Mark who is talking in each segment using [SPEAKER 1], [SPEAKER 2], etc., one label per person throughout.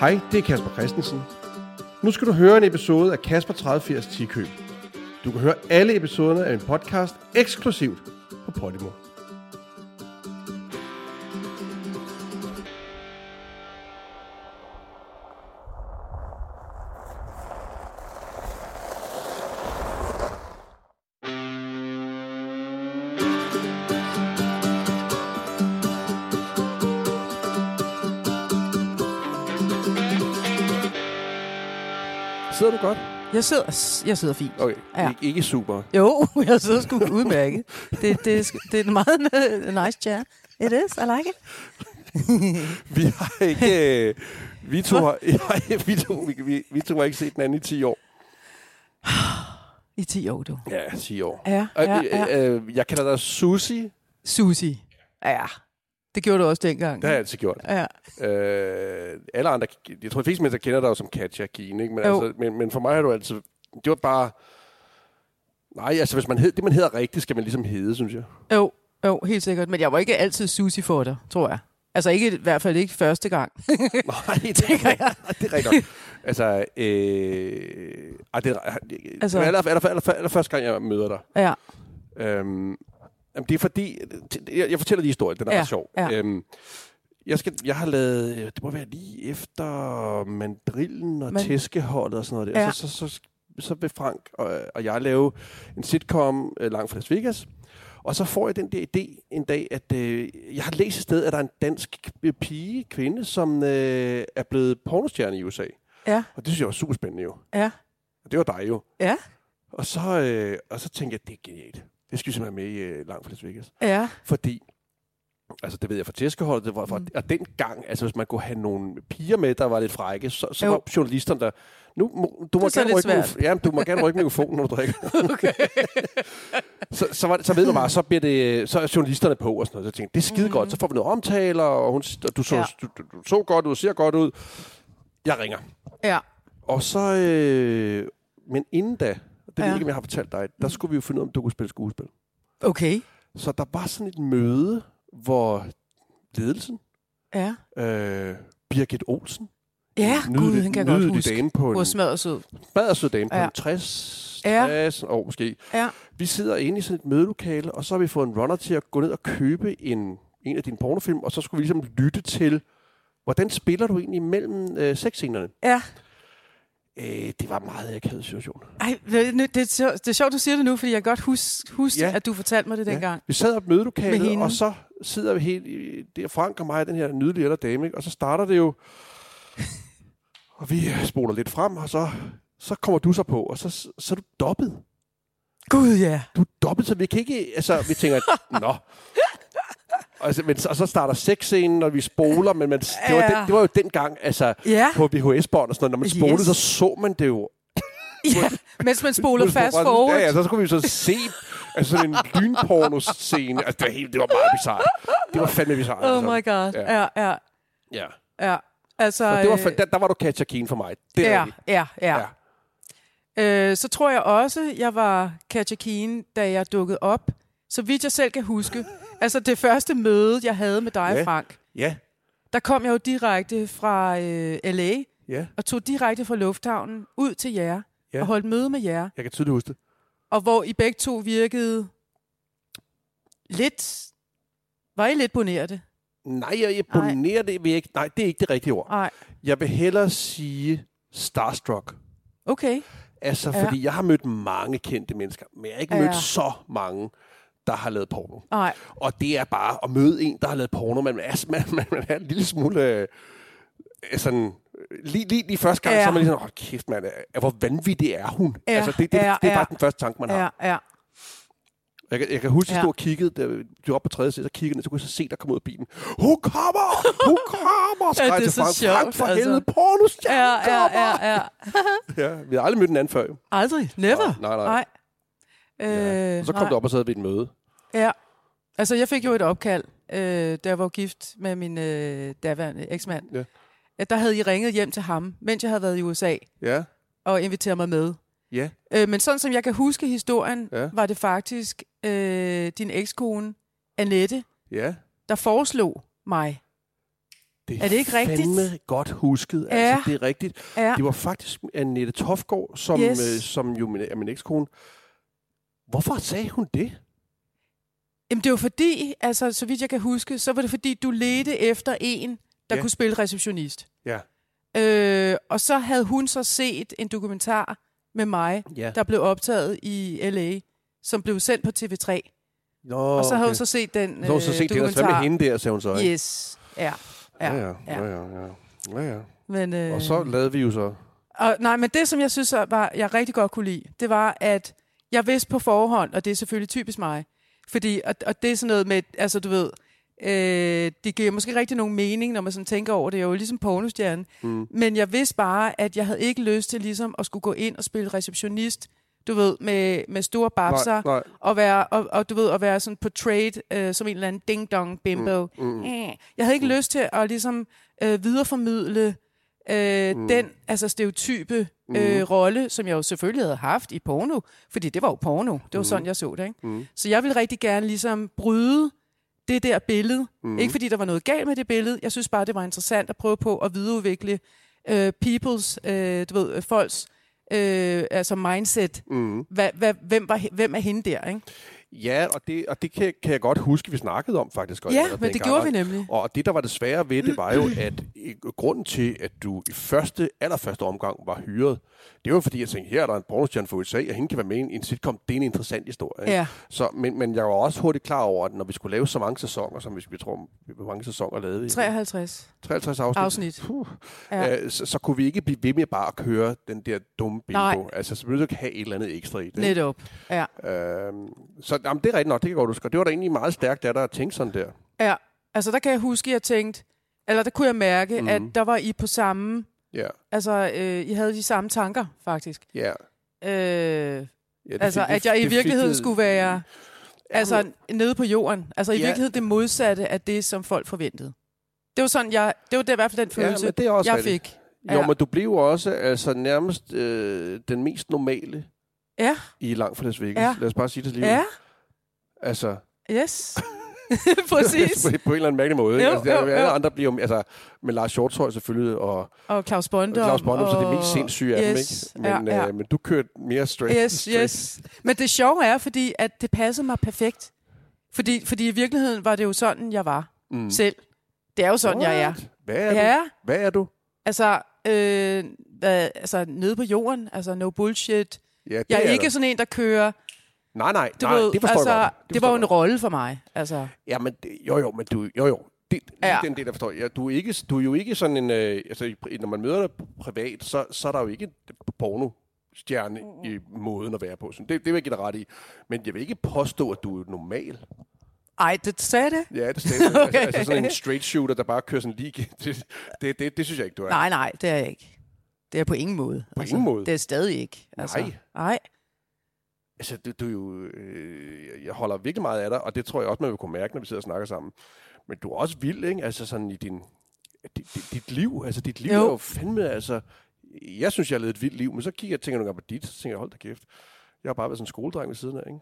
[SPEAKER 1] Hej, det er Kasper Christensen. Nu skal du høre en episode af Kasper 3080 Tikøb. Du kan høre alle episoderne af en podcast eksklusivt på Podimo. Sidder du godt?
[SPEAKER 2] Jeg sidder, jeg sidder fint.
[SPEAKER 1] Okay,
[SPEAKER 2] Ja.
[SPEAKER 1] Ik- ikke super.
[SPEAKER 2] Jo, jeg sidder sgu udmærket. Det, det, er sk- det er en meget øh, nice chair. It is, I like it.
[SPEAKER 1] Vi har ikke... Øh, vi, to har, ja, vi, to, vi, vi, vi to har ikke set den anden i 10 år.
[SPEAKER 2] I 10 år, du.
[SPEAKER 1] Ja, 10 år.
[SPEAKER 2] Ja,
[SPEAKER 1] Og,
[SPEAKER 2] ja, ja.
[SPEAKER 1] øh, øh, jeg kalder dig Susi.
[SPEAKER 2] Susi. Ja, det gjorde du også dengang.
[SPEAKER 1] Det har jeg altid gjort.
[SPEAKER 2] Ja.
[SPEAKER 1] Øh, alle andre, jeg tror, de fleste mennesker kender dig jo som Katja Kine, ikke? Men,
[SPEAKER 2] Jo.
[SPEAKER 1] altså, men, men for mig har du altid... Det var bare... Nej, altså hvis man hed, det, man hedder rigtigt, skal man ligesom hedde, synes jeg.
[SPEAKER 2] Jo, jo, helt sikkert. Men jeg var ikke altid Susi for dig, tror jeg. Altså ikke, i hvert fald ikke første gang.
[SPEAKER 1] Nej, det tænker jeg. det er rigtigt. nok. Altså, øh, ej, det er, altså,
[SPEAKER 2] Altså-
[SPEAKER 1] det er aller, aller, aller, aller første gang, jeg møder dig.
[SPEAKER 2] Ja,
[SPEAKER 1] Øhm, jamen, det er fordi... Jeg, jeg fortæller lige historien, den er
[SPEAKER 2] Ja,
[SPEAKER 1] ja, sjov.
[SPEAKER 2] ja.
[SPEAKER 1] Øhm, jeg, skal, jeg har lavet, øh, det må være lige efter mandrillen og
[SPEAKER 2] Men-
[SPEAKER 1] Men, tæskeholdet og sådan noget der.
[SPEAKER 2] Ja.
[SPEAKER 1] Ja. Så, så, så, så vil Frank og, og jeg lave en sitcom øh, langt fra Las Vegas. Og så får jeg den der idé en dag, at øh, jeg har læst et sted, at der er en dansk k- pige, kvinde, som øh, er blevet pornostjerne i USA.
[SPEAKER 2] ja,
[SPEAKER 1] Og det synes jeg var super spændende jo.
[SPEAKER 2] ja,
[SPEAKER 1] Og det var dig jo.
[SPEAKER 2] ja,
[SPEAKER 1] Og så, øh, og så tænkte jeg, det er genialt. Det skal vi simpelthen have med i øh, langt fra Las Vegas.
[SPEAKER 2] ja.
[SPEAKER 1] Fordi, altså det ved jeg fra tæskeholdet, det var fra,
[SPEAKER 2] Mm.
[SPEAKER 1] mm. og dengang, altså hvis man kunne have nogle piger med, der var lidt frække, så, så
[SPEAKER 2] Jo.
[SPEAKER 1] var journalisterne der, nu, må, du, må
[SPEAKER 2] er så
[SPEAKER 1] gerne
[SPEAKER 2] lidt
[SPEAKER 1] rykke min, ja, du må gerne rykke mikrofonen, når du drikker. Okay. så, så, var det, så ved man bare, så, bliver det, så er journalisterne på og sådan noget. Så jeg tænkte, det er skide godt, så får vi noget omtaler, og hun, og du, så,
[SPEAKER 2] Mm. Ja.
[SPEAKER 1] ja. du, du, du, så godt ud, ser godt ud. Jeg ringer.
[SPEAKER 2] ja.
[SPEAKER 1] Og så, øh, men inden da, det ja. ved
[SPEAKER 2] Ja. Mm.
[SPEAKER 1] jeg ikke, om jeg har fortalt dig, der skulle vi jo finde ud af, om du kunne spille skuespil.
[SPEAKER 2] Okay,
[SPEAKER 1] Så der var sådan et møde, hvor ledelsen,
[SPEAKER 2] ja.
[SPEAKER 1] øh, Birgit Olsen,
[SPEAKER 2] Ja,
[SPEAKER 1] en
[SPEAKER 2] gud, han kan jeg godt
[SPEAKER 1] nydelig
[SPEAKER 2] huske.
[SPEAKER 1] dame på
[SPEAKER 2] Hun
[SPEAKER 1] en,
[SPEAKER 2] er smadret sød.
[SPEAKER 1] badersød dame på
[SPEAKER 2] Ja.
[SPEAKER 1] en 60,
[SPEAKER 2] Ja.
[SPEAKER 1] 60 år måske.
[SPEAKER 2] Ja.
[SPEAKER 1] Vi sidder inde i sådan et mødelokale, og så har vi fået en runner til at gå ned og købe en, en af dine pornofilm, og så skulle vi ligesom lytte til, hvordan spiller du egentlig mellem øh, sexscenerne?
[SPEAKER 2] Ja.
[SPEAKER 1] Øh, det var en meget akavet situation.
[SPEAKER 2] Ej, det, det, det, er sjovt- det er sjovt, du siger det nu, fordi jeg kan godt huske, huske
[SPEAKER 1] Ja.
[SPEAKER 2] ja. at du fortalte mig det dengang.
[SPEAKER 1] Vi sad op i
[SPEAKER 2] Med
[SPEAKER 1] mødelokalet,
[SPEAKER 2] hende.
[SPEAKER 1] og så sidder vi helt... i- Det er Frank og mig, den her nydelige ældre dame, ikke? og så starter det jo... Og vi øh, spoler lidt frem, og så, så kommer du så på, og så, så er du dobbelt.
[SPEAKER 2] Gud, ja.
[SPEAKER 1] Du er dobbelt, så vi kan ikke... Altså, vi tænker, nå... Og, så, men, så- og så starter sexscenen, og vi spoler, men man, det, var
[SPEAKER 2] Ja.
[SPEAKER 1] den, det var jo dengang, altså
[SPEAKER 2] Ja,
[SPEAKER 1] på VHS-bånd og sådan noget, når man spolede,
[SPEAKER 2] Yes.
[SPEAKER 1] så så man det jo
[SPEAKER 2] ja. mens man spoler
[SPEAKER 1] Husk, hvor
[SPEAKER 2] fast
[SPEAKER 1] bare-
[SPEAKER 2] forward.
[SPEAKER 1] Ja, ja, så skulle vi jo så se altså sådan en lynporno-scene. Altså, det var, helt, det var meget bizarrt. Det var fandme bizarrt.
[SPEAKER 2] Oh
[SPEAKER 1] altså.
[SPEAKER 2] my god.
[SPEAKER 1] Ja.
[SPEAKER 2] Ja, ja,
[SPEAKER 1] Ja.
[SPEAKER 2] ja. Altså,
[SPEAKER 1] Og det var,
[SPEAKER 2] øh,
[SPEAKER 1] fa- der, der var du Katja Keen for mig. Det er
[SPEAKER 2] ja,
[SPEAKER 1] rigtigt.
[SPEAKER 2] ja, ja.
[SPEAKER 1] Ja.
[SPEAKER 2] Øh, så tror jeg også, jeg var Katja Keen, da jeg dukkede op. Så vidt jeg selv kan huske. altså det første møde, jeg havde med dig,
[SPEAKER 1] Ja.
[SPEAKER 2] Frank.
[SPEAKER 1] Ja.
[SPEAKER 2] Der kom jeg jo direkte fra øh, L.A.
[SPEAKER 1] ja,
[SPEAKER 2] og tog direkte fra lufthavnen ud til jer.
[SPEAKER 1] Ja.
[SPEAKER 2] Og holdt møde med jer.
[SPEAKER 1] jeg kan tydeligt huske det.
[SPEAKER 2] Og hvor I begge to virkede lidt... Var I lidt bonerte?
[SPEAKER 1] Nej, jeg imponerer det vil jeg ikke. Nej, det er ikke det rigtige ord.
[SPEAKER 2] Nej.
[SPEAKER 1] Jeg vil hellere sige starstruck.
[SPEAKER 2] Okay.
[SPEAKER 1] Altså,
[SPEAKER 2] Ja.
[SPEAKER 1] fordi jeg har mødt mange kendte mennesker, men jeg har ikke
[SPEAKER 2] Ja.
[SPEAKER 1] mødt så mange, der har lavet porno.
[SPEAKER 2] Nej.
[SPEAKER 1] Og det er bare at møde en, der har lavet porno. Man er, man, man, man er en lille smule... Øh, sådan, øh, lige, lige, lige første gang,
[SPEAKER 2] Ja.
[SPEAKER 1] ja. så er man lige sådan, hold kæft, man, øh, hvor vanvittig er hun.
[SPEAKER 2] Ja,
[SPEAKER 1] Altså, det, det,
[SPEAKER 2] ja,
[SPEAKER 1] det er
[SPEAKER 2] ja.
[SPEAKER 1] bare den første tanke, man
[SPEAKER 2] Ja,
[SPEAKER 1] har.
[SPEAKER 2] ja.
[SPEAKER 1] Jeg, kan- jeg kan huske, at jeg
[SPEAKER 2] Ja.
[SPEAKER 1] stod og kiggede, da vi var oppe på tredje side, så kiggede jeg ned, så kunne jeg så se, der kom ud af bilen. Hun kommer! Hun kommer! Skreg
[SPEAKER 2] Ja,
[SPEAKER 1] ja,
[SPEAKER 2] det er
[SPEAKER 1] til
[SPEAKER 2] så
[SPEAKER 1] Frank, Frank
[SPEAKER 2] sjovt,
[SPEAKER 1] for
[SPEAKER 2] altså.
[SPEAKER 1] helvede, pornos, ja,
[SPEAKER 2] Ja,
[SPEAKER 1] ja,
[SPEAKER 2] ja, ja, ja.
[SPEAKER 1] ja. Vi har aldrig mødt en anden før, jo.
[SPEAKER 2] Aldrig. Never.
[SPEAKER 1] Nej, nej, nej.
[SPEAKER 2] Øh,
[SPEAKER 1] Ja. Og så kom
[SPEAKER 2] nej.
[SPEAKER 1] du op og sad ved et møde.
[SPEAKER 2] Ja. Altså, jeg fik jo et opkald, øh, da jeg var gift med min øh, daværende eksmand.
[SPEAKER 1] Ja.
[SPEAKER 2] Ja, der havde I ringet hjem til ham, mens jeg havde været i USA,
[SPEAKER 1] Ja,
[SPEAKER 2] og inviteret mig med.
[SPEAKER 1] ja,
[SPEAKER 2] Øh, men sådan som jeg kan huske historien,
[SPEAKER 1] Ja.
[SPEAKER 2] ja. var det faktisk øh, din ekskone, Annette,
[SPEAKER 1] ja.
[SPEAKER 2] der foreslog mig Er det ikke rigtigt?
[SPEAKER 1] fandme godt husket.
[SPEAKER 2] Ja.
[SPEAKER 1] Ja. Altså, det er rigtigt.
[SPEAKER 2] Ja.
[SPEAKER 1] Det var faktisk Annette Tofgaard, som,
[SPEAKER 2] Yes.
[SPEAKER 1] yes. øh, som jo min, er min ekskone. Hvorfor sagde hun det?
[SPEAKER 2] Jamen, det var fordi, altså, så vidt jeg kan huske, så var det fordi, du ledte efter en, der ja.
[SPEAKER 1] Ja.
[SPEAKER 2] kunne spille receptionist.
[SPEAKER 1] Ja.
[SPEAKER 2] Øh, og så havde hun så set en dokumentar med mig,
[SPEAKER 1] Ja.
[SPEAKER 2] der blev optaget i L.A., som blev sendt på TV3.
[SPEAKER 1] Nå,
[SPEAKER 2] Og så havde hun så set den
[SPEAKER 1] så, har hun så
[SPEAKER 2] øh,
[SPEAKER 1] set det, der
[SPEAKER 2] dokumentar.
[SPEAKER 1] med hende der, sagde hun så. Ikke?
[SPEAKER 2] Yes, ja. Ja,
[SPEAKER 1] ja,
[SPEAKER 2] ja.
[SPEAKER 1] ja. ja, ja. ja, ja.
[SPEAKER 2] Men, øh,
[SPEAKER 1] Og så lavede vi jo så...
[SPEAKER 2] Og, nej, men det, som jeg synes, der var, jeg rigtig godt kunne lide, det var, at jeg vidste på forhånd, og det er selvfølgelig typisk mig, fordi, og, og det er sådan noget med, altså du ved, øh, det giver måske rigtig nogen mening, når man sådan tænker over det, jeg er jo ligesom pornostjerne, mm. men jeg vidste bare, at jeg havde ikke lyst til ligesom at skulle gå ind og spille receptionist, du ved, med, med store babser,
[SPEAKER 1] nej.
[SPEAKER 2] og være, og, og, du ved, at være sådan portrayed øh, som en eller anden ding-dong bimbo. Mm, mm, jeg havde ikke lyst til at ligesom øh, videreformidle øh, mm. den altså stereotype øh, rolle, som jeg jo selvfølgelig havde haft i porno, fordi det var jo porno. Det var mm. sådan, jeg så det. Ikke? Mm. Så jeg ville rigtig gerne ligesom bryde det der billede. Mm. Ikke fordi der var noget galt med det billede. Jeg synes bare, det var interessant at prøve på at videreudvikle øh, peoples, øh, du ved, øh, folks øh, altså mindset. Mm. Hva, hva, hvem, var, he- hvem er hende der? Ikke?
[SPEAKER 1] Ja, og det, og det kan, kan jeg godt huske, vi snakkede om faktisk. godt
[SPEAKER 2] Ja,
[SPEAKER 1] allerede
[SPEAKER 2] men det
[SPEAKER 1] dengang.
[SPEAKER 2] gjorde vi nemlig.
[SPEAKER 1] Og det, der var det svære ved det, var jo, at øh, grunden til, at du i første, allerførste omgang var hyret, det var fordi, jeg tænkte, her er der en pornostjerne fra USA, og hende kan være med i en- en sitcom. Det er en interessant historie. ikke?
[SPEAKER 2] Ja.
[SPEAKER 1] Så, men, men jeg var også hurtigt klar over, at når vi skulle lave så mange sæsoner, som vi, vi tror, hvor mange sæsoner lavede vi?
[SPEAKER 2] 53.
[SPEAKER 1] 53 afsnit.
[SPEAKER 2] Afsnit.
[SPEAKER 1] Puh.
[SPEAKER 2] Ja.
[SPEAKER 1] Ja. Øh, så, så, kunne vi ikke blive ved med bare at køre den der dumme bingo.
[SPEAKER 2] Nej.
[SPEAKER 1] Altså, så ville du ikke have et eller andet ekstra i det.
[SPEAKER 2] Netop. Ja.
[SPEAKER 1] Øhm, så jamen, det er rigtigt nok, det kan jeg godt huske. Og Det var da egentlig meget stærkt, at der at tænke sådan der.
[SPEAKER 2] Ja, altså der kan jeg huske, at jeg tænkte, eller der kunne jeg mærke, mm.
[SPEAKER 1] Mhm.
[SPEAKER 2] at der var I på samme,
[SPEAKER 1] Ja,
[SPEAKER 2] altså øh, I havde de samme tanker, faktisk.
[SPEAKER 1] ja.
[SPEAKER 2] Øh,
[SPEAKER 1] ja det
[SPEAKER 2] altså,
[SPEAKER 1] fik- det-
[SPEAKER 2] at jeg i
[SPEAKER 1] det fik
[SPEAKER 2] virkeligheden
[SPEAKER 1] det-
[SPEAKER 2] skulle være altså, nede på jorden. Altså, i
[SPEAKER 1] Ja.
[SPEAKER 2] virkeligheden det modsatte af det, som folk forventede. Det var sådan, jeg, det var det, i hvert fald den
[SPEAKER 1] Ja,
[SPEAKER 2] følelse,
[SPEAKER 1] men det er også
[SPEAKER 2] jeg
[SPEAKER 1] rigtigt.
[SPEAKER 2] fik.
[SPEAKER 1] Jo,
[SPEAKER 2] ja.
[SPEAKER 1] men du blev jo også altså, nærmest øh, den mest normale
[SPEAKER 2] Ja,
[SPEAKER 1] i langt Las Vegas.
[SPEAKER 2] Ja.
[SPEAKER 1] Ja. Lad os bare sige det lige. ud.
[SPEAKER 2] ja,
[SPEAKER 1] Altså,
[SPEAKER 2] yes. Præcis.
[SPEAKER 1] på, på en eller anden mærkelig måde. Ikke?
[SPEAKER 2] Jo,
[SPEAKER 1] Altså, der,
[SPEAKER 2] jo,
[SPEAKER 1] alle
[SPEAKER 2] jo.
[SPEAKER 1] andre bliver jo, altså, med Lars Shortøj selvfølgelig, og
[SPEAKER 2] Og Claus Bondum.
[SPEAKER 1] Claus Bondum, så det mest
[SPEAKER 2] og-
[SPEAKER 1] sindssyge af
[SPEAKER 2] yes,
[SPEAKER 1] dem, ikke? Men,
[SPEAKER 2] ja, ja.
[SPEAKER 1] Øh, men du kørte mere straight.
[SPEAKER 2] Yes,
[SPEAKER 1] straight.
[SPEAKER 2] yes. Men det sjove er, fordi at det passede mig perfekt. Fordi, fordi i virkeligheden var det jo sådan, jeg var mm. selv. Det er jo sådan, jeg er.
[SPEAKER 1] What? Hvad er du?
[SPEAKER 2] Ja,
[SPEAKER 1] Hvad er du?
[SPEAKER 2] altså, øh, hvad, altså nede på jorden, altså no bullshit.
[SPEAKER 1] Ja, det
[SPEAKER 2] Jeg er
[SPEAKER 1] er
[SPEAKER 2] ikke
[SPEAKER 1] du.
[SPEAKER 2] sådan en, der kører.
[SPEAKER 1] Nej, nej,
[SPEAKER 2] Du
[SPEAKER 1] nej,
[SPEAKER 2] ved,
[SPEAKER 1] det forstår
[SPEAKER 2] altså,
[SPEAKER 1] jeg godt.
[SPEAKER 2] Det,
[SPEAKER 1] forstår
[SPEAKER 2] var jo
[SPEAKER 1] jeg
[SPEAKER 2] en rolle for mig. Altså,
[SPEAKER 1] Ja, men det, jo, jo, men du, jo, jo. Det,
[SPEAKER 2] Ja.
[SPEAKER 1] ja. den del, der forstår jeg. Ja, Du er, ikke, du er jo ikke sådan en... Øh, altså, i pri- når man møder dig privat, så, så er der jo ikke porno stjerne i
[SPEAKER 2] Mm.
[SPEAKER 1] måden at være på. Så det, det vil jeg give dig ret i. Men jeg vil ikke påstå, at du er normal.
[SPEAKER 2] ej, det sagde det.
[SPEAKER 1] Ja, det stemmer.
[SPEAKER 2] Okay.
[SPEAKER 1] okay. altså, altså sådan en straight shooter, der bare kører sådan lige... Det, det, det, det synes jeg ikke, du er.
[SPEAKER 2] Nej, nej, det er jeg ikke. Det er jeg på ingen måde. På altså,
[SPEAKER 1] ingen måde?
[SPEAKER 2] Det er jeg stadig ikke. Altså,
[SPEAKER 1] Nej.
[SPEAKER 2] Nej.
[SPEAKER 1] Altså, du, du er jo... Øh, jeg holder virkelig meget af dig, og det tror jeg også, man vil kunne mærke, når vi sidder og snakker sammen. Men du er også vild, ikke? Altså, sådan i din... Dit, dit- dit liv, altså dit liv
[SPEAKER 2] Jo.
[SPEAKER 1] jo. er jo fandme, altså... Jeg synes, jeg har levet et vildt liv, men så kigger jeg tænker nogle gange på dit, så tænker jeg, hold da kæft. Jeg har bare været sådan en skoledreng ved siden af, ikke?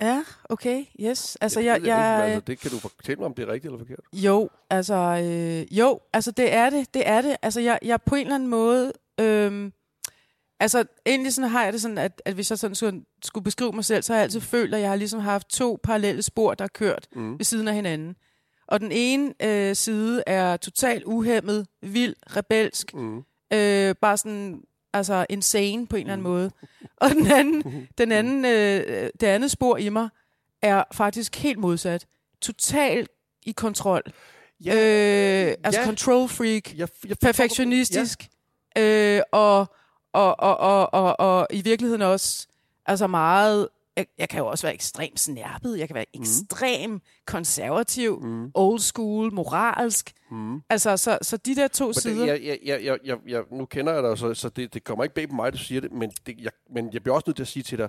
[SPEAKER 2] Ja, okay, yes. Altså,
[SPEAKER 1] det
[SPEAKER 2] jeg,
[SPEAKER 1] ved
[SPEAKER 2] jeg,
[SPEAKER 1] ikke, men
[SPEAKER 2] øh,
[SPEAKER 1] altså, det kan du fortælle mig, om det er rigtigt eller forkert.
[SPEAKER 2] Jo, altså, øh, jo, altså det er det, det er det. Altså jeg, jeg på en eller anden måde, øh, altså egentlig sådan har jeg det sådan, at, at hvis jeg sådan skulle, skulle beskrive mig selv, så har jeg altid følt, at jeg har ligesom haft to parallelle spor, der er kørt mm. ved siden af hinanden. Og den ene øh, side er totalt uhemmet, vild, rebelsk, mm. øh, bare sådan altså insane på en eller anden måde. Og den anden, den anden, øh, det andet spor i mig er faktisk helt modsat. Totalt i kontrol. Ja. Øh, altså ja.
[SPEAKER 1] Ja.
[SPEAKER 2] control freak,
[SPEAKER 1] Jeg, jeg
[SPEAKER 2] perfektionistisk, ja. øh, og, og, og, og, og, og i virkeligheden også altså meget... Jeg, jeg kan jo også være ekstremt snærpet, jeg
[SPEAKER 1] Mm.
[SPEAKER 2] kan være ekstrem konservativ, mm. old school, moralsk. Mm. Altså, så, så de der to
[SPEAKER 1] Men det,
[SPEAKER 2] sider...
[SPEAKER 1] jeg, jeg, jeg, jeg, jeg, jeg, nu kender jeg dig, så, så det, det kommer ikke bag på mig, at du siger det, men, det, jeg, men jeg bliver også nødt til at sige til dig,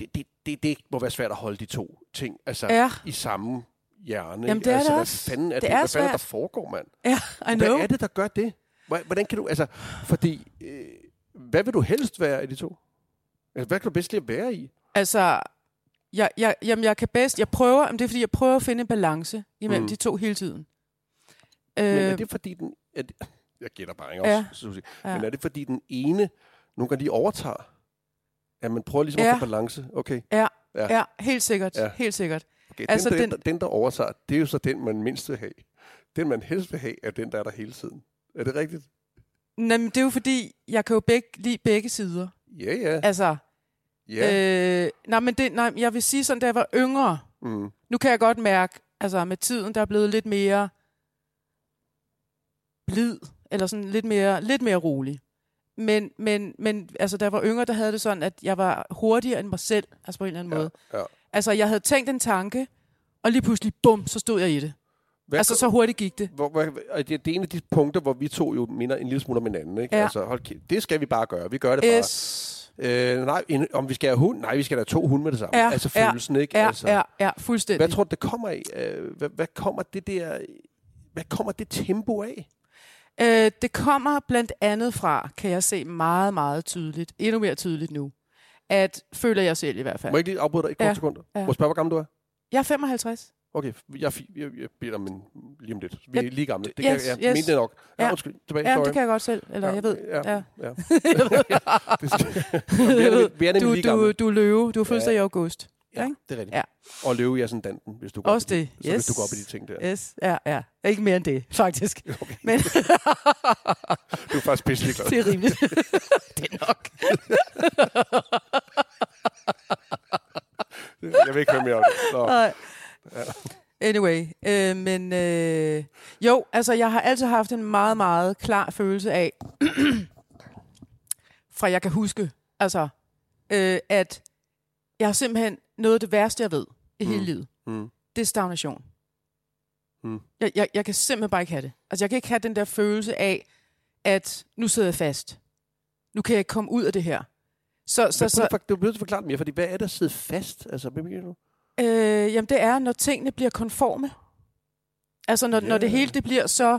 [SPEAKER 1] det, det, det, det må være svært at holde de to ting altså,
[SPEAKER 2] Ja.
[SPEAKER 1] i samme hjerne.
[SPEAKER 2] Jamen, det er
[SPEAKER 1] altså,
[SPEAKER 2] det
[SPEAKER 1] hvad
[SPEAKER 2] også.
[SPEAKER 1] Fanden er
[SPEAKER 2] Det
[SPEAKER 1] det, det
[SPEAKER 2] er
[SPEAKER 1] hvad fanden er der
[SPEAKER 2] svært.
[SPEAKER 1] foregår, mand?
[SPEAKER 2] Ja, I know.
[SPEAKER 1] Hvad er det, der gør det? Hvor- Hvordan kan du, altså, fordi, øh, hvad vil du helst være af de to? Altså, hvad kan du bedst lide at være i?
[SPEAKER 2] Altså, jeg, jeg, jamen, jeg kan bedst, jeg prøver, jamen, det er fordi, jeg prøver at finde en balance imellem mm. de to hele tiden.
[SPEAKER 1] Men er det fordi den... Er det, jeg gætter bare ikke også,
[SPEAKER 2] Ja.
[SPEAKER 1] ja. Susie.
[SPEAKER 2] Ja.
[SPEAKER 1] Men er det fordi den ene nogle gange lige overtager? Ja, man prøver ligesom
[SPEAKER 2] Ja.
[SPEAKER 1] at få balance. Okay.
[SPEAKER 2] Ja, helt sikkert. Ja.
[SPEAKER 1] Ja.
[SPEAKER 2] Helt sikkert.
[SPEAKER 1] okay. Den,
[SPEAKER 2] Altså,
[SPEAKER 1] altså, der,
[SPEAKER 2] den-
[SPEAKER 1] den, den, der overtager, det er jo så den, man mindst vil have. Den, man helst vil have, er den, der er der hele tiden. Er det rigtigt?
[SPEAKER 2] Nå, men det er jo fordi, jeg kan jo begge, lide begge sider.
[SPEAKER 1] Ja, ja.
[SPEAKER 2] Altså,
[SPEAKER 1] ja.
[SPEAKER 2] ja. øh, nej, men det, nej, jeg vil sige sådan, da jeg var yngre,
[SPEAKER 1] Mm.
[SPEAKER 2] nu kan jeg godt mærke, altså med tiden, der er blevet lidt mere blid, eller sådan lidt mere, lidt mere rolig. Men, men, men altså, da jeg var yngre, der havde det sådan, at jeg var hurtigere end mig selv, altså på en eller anden ja. måde.
[SPEAKER 1] Ja, ja.
[SPEAKER 2] Altså, jeg havde tænkt en tanke, og lige pludselig, bum, så stod jeg i det.
[SPEAKER 1] Hvad,
[SPEAKER 2] altså, så hurtigt gik det.
[SPEAKER 1] Hvor, hvor, og det, det er en af de punkter, hvor vi to jo minder en lille smule om hinanden. Ikke?
[SPEAKER 2] Ja.
[SPEAKER 1] Altså, hold kæft, det skal vi bare gøre. Vi gør det bare.
[SPEAKER 2] S,
[SPEAKER 1] Øh, nej, en, om vi skal have hund? Nej, vi skal have to hunde med det samme.
[SPEAKER 2] Ja,
[SPEAKER 1] altså
[SPEAKER 2] ja,
[SPEAKER 1] følelsen, ikke?
[SPEAKER 2] ja,
[SPEAKER 1] altså,
[SPEAKER 2] ja, ja, fuldstændig.
[SPEAKER 1] Hvad tror du, det kommer af? Øh, Hvad, hvad kommer det der... Hvad kommer det tempo af?
[SPEAKER 2] Øh, det kommer blandt andet fra, kan jeg se meget, meget tydeligt, endnu mere tydeligt nu, at føler jeg selv i hvert fald.
[SPEAKER 1] Må jeg ikke lige afbryde dig et
[SPEAKER 2] Ja,
[SPEAKER 1] kort sekund? Må jeg spørge, hvor gammel du er?
[SPEAKER 2] Jeg er 55.
[SPEAKER 1] Okay, jeg, er fi- jeg, jeg beder om en, lige om lidt. Vi er
[SPEAKER 2] Ja,
[SPEAKER 1] lige gamle. Det
[SPEAKER 2] yes,
[SPEAKER 1] kan, jeg
[SPEAKER 2] yes.
[SPEAKER 1] mente det nok. Ja,
[SPEAKER 2] Ja.
[SPEAKER 1] undskyld. Tilbage,
[SPEAKER 2] Ja,
[SPEAKER 1] sorry.
[SPEAKER 2] det kan jeg godt selv, eller
[SPEAKER 1] Ja,
[SPEAKER 2] jeg ved.
[SPEAKER 1] Ja,
[SPEAKER 2] Ja.
[SPEAKER 1] ja. ja. Det skal, vi er, nemlig- vi er nemlig
[SPEAKER 2] du,
[SPEAKER 1] lige
[SPEAKER 2] du,
[SPEAKER 1] gamle.
[SPEAKER 2] du er løve, du er fødselsdag i august.
[SPEAKER 1] Ja,
[SPEAKER 2] ikke?
[SPEAKER 1] det er rigtigt.
[SPEAKER 2] Ja.
[SPEAKER 1] Og løve jeg sådan danten, hvis du går,
[SPEAKER 2] Også
[SPEAKER 1] op, i
[SPEAKER 2] det,
[SPEAKER 1] Så
[SPEAKER 2] yes.
[SPEAKER 1] hvis du går op i de ting der.
[SPEAKER 2] Yes, ja, ja. Ikke mere end det, faktisk.
[SPEAKER 1] Okay.
[SPEAKER 2] Men
[SPEAKER 1] Du er faktisk pisselig glad.
[SPEAKER 2] det er rimeligt. det er nok.
[SPEAKER 1] Jeg vil ikke høre mere om det. Nå.
[SPEAKER 2] Nej. Anyway, øh, men øh, jo, altså jeg har altid haft en meget, meget klar følelse af, fra jeg kan huske, altså, øh, at jeg har simpelthen noget af det værste, jeg ved i hele
[SPEAKER 1] Mm.
[SPEAKER 2] livet,
[SPEAKER 1] Mm.
[SPEAKER 2] det er stagnation.
[SPEAKER 1] Mm.
[SPEAKER 2] Jeg, jeg, jeg kan simpelthen bare ikke have det. Altså jeg kan ikke have den der følelse af, at nu sidder jeg fast. Nu kan jeg ikke komme ud af det her. Så, så,
[SPEAKER 1] Så,
[SPEAKER 2] så,
[SPEAKER 1] så, du bliver nødt til at forklare det mere, fordi hvad er der at sidde fast? Altså, hvad mener du?
[SPEAKER 2] Øh, jamen det er, når tingene bliver konforme. Altså når, yeah. når det hele det bliver så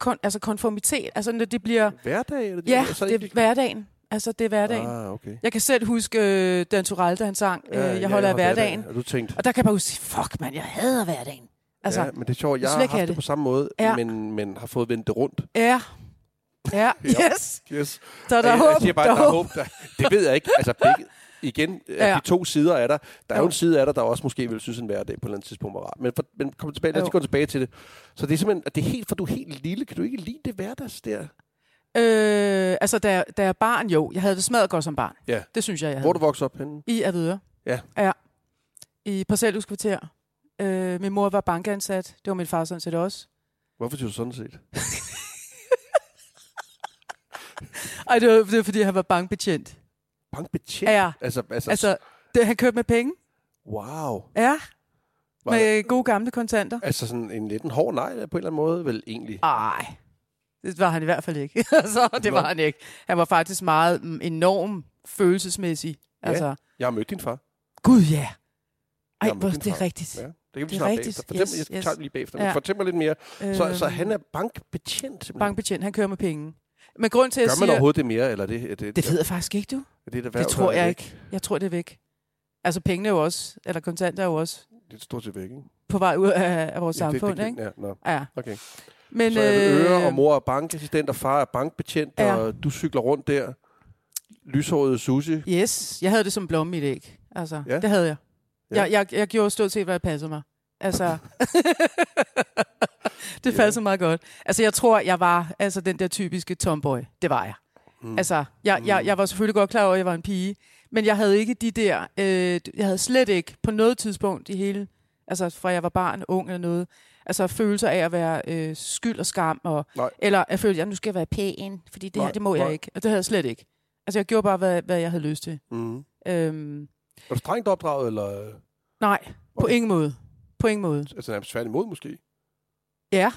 [SPEAKER 2] kon, altså konformitet, altså når det bliver
[SPEAKER 1] Hverdag? Eller
[SPEAKER 2] ja,
[SPEAKER 1] altså,
[SPEAKER 2] det er hverdagen. Altså det er hverdagen. Ah.
[SPEAKER 1] Ah, okay.
[SPEAKER 2] Jeg kan selv huske øh, Dan Turell, da han sang øh, Jeg holder af hverdagen.
[SPEAKER 1] Og du tænkte,
[SPEAKER 2] Og der kan jeg bare huske, fuck mand, jeg hader hverdagen. Altså,
[SPEAKER 1] altså, ja, men det er sjovt, jeg
[SPEAKER 2] slet
[SPEAKER 1] har
[SPEAKER 2] ikke
[SPEAKER 1] haft
[SPEAKER 2] have
[SPEAKER 1] det.
[SPEAKER 2] det.
[SPEAKER 1] på samme måde,
[SPEAKER 2] Ja.
[SPEAKER 1] ja. men, men har fået vendt det rundt.
[SPEAKER 2] ja. Ja,
[SPEAKER 1] Ja.
[SPEAKER 2] yes.
[SPEAKER 1] Yes.
[SPEAKER 2] Der er der
[SPEAKER 1] jeg,
[SPEAKER 2] håb.
[SPEAKER 1] Jeg siger bare, der, er håb. Der, det ved jeg ikke. Altså, begge, igen,
[SPEAKER 2] Ja.
[SPEAKER 1] ja. de to sider er der. Der er jo
[SPEAKER 2] Jo.
[SPEAKER 1] en side af dig, der også måske vil synes, en hverdag på et eller andet tidspunkt var rar. Men, for, men kom tilbage, lad os
[SPEAKER 2] Jo.
[SPEAKER 1] lige gå tilbage til det. Så det er simpelthen, at det er helt, for du er helt lille. Kan du ikke lide det hverdags der?
[SPEAKER 2] Øh, altså, da, jeg- da jeg barn, jo. Jeg havde det smadret godt som barn.
[SPEAKER 1] Ja.
[SPEAKER 2] Det synes jeg, jeg havde.
[SPEAKER 1] Hvor er du vokset op henne?
[SPEAKER 2] I Avedøre.
[SPEAKER 1] Ja.
[SPEAKER 2] ja. I parcelhuskvarter. Øh, min mor var bankansat. Det var min far sådan set også.
[SPEAKER 1] Hvorfor siger du sådan set?
[SPEAKER 2] Ej, det var, det var fordi han var bankbetjent.
[SPEAKER 1] Bankbetjent?
[SPEAKER 2] Ja,
[SPEAKER 1] Altså, altså, altså,
[SPEAKER 2] altså, det, han kørte med penge.
[SPEAKER 1] wow.
[SPEAKER 2] Ja,
[SPEAKER 1] Var det,
[SPEAKER 2] med gode gamle kontanter.
[SPEAKER 1] altså sådan en lidt en hård nej på en eller anden måde, vel egentlig?
[SPEAKER 2] Ej, det var han i hvert fald ikke. altså, det var
[SPEAKER 1] Nå.
[SPEAKER 2] han ikke. Han var faktisk meget mm, enorm følelsesmæssig.
[SPEAKER 1] Ja.
[SPEAKER 2] Altså,
[SPEAKER 1] Jeg har mødt din far.
[SPEAKER 2] gud ja. Ej,
[SPEAKER 1] Jamen,
[SPEAKER 2] hvor,
[SPEAKER 1] din
[SPEAKER 2] det er
[SPEAKER 1] far.
[SPEAKER 2] rigtigt.
[SPEAKER 1] Ja, det kan vi
[SPEAKER 2] Det er
[SPEAKER 1] snakke
[SPEAKER 2] rigtigt.
[SPEAKER 1] bagefter. Fortæl, yes,
[SPEAKER 2] Yes,
[SPEAKER 1] jeg
[SPEAKER 2] yes.
[SPEAKER 1] tager den lige bagefter.
[SPEAKER 2] Ja.
[SPEAKER 1] Ja. Fortæl mig lidt mere. Så, så
[SPEAKER 2] Øhm,
[SPEAKER 1] han er bankbetjent simpelthen?
[SPEAKER 2] Bankbetjent, han kører med penge. Men grund til, at jeg
[SPEAKER 1] Gør man
[SPEAKER 2] siger...
[SPEAKER 1] overhovedet det mere, eller er det, er det,
[SPEAKER 2] Det ved jeg faktisk ikke, du.
[SPEAKER 1] er det, det,
[SPEAKER 2] Det tror jeg ikke. Jeg tror, det er væk. Altså, pengene er jo også, eller kontanter er jo også
[SPEAKER 1] Det er stort set væk, ikke?
[SPEAKER 2] på vej ud af, af vores
[SPEAKER 1] Ja,
[SPEAKER 2] samfund,
[SPEAKER 1] det, det,
[SPEAKER 2] ikke?
[SPEAKER 1] kan- Ja, no.
[SPEAKER 2] Ja.
[SPEAKER 1] Okay.
[SPEAKER 2] Men,
[SPEAKER 1] Men, så er det
[SPEAKER 2] øh,
[SPEAKER 1] øre, og mor er bankassistent, og far er bankbetjent,
[SPEAKER 2] Ja.
[SPEAKER 1] ja. og du cykler rundt der. Lyshåret sushi.
[SPEAKER 2] Yes, jeg havde det som blomme i det, ikke? Altså, ja.
[SPEAKER 1] Ja.
[SPEAKER 2] det havde jeg. Ja.
[SPEAKER 1] Ja.
[SPEAKER 2] Jeg, jeg. jeg gjorde stort set, hvad jeg passede mig. Altså, det
[SPEAKER 1] Ja.
[SPEAKER 2] passede ja. meget godt. Altså, jeg tror, jeg var altså, den der typiske tomboy. Det var jeg. Mm. Altså, jeg, jeg, jeg var selvfølgelig godt klar over, at jeg var en pige. Men jeg havde ikke de der... Øh, jeg havde slet ikke på noget tidspunkt i hele... Altså, fra jeg var barn, ung eller noget. Altså, følelser af at være øh, skyld og skam. Og,
[SPEAKER 1] Nej.
[SPEAKER 2] eller at føle, at nu skal jeg være pæn, fordi det her,
[SPEAKER 1] Nej,
[SPEAKER 2] det må jeg
[SPEAKER 1] nej.
[SPEAKER 2] ikke. Og det havde jeg slet ikke. Altså, jeg gjorde bare, hvad, hvad jeg havde lyst til.
[SPEAKER 1] Mm.
[SPEAKER 2] Øhm,
[SPEAKER 1] Er du strengt opdraget, eller
[SPEAKER 2] nej, på
[SPEAKER 1] Okay.
[SPEAKER 2] ingen måde. På ingen måde.
[SPEAKER 1] altså, nærmest tværtimod måske?
[SPEAKER 2] Ja,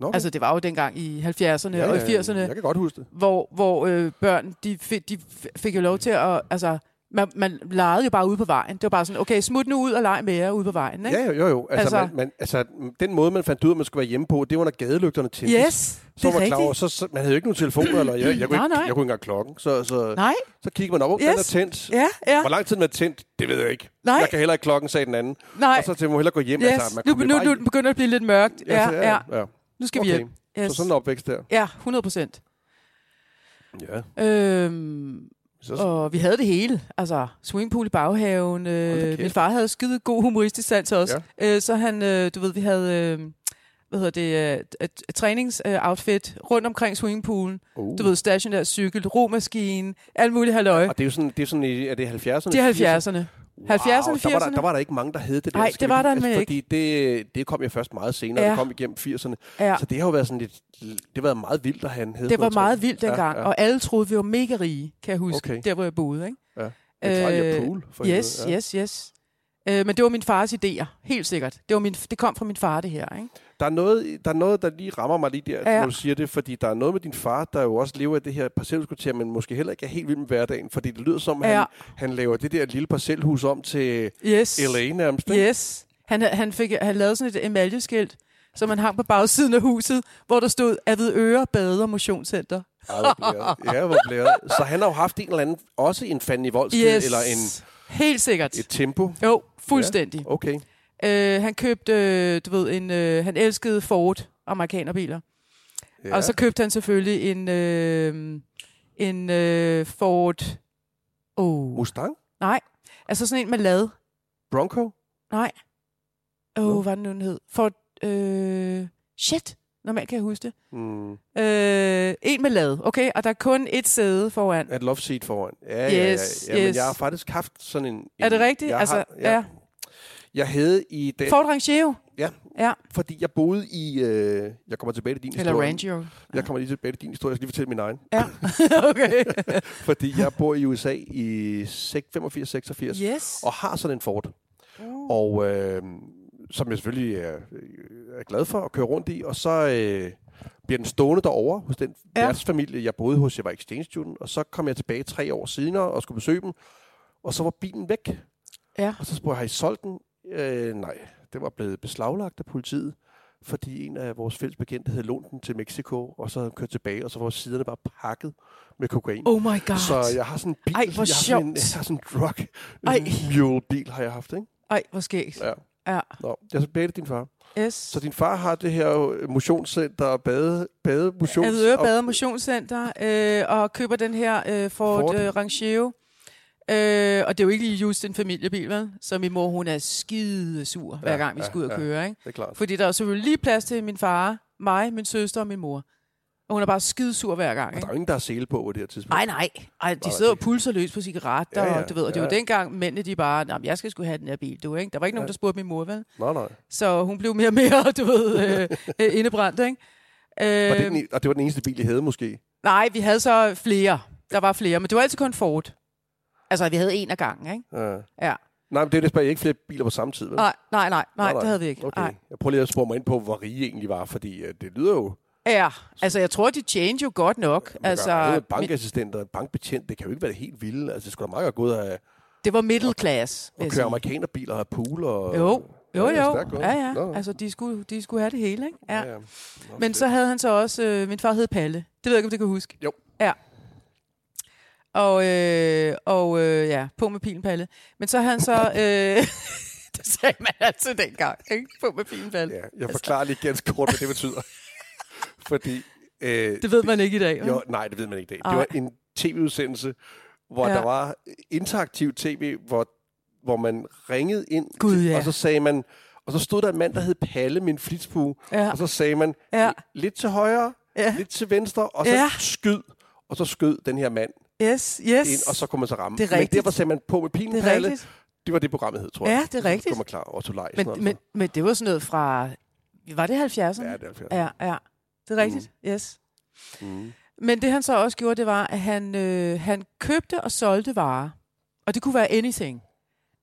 [SPEAKER 1] Nå, okay.
[SPEAKER 2] altså det var jo dengang i 70'erne ja, og i 80'erne, ja.
[SPEAKER 1] Jeg kan godt huske det.
[SPEAKER 2] hvor, hvor øh, børn, de, fik, de f- fik jo lov til at, altså, man, man legede jo bare ude på vejen. Det var bare sådan, okay, smut nu ud og leg med jer ude på vejen, ikke?
[SPEAKER 1] Ja, jo, jo. jo. Altså,
[SPEAKER 2] Altså-
[SPEAKER 1] altså, man, man, altså, den måde, man fandt ud af, at man skulle være hjemme på, det var, når gadelygterne tændte.
[SPEAKER 2] Yes,
[SPEAKER 1] så
[SPEAKER 2] det
[SPEAKER 1] var
[SPEAKER 2] er
[SPEAKER 1] man klar over,
[SPEAKER 2] rigtigt.
[SPEAKER 1] så, så, man havde jo ikke nogen telefoner, eller jeg, jeg, kunne,
[SPEAKER 2] Nej,
[SPEAKER 1] ikke,
[SPEAKER 2] nej.
[SPEAKER 1] jeg kunne ikke engang klokken. Så, så,
[SPEAKER 2] Nej,
[SPEAKER 1] så kiggede man op, yes. den er
[SPEAKER 2] Yes.
[SPEAKER 1] tændt.
[SPEAKER 2] ja, ja,
[SPEAKER 1] Hvor lang tid den er tændt, det ved jeg ikke.
[SPEAKER 2] Nej.
[SPEAKER 1] Jeg kan heller ikke klokken, sagde den anden.
[SPEAKER 2] nej,
[SPEAKER 1] Og så til, må hellere gå hjem.
[SPEAKER 2] yes. Nu,
[SPEAKER 1] kom jo
[SPEAKER 2] nu,
[SPEAKER 1] bare
[SPEAKER 2] nu begynder det at blive lidt mørkt.
[SPEAKER 1] hjem.
[SPEAKER 2] Ja, ja,
[SPEAKER 1] ja.
[SPEAKER 2] nu skal vi
[SPEAKER 1] Okay,
[SPEAKER 2] hjem.
[SPEAKER 1] så sådan en opvækst der.
[SPEAKER 2] Ja, 100 procent.
[SPEAKER 1] Ja.
[SPEAKER 2] Øhm,
[SPEAKER 1] Så,
[SPEAKER 2] og vi havde det hele. Altså, swingpool i baghaven.
[SPEAKER 1] Hold da
[SPEAKER 2] Øh,
[SPEAKER 1] kæft.
[SPEAKER 2] min far havde skide god humoristisk sans også. Ja. Øh, så han, øh, du ved, vi havde... Øh, hvad hedder det, øh, et, et træningsoutfit rundt omkring swingpoolen.
[SPEAKER 1] uh.
[SPEAKER 2] Du ved, stationær cykel, romaskine, alt muligt halløj.
[SPEAKER 1] Og det er jo sådan, det er sådan i, er det 70'erne?
[SPEAKER 2] Det er 70'erne. 70'erne,
[SPEAKER 1] der var, der,
[SPEAKER 2] 80'erne.
[SPEAKER 1] der var der ikke mange, der hed det der.
[SPEAKER 2] Nej,
[SPEAKER 1] skal vi
[SPEAKER 2] det var
[SPEAKER 1] lige-
[SPEAKER 2] der
[SPEAKER 1] altså,
[SPEAKER 2] nemlig
[SPEAKER 1] fordi ikke. det, det kom jeg først meget senere,
[SPEAKER 2] Ja.
[SPEAKER 1] ja. det kom igennem 80'erne.
[SPEAKER 2] Ja.
[SPEAKER 1] Ja. Så det har jo været sådan lidt, det har været meget vildt at han hed.
[SPEAKER 2] Det var
[SPEAKER 1] noget
[SPEAKER 2] meget
[SPEAKER 1] tøj.
[SPEAKER 2] vildt dengang, ja, ja. og alle troede, vi var mega rige, kan jeg huske, okay.
[SPEAKER 1] Okay.
[SPEAKER 2] der hvor jeg boede. Ikke?
[SPEAKER 1] Ja. Det var øh, pool, for
[SPEAKER 2] yes,
[SPEAKER 1] helvede.
[SPEAKER 2] ja. yes, yes. Øh, men det var min fars idéer, helt sikkert. Det, var min, det kom fra min far, det her. Ikke?
[SPEAKER 1] Der, er noget, der er noget, der lige rammer mig lige der,
[SPEAKER 2] Ja.
[SPEAKER 1] ja. når du siger det, fordi der er noget med din far, der jo også lever i det her parcelhuskvarter, men måske heller ikke er helt vild med hverdagen, fordi det lyder som,
[SPEAKER 2] Ja.
[SPEAKER 1] ja. han, han laver det der lille parcelhus om til
[SPEAKER 2] Yes.
[SPEAKER 1] LA nærmest. ikke?
[SPEAKER 2] Yes. Han, han, fik, han lavede sådan et emaljeskilt, som han hang på bagsiden af huset, hvor der stod Avedøre Bade- og Motionscenter.
[SPEAKER 1] Ej, hvor blæret. Ja, hvor blæret. Så han har jo haft en eller anden, også en Fanny Voldsked,
[SPEAKER 2] Yes.
[SPEAKER 1] eller en,
[SPEAKER 2] Helt sikkert.
[SPEAKER 1] et tempo.
[SPEAKER 2] Jo, fuldstændig.
[SPEAKER 1] Okay.
[SPEAKER 2] Ja. Øh, han købte, øh, du ved, en, øh, han elskede Ford amerikanerbiler. Ja. Og så købte han selvfølgelig en, øh, en øh, Ford... Oh.
[SPEAKER 1] Mustang?
[SPEAKER 2] Nej, altså sådan en med lad.
[SPEAKER 1] Bronco?
[SPEAKER 2] Nej. Åh,
[SPEAKER 1] Nå.
[SPEAKER 2] oh, hvad den nu den hed? Ford... Øh, shit, normalt kan jeg huske det.
[SPEAKER 1] Mm.
[SPEAKER 2] Øh, en med lad, okay? Og der er kun et sæde foran.
[SPEAKER 1] Et love seat foran. Ja,
[SPEAKER 2] Yes,
[SPEAKER 1] ja, ja. ja
[SPEAKER 2] yes.
[SPEAKER 1] Men jeg har faktisk haft sådan en... en
[SPEAKER 2] Er det rigtigt?
[SPEAKER 1] Jeg,
[SPEAKER 2] altså,
[SPEAKER 1] har, jeg,
[SPEAKER 2] ja.
[SPEAKER 1] jeg havde i... Den,
[SPEAKER 2] Ford Rangeo.
[SPEAKER 1] Ja.
[SPEAKER 2] Ja.
[SPEAKER 1] Fordi jeg boede i... Øh, jeg kommer tilbage til din
[SPEAKER 2] Eller
[SPEAKER 1] historie.
[SPEAKER 2] Rangeo.
[SPEAKER 1] Jeg kommer lige tilbage til din historie. Jeg skal lige fortælle min egen.
[SPEAKER 2] Ja, okay.
[SPEAKER 1] Fordi jeg bor i USA i 85-86.
[SPEAKER 2] yes.
[SPEAKER 1] Og har sådan en Ford.
[SPEAKER 2] Uh.
[SPEAKER 1] Og øh, som jeg selvfølgelig er, er glad for at køre rundt i. Og så øh, bliver den stående derovre hos den
[SPEAKER 2] Ja.
[SPEAKER 1] ja. værtsfamilie, jeg boede hos. Jeg var exchange student. Og så kom jeg tilbage tre år senere og skulle besøge dem. Og så var bilen væk.
[SPEAKER 2] Ja.
[SPEAKER 1] Og så spurgte jeg, har I solgt den? Øh, nej, det var blevet beslaglagt af politiet, fordi en af vores fælles bekendte havde lånt den til Mexico, og så havde den kørt tilbage, og så var siderne bare pakket med kokain.
[SPEAKER 2] Oh my god.
[SPEAKER 1] Så jeg har sådan en bil,
[SPEAKER 2] Ej, hvor
[SPEAKER 1] jeg, har sådan en,
[SPEAKER 2] sjovt.
[SPEAKER 1] jeg har sådan en drug
[SPEAKER 2] Ej.
[SPEAKER 1] mule bil, har jeg haft, ikke?
[SPEAKER 2] Ej, hvor skægt.
[SPEAKER 1] Ja.
[SPEAKER 2] Ja.
[SPEAKER 1] Nå, jeg er tilbage til din far.
[SPEAKER 2] Yes.
[SPEAKER 1] Så din far har det her øh, motionscenter og bade, bade motions...
[SPEAKER 2] Avedøre
[SPEAKER 1] og-
[SPEAKER 2] Bade og Motionscenter, øh, og køber den her øh, Ford, Ford.
[SPEAKER 1] Ford.
[SPEAKER 2] Øh, Rangeo. Øh, og det er jo ikke lige just en familiebil, vel? Så min mor, hun er skide sur, hver
[SPEAKER 1] Ja,
[SPEAKER 2] gang vi
[SPEAKER 1] ja,
[SPEAKER 2] skal ud og
[SPEAKER 1] ja.
[SPEAKER 2] køre, ikke?
[SPEAKER 1] Det er klart.
[SPEAKER 2] Fordi der er jo selvfølgelig lige plads til min far, mig, min søster og min mor. Og hun er bare skide sur hver gang,
[SPEAKER 1] Og Der
[SPEAKER 2] ikke?
[SPEAKER 1] er jo ingen, der har sele på på det her tidspunkt.
[SPEAKER 2] Nej, nej. Ej, de
[SPEAKER 1] nej,
[SPEAKER 2] sidder og
[SPEAKER 1] det-
[SPEAKER 2] pulser løs på
[SPEAKER 1] Ja,
[SPEAKER 2] cigaretter, ja,
[SPEAKER 1] ja,
[SPEAKER 2] ja, og du ved, og det
[SPEAKER 1] ja,
[SPEAKER 2] var
[SPEAKER 1] ja.
[SPEAKER 2] dengang mændene, de bare, nej, jeg skal sgu have den her bil, du, ikke? Der var ikke nogen,
[SPEAKER 1] Ja.
[SPEAKER 2] der spurgte min mor, vel?
[SPEAKER 1] Nej, nej.
[SPEAKER 2] Så hun blev mere og mere, du ved, øh, øh, indebrændt, ikke? Øh,
[SPEAKER 1] Var det den, e- og det var den eneste bil, I havde måske?
[SPEAKER 2] Nej, vi havde så flere. Der var flere, men det var altid kun Ford. Altså, vi havde en af gangen, ikke?
[SPEAKER 1] Ja.
[SPEAKER 2] Ja.
[SPEAKER 1] Nej, men det er jo det, spørger jeg ikke flere biler på samme tid, vel?
[SPEAKER 2] Nej, nej, nej, nej,
[SPEAKER 1] nej.
[SPEAKER 2] det havde vi ikke.
[SPEAKER 1] Okay.
[SPEAKER 2] Nej.
[SPEAKER 1] Jeg prøver lige at spore mig ind på, hvor rige egentlig var, fordi øh, det lyder jo...
[SPEAKER 2] Ja, altså, jeg tror, de tjente jo godt nok.
[SPEAKER 1] Altså,
[SPEAKER 2] Altså,
[SPEAKER 1] en bankassistent og en bankbetjent, det kan jo ikke være det helt vilde. Altså, det skulle da meget godt gå ud og, og
[SPEAKER 2] mi- det var middle class, vil jeg
[SPEAKER 1] køre
[SPEAKER 2] sige.
[SPEAKER 1] amerikanerbiler og have pool og...
[SPEAKER 2] Jo, jo,
[SPEAKER 1] det er
[SPEAKER 2] jo.
[SPEAKER 1] stærkt gået.
[SPEAKER 2] Ja, ja.
[SPEAKER 1] Nå.
[SPEAKER 2] Altså, de skulle, de skulle have det hele, ikke? Ja.
[SPEAKER 1] ja. Nå,
[SPEAKER 2] Men
[SPEAKER 1] fedt.
[SPEAKER 2] så havde han så også... Øh, min far hed Palle. Det ved jeg ikke, om det kan huske.
[SPEAKER 1] Jo.
[SPEAKER 2] Ja. Og, øh, og øh, ja, på med pilen, Palle. Men så havde han så... Øh, det sagde man altid dengang, ikke? På med pilen, Palle.
[SPEAKER 1] Ja, jeg forklarer lige ganske kort, hvad det betyder. fordi... Øh,
[SPEAKER 2] Det ved man ikke i dag, vel?
[SPEAKER 1] Jo, nej, det ved man ikke i dag.
[SPEAKER 2] Ej.
[SPEAKER 1] Det var en tv-udsendelse, hvor
[SPEAKER 2] Ja.
[SPEAKER 1] ja. der var interaktiv tv, hvor, hvor man ringede ind,
[SPEAKER 2] Gud,
[SPEAKER 1] til-
[SPEAKER 2] ja.
[SPEAKER 1] og så sagde man... Og så stod der en mand, der hed Palle, min flitsbue,
[SPEAKER 2] Ja.
[SPEAKER 1] og så sagde man,
[SPEAKER 2] Ja.
[SPEAKER 1] lidt til højre,
[SPEAKER 2] Ja.
[SPEAKER 1] lidt til venstre, og så
[SPEAKER 2] Ja.
[SPEAKER 1] ja. skyd. Og så skød den her mand
[SPEAKER 2] Yes, yes.
[SPEAKER 1] ind, og så kunne man så ramme.
[SPEAKER 2] Det er rigtigt.
[SPEAKER 1] Men derfor sagde man på med
[SPEAKER 2] det er
[SPEAKER 1] pinpalle.
[SPEAKER 2] rigtigt.
[SPEAKER 1] Det var det, programmet hed, tror
[SPEAKER 2] Ja,
[SPEAKER 1] jeg.
[SPEAKER 2] det er rigtigt.
[SPEAKER 1] Så man klar. Otto Leis.
[SPEAKER 2] Men, men, men det var sådan noget fra... Var det 70'erne?
[SPEAKER 1] Ja, det er ja.
[SPEAKER 2] ja, ja. Det er rigtigt,
[SPEAKER 1] Mm-hmm.
[SPEAKER 2] mm. yes.
[SPEAKER 1] mm.
[SPEAKER 2] Men det han så også gjorde, det var, at han, øh, han købte og solgte varer. Og det kunne være anything.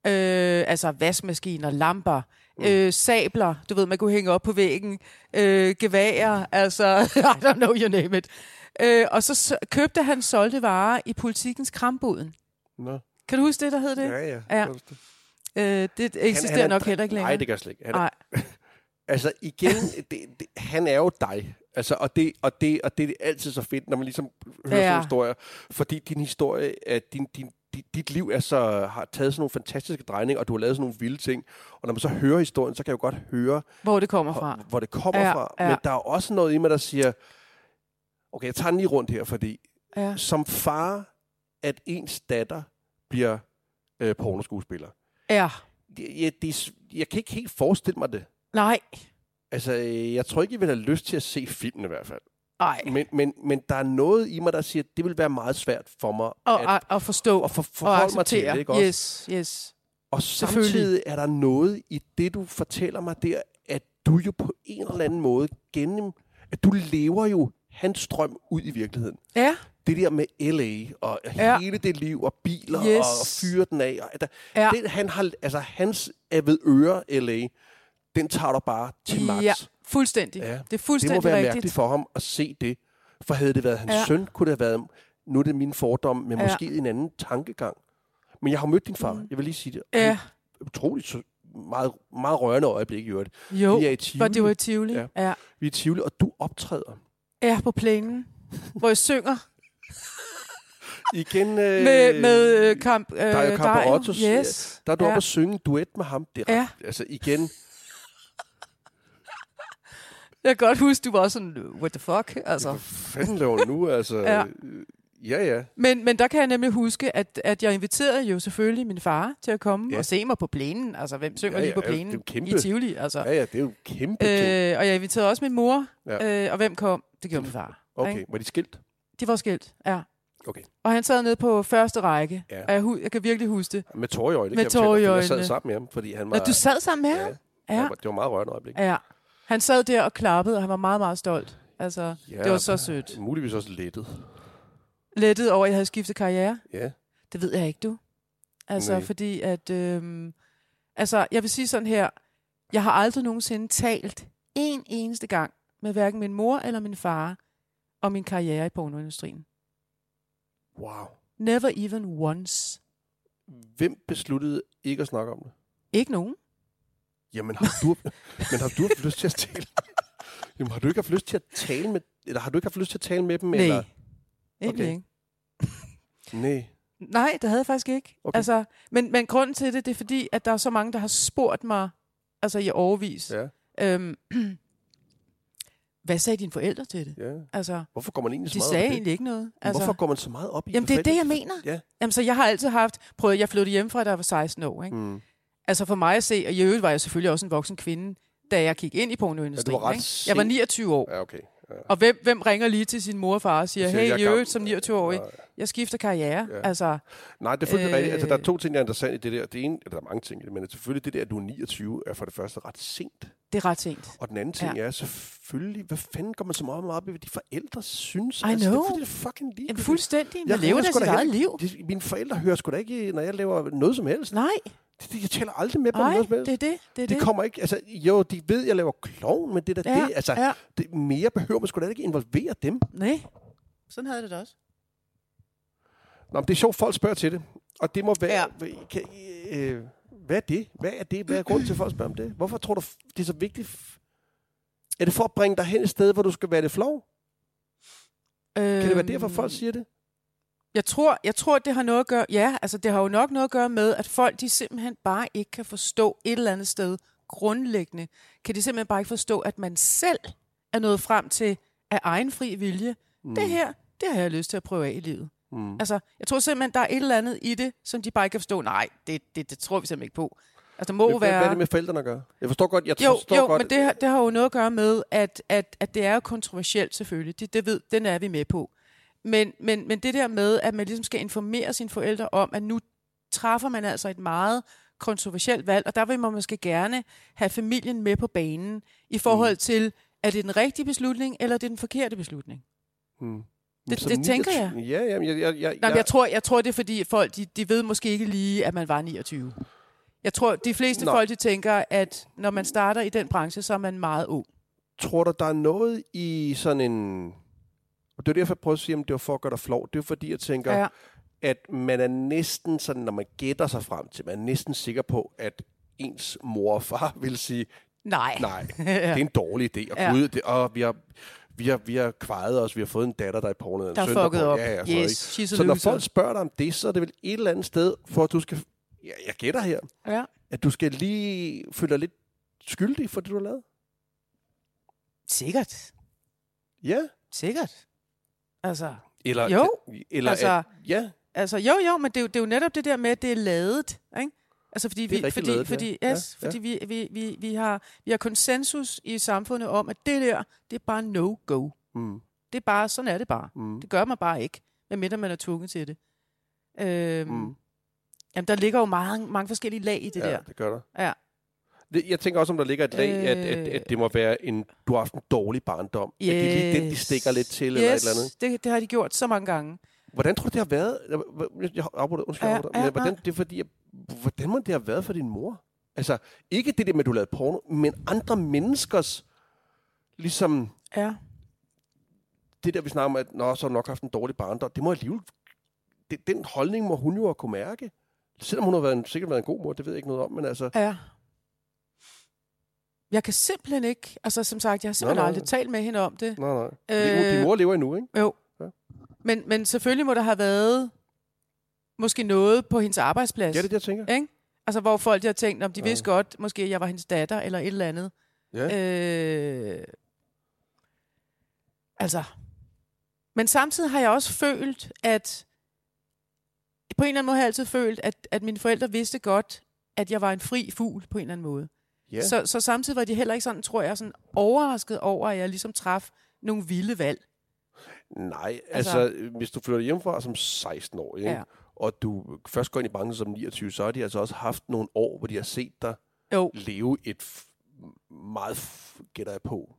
[SPEAKER 2] Øh, altså vaskemaskiner, lamper, mm. øh, sabler, du ved, man kunne hænge op på væggen, øh, geværer, altså, I don't know, you name it. Øh, og så, så købte han solgte varer i politikens kramboden.
[SPEAKER 1] Nå.
[SPEAKER 2] Kan du huske det, der hed det?
[SPEAKER 1] Ja, ja.
[SPEAKER 2] Ja.
[SPEAKER 1] Så er det.
[SPEAKER 2] Øh, det eksisterer
[SPEAKER 1] er en
[SPEAKER 2] nok
[SPEAKER 1] dre-
[SPEAKER 2] heller ikke længere.
[SPEAKER 1] Nej, det gør jeg slet ikke. Han er,
[SPEAKER 2] Nej.
[SPEAKER 1] altså igen, det, det, han er jo dig. Altså, og, det, og, det, og det er altid så fedt, når man ligesom hører
[SPEAKER 2] Ja.
[SPEAKER 1] ja. sådan historier. Fordi din historie, er, din, din, dit, dit liv er så, har taget sådan nogle fantastiske drejninger, og du har lavet sådan nogle vilde ting. Og når man så hører historien, så kan jeg jo godt høre,
[SPEAKER 2] Hvor det kommer fra.
[SPEAKER 1] hvor, hvor det kommer
[SPEAKER 2] Ja,
[SPEAKER 1] fra.
[SPEAKER 2] ja.
[SPEAKER 1] Men der er også noget i mig, der siger, okay, jeg tager den lige rundt her, fordi
[SPEAKER 2] Ja.
[SPEAKER 1] som far, at ens datter bliver øh, pornoskuespiller.
[SPEAKER 2] ja.
[SPEAKER 1] Jeg, jeg, det, er s- jeg kan ikke helt forestille mig det.
[SPEAKER 2] Nej.
[SPEAKER 1] Altså, øh, jeg tror ikke, jeg vil have lyst til at se filmen i hvert fald.
[SPEAKER 2] Nej.
[SPEAKER 1] Men, men, men der er noget i mig, der siger, at det vil være meget svært for mig
[SPEAKER 2] Og,
[SPEAKER 1] at,
[SPEAKER 2] at, at forstå
[SPEAKER 1] at for,
[SPEAKER 2] og
[SPEAKER 1] forholde mig til
[SPEAKER 2] acceptere.
[SPEAKER 1] det. Ikke også?
[SPEAKER 2] yes, yes.
[SPEAKER 1] Og
[SPEAKER 2] Selvfølgelig.
[SPEAKER 1] samtidig er der noget i det, du fortæller mig der, at du jo på en eller anden måde gennem... At du lever jo hans drøm ud i virkeligheden.
[SPEAKER 2] Ja,
[SPEAKER 1] Det der med L.A. og
[SPEAKER 2] Ja.
[SPEAKER 1] ja. hele det liv og biler
[SPEAKER 2] Yes.
[SPEAKER 1] yes. og fyre den af. Og, at der,
[SPEAKER 2] ja.
[SPEAKER 1] ja. det, han har, altså, hans er ved øre L.A., den tager du bare til max.
[SPEAKER 2] Ja, fuldstændig.
[SPEAKER 1] Ja.
[SPEAKER 2] Ja. Det er
[SPEAKER 1] Det må
[SPEAKER 2] fuldstændig
[SPEAKER 1] være
[SPEAKER 2] rigtigt.
[SPEAKER 1] mærkeligt for ham at se det. For havde det været hans
[SPEAKER 2] Ja.
[SPEAKER 1] ja. søn, kunne det have været, nu er det min fordom, men
[SPEAKER 2] Ja.
[SPEAKER 1] ja. måske en anden tankegang. Men jeg har mødt din far,
[SPEAKER 2] Mm.
[SPEAKER 1] mm. jeg vil lige sige det.
[SPEAKER 2] Ja,
[SPEAKER 1] Utroligt sø- meget, meget rørende øjeblik i øvrigt.
[SPEAKER 2] jo.
[SPEAKER 1] Vi er i Tivoli,
[SPEAKER 2] For det var i Tivoli. Ja.
[SPEAKER 1] Ja.
[SPEAKER 2] ja.
[SPEAKER 1] vi er i Tivoli og du optræder.
[SPEAKER 2] Ja, på plænen. hvor jeg synger
[SPEAKER 1] Igen, øh,
[SPEAKER 2] med, med øh, kamp, øh,
[SPEAKER 1] Dario Campeottos, ja.
[SPEAKER 2] Yes.
[SPEAKER 1] der er du
[SPEAKER 2] ja.
[SPEAKER 1] oppe og synge en duet med ham. Det er
[SPEAKER 2] Ja.
[SPEAKER 1] ja. altså igen,
[SPEAKER 2] Jeg kan godt huske, du var også sådan, what the fuck? Altså.
[SPEAKER 1] hvad fanden laver du nu? Altså,
[SPEAKER 2] Ja.
[SPEAKER 1] ja. ja, ja.
[SPEAKER 2] Men, men der kan jeg nemlig huske, at, at jeg inviterede jo selvfølgelig min far til at komme ja.
[SPEAKER 1] Ja.
[SPEAKER 2] og se mig på plænen. Altså, hvem synger
[SPEAKER 1] Ja,
[SPEAKER 2] ja, lige
[SPEAKER 1] ja,
[SPEAKER 2] på
[SPEAKER 1] det er jo-
[SPEAKER 2] plænen
[SPEAKER 1] det er jo kæmpe.
[SPEAKER 2] i Tivoli? Altså.
[SPEAKER 1] Ja, ja, det er jo kæmpe, kæmpe.
[SPEAKER 2] Øh, og jeg inviterede også min mor,
[SPEAKER 1] Ja.
[SPEAKER 2] ja. øh, og hvem kom? Det gjorde min far.
[SPEAKER 1] Okay,
[SPEAKER 2] ikke?
[SPEAKER 1] var de skilt?
[SPEAKER 2] De var skilt, ja.
[SPEAKER 1] Okay.
[SPEAKER 2] Og han sad nede på første række,
[SPEAKER 1] Ja.
[SPEAKER 2] og jeg, hu- jeg kan virkelig huske det.
[SPEAKER 1] Med tårer i øjnene,
[SPEAKER 2] Med
[SPEAKER 1] kan jeg fortælle dig,
[SPEAKER 2] tårer i
[SPEAKER 1] for Jeg sad
[SPEAKER 2] øjnene.
[SPEAKER 1] sammen med ham, fordi han var...
[SPEAKER 2] Når du sad sammen med ham?
[SPEAKER 1] ja.
[SPEAKER 2] Ja.
[SPEAKER 1] Det var meget rørende øjeblik.
[SPEAKER 2] ja. Han sad der og klappede, og han var meget, meget stolt. Altså,
[SPEAKER 1] Ja,
[SPEAKER 2] det var så sødt.
[SPEAKER 1] Muligvis også lettet.
[SPEAKER 2] Lettet over, at jeg havde skiftet karriere.
[SPEAKER 1] Ja.
[SPEAKER 2] Det ved jeg ikke, du. Altså, Nej.
[SPEAKER 1] Nej.
[SPEAKER 2] fordi at... Øhm, altså, jeg vil sige sådan her. Jeg har aldrig nogensinde talt en eneste gang med hverken min mor eller min far om min karriere i pornoindustrien.
[SPEAKER 1] Wow.
[SPEAKER 2] Never even once.
[SPEAKER 1] Hvem besluttede ikke at snakke om det?
[SPEAKER 2] Ikke nogen.
[SPEAKER 1] Jamen, har du, men har du haft lyst til at tale? Jamen, har du ikke haft lyst til at tale med, eller har du ikke haft lyst til at tale med dem? Eller?
[SPEAKER 2] Nej. Egentlig
[SPEAKER 1] Okay.
[SPEAKER 2] ikke.
[SPEAKER 1] Nej.
[SPEAKER 2] Nej, det havde jeg faktisk ikke. Okay.
[SPEAKER 1] Okay.
[SPEAKER 2] Altså, men, men grunden til det, det er fordi, at der er så mange, der har spurgt mig altså i overvis.
[SPEAKER 1] Ja,
[SPEAKER 2] Ja. Øhm, hvad sagde dine forældre til det?
[SPEAKER 1] ja.
[SPEAKER 2] Altså,
[SPEAKER 1] Hvorfor går man egentlig så
[SPEAKER 2] de
[SPEAKER 1] meget
[SPEAKER 2] sagde
[SPEAKER 1] op i det?
[SPEAKER 2] egentlig ikke noget.
[SPEAKER 1] Altså,
[SPEAKER 2] Altså,
[SPEAKER 1] Hvorfor går man så meget op i
[SPEAKER 2] Jamen, det er det, jeg
[SPEAKER 1] tilfældigheder?
[SPEAKER 2] mener.
[SPEAKER 1] Ja.
[SPEAKER 2] Jamen, så jeg har altid haft... Prøv, at- jeg flyttede hjemmefra, da jeg var 16 år, ikke? Mm.
[SPEAKER 1] Mm.
[SPEAKER 2] Altså, for mig at se... Og i øvrigt var jeg selvfølgelig også en voksen kvinde, da jeg gik ind i
[SPEAKER 1] Ja,
[SPEAKER 2] pornoindustrien.
[SPEAKER 1] du var ret
[SPEAKER 2] ikke? Jeg var
[SPEAKER 1] sent.
[SPEAKER 2] 29 år.
[SPEAKER 1] Ja, okay. Ja.
[SPEAKER 2] Og hvem, hvem ringer lige til sin mor og far og siger,
[SPEAKER 1] Siger,
[SPEAKER 2] hey,
[SPEAKER 1] jeg
[SPEAKER 2] i
[SPEAKER 1] er
[SPEAKER 2] øvrigt som
[SPEAKER 1] gammel."
[SPEAKER 2] 29-årig,
[SPEAKER 1] Nej.
[SPEAKER 2] jeg skifter karriere. Ja.
[SPEAKER 1] Ja.
[SPEAKER 2] Altså,
[SPEAKER 1] Nej, det er fuldstændig
[SPEAKER 2] Øh.
[SPEAKER 1] øh... rigtigt. Altså, der er to ting, der er interessant i det der. Det ene, eller der er mange ting, i det, men selvfølgelig det der, at du er 29, er for det første ret sent.
[SPEAKER 2] det er ret sent.
[SPEAKER 1] Og den anden ting
[SPEAKER 2] Ja.
[SPEAKER 1] ja. er selvfølgelig, hvad fanden går man så meget, meget op i, hvad de forældre synes? Altså,
[SPEAKER 2] I
[SPEAKER 1] Det
[SPEAKER 2] know.
[SPEAKER 1] er, fordi, det er fucking lige.
[SPEAKER 2] Jamen, fuldstændig. Man lever da sit eget liv.
[SPEAKER 1] De, mine forældre hører sgu da ikke, når jeg laver noget som helst.
[SPEAKER 2] Nej,
[SPEAKER 1] De, de, jeg taler aldrig med dem om
[SPEAKER 2] nej,
[SPEAKER 1] noget som helst.
[SPEAKER 2] det er det. det, er
[SPEAKER 1] de
[SPEAKER 2] det.
[SPEAKER 1] kommer ikke, altså, jo, de ved, jeg laver klovn, men det er da
[SPEAKER 2] Ja,
[SPEAKER 1] det, altså,
[SPEAKER 2] ja.
[SPEAKER 1] det, mere behøver man sgu da ikke involvere dem.
[SPEAKER 2] Nej, sådan havde det da også.
[SPEAKER 1] Nå, men det er sjovt, folk spørger til det, og det må være,
[SPEAKER 2] Ja.
[SPEAKER 1] ja. kan, I, øh, hvad er det? Hvad er det? Hvad er grunden til, at folk spørger om det? Hvorfor tror du, f- det er så vigtigt? f- Er det for at bringe dig hen et sted, hvor du skal være det flov?
[SPEAKER 2] Øhm,
[SPEAKER 1] Kan det være derfor, folk siger det?
[SPEAKER 2] Jeg tror, jeg tror, det har noget at gøre... Ja, altså det har jo nok noget at gøre med, at folk de simpelthen bare ikke kan forstå et eller andet sted grundlæggende. Kan de simpelthen bare ikke forstå, at man selv er nået frem til af egen fri vilje. Mm. Det her, det har jeg lyst til at prøve af i livet.
[SPEAKER 1] Mm.
[SPEAKER 2] Altså, jeg tror simpelthen, der er et eller andet i det, som de bare ikke kan forstå. Nej, det, det, det tror vi simpelthen ikke på. Altså, der må
[SPEAKER 1] Hvad,
[SPEAKER 2] være...
[SPEAKER 1] hvad er det med forældrene at gøre? Jeg forstår godt, jeg
[SPEAKER 2] Jo,
[SPEAKER 1] forstår
[SPEAKER 2] jo
[SPEAKER 1] godt.
[SPEAKER 2] men det har, det har jo noget at gøre med, at, at, at det er jo kontroversielt selvfølgelig. Det, det ved, den er vi med på. Men, men, men det der med, at man ligesom skal informere sine forældre om, at nu træffer man altså et meget kontroversielt valg, og der vil man måske gerne have familien med på banen i forhold
[SPEAKER 1] Mm.
[SPEAKER 2] til, er det den rigtige beslutning, eller er det den forkerte beslutning?
[SPEAKER 1] Mm.
[SPEAKER 2] det-
[SPEAKER 1] Som
[SPEAKER 2] det tænker
[SPEAKER 1] 29 Ja, ja, men jeg, jeg, jeg,
[SPEAKER 2] Nå, men jeg, tror, jeg tror, det er fordi, at folk de, de ved måske ikke lige, at man var 29. Jeg tror, de fleste Nå.
[SPEAKER 1] Nå.
[SPEAKER 2] folk de tænker, at når man starter i den branche, så er man meget ung.
[SPEAKER 1] tror du, der er noget i sådan en... Og det er derfor, jeg prøver at sige, om det var for at gøre dig flov. Det er fordi, jeg tænker, ja. at man er næsten sådan, når man gætter sig frem til, man er næsten sikker på, at ens mor og far vil sige,
[SPEAKER 2] Nej.
[SPEAKER 1] nej,
[SPEAKER 2] ja.
[SPEAKER 1] det er en dårlig idé. Og,
[SPEAKER 2] Ja.
[SPEAKER 1] ja. gud, det, og vi har vi har, vi har kvejet os, vi har fået en datter, der er i porno. eller
[SPEAKER 2] Der
[SPEAKER 1] en søn,
[SPEAKER 2] er fucket
[SPEAKER 1] porno.
[SPEAKER 2] op.
[SPEAKER 1] Ja, ja, sådan noget,
[SPEAKER 2] yes,
[SPEAKER 1] ikke?
[SPEAKER 2] she's a
[SPEAKER 1] Så når
[SPEAKER 2] loser.
[SPEAKER 1] folk spørger dig om det, så er det vel et eller andet sted, for at du skal... Jeg, jeg gætter her,
[SPEAKER 2] Ja.
[SPEAKER 1] at du skal lige føle dig lidt skyldig for det, du har lavet.
[SPEAKER 2] Sikkert.
[SPEAKER 1] Ja.
[SPEAKER 2] Sikkert. Altså,
[SPEAKER 1] Eller,
[SPEAKER 2] Jo.
[SPEAKER 1] Eller
[SPEAKER 2] Altså,
[SPEAKER 1] at, ja.
[SPEAKER 2] altså jo, jo, men det er jo, det er jo netop det der med, at det er ladet, ikke? Altså fordi
[SPEAKER 1] Det er
[SPEAKER 2] vi,
[SPEAKER 1] rigtig
[SPEAKER 2] fordi,
[SPEAKER 1] ladet, ja.
[SPEAKER 2] fordi,
[SPEAKER 1] Ja,
[SPEAKER 2] yes,
[SPEAKER 1] ja.
[SPEAKER 2] fordi vi, vi, vi, vi, har, vi har konsensus i samfundet om, at det der, det er bare no-go.
[SPEAKER 1] Mm,
[SPEAKER 2] Det er bare, sådan er det bare.
[SPEAKER 1] mm,
[SPEAKER 2] Det gør man bare ikke, medmindre man er tvunget til det. Øhm,
[SPEAKER 1] mm.
[SPEAKER 2] mm. Jamen, der ligger jo mange, mange forskellige lag i det
[SPEAKER 1] ja,
[SPEAKER 2] der.
[SPEAKER 1] det gør der.
[SPEAKER 2] Ja.
[SPEAKER 1] Det, jeg tænker også, om der ligger et lag, øh, at, at,
[SPEAKER 2] Øh.
[SPEAKER 1] at det må være en... Du har haft en dårlig barndom. Yes. At det er lige den, de stikker lidt til, yes. eller et eller andet.
[SPEAKER 2] Det, det har de gjort så mange gange.
[SPEAKER 1] Hvordan tror du, det har været? Jeg- jeg- Jeg afbryder, undskyld,
[SPEAKER 2] Ja,
[SPEAKER 1] jeg afbryder.
[SPEAKER 2] ja,
[SPEAKER 1] Men hvordan, det er fordi, jeg, hvordan må det have været for din mor? Altså, ikke det der med, at du lavede porno, men andre menneskers, ligesom
[SPEAKER 2] Ja.
[SPEAKER 1] det der, vi snakker om, at Nå, så har du nok haft en dårlig barndom, det må alligevel, det, den holdning må hun jo have kunne mærke. Selvom hun har været en, sikkert været en god mor, det ved jeg ikke noget om, men altså,
[SPEAKER 2] Ja. Jeg kan simpelthen ikke, altså som sagt, jeg har simpelthen
[SPEAKER 1] nej,
[SPEAKER 2] aldrig
[SPEAKER 1] nej.
[SPEAKER 2] talt med hende om det.
[SPEAKER 1] nej, nej. Øh, din mor lever endnu, ikke?
[SPEAKER 2] Jo.
[SPEAKER 1] Ja.
[SPEAKER 2] Men, men selvfølgelig må der have været måske noget på hendes arbejdsplads.
[SPEAKER 1] Ja, det er det, jeg tænker.
[SPEAKER 2] Ikke? Altså, hvor folk de har tænkt, om de
[SPEAKER 1] Ja.
[SPEAKER 2] ja. vidste godt, måske at jeg var hendes datter, eller et eller andet.
[SPEAKER 1] Ja.
[SPEAKER 2] Øh, altså. Men samtidig har jeg også følt, at... På en eller anden måde har jeg altid følt, at, at mine forældre vidste godt, at jeg var en fri fugl på en eller anden måde.
[SPEAKER 1] Ja.
[SPEAKER 2] Så, så samtidig var de heller ikke sådan, tror jeg, sådan overrasket over, at jeg ligesom traf nogle vilde valg.
[SPEAKER 1] Nej, altså,
[SPEAKER 2] Altså-
[SPEAKER 1] altså hvis du flytter hjemmefra som 16 år, ikke? Ja.
[SPEAKER 2] Ja.
[SPEAKER 1] og du først går ind i branchen som 29, så har de altså også haft nogle år, hvor de har set dig
[SPEAKER 2] Jo,
[SPEAKER 1] leve et f- meget, f- gætter jeg på,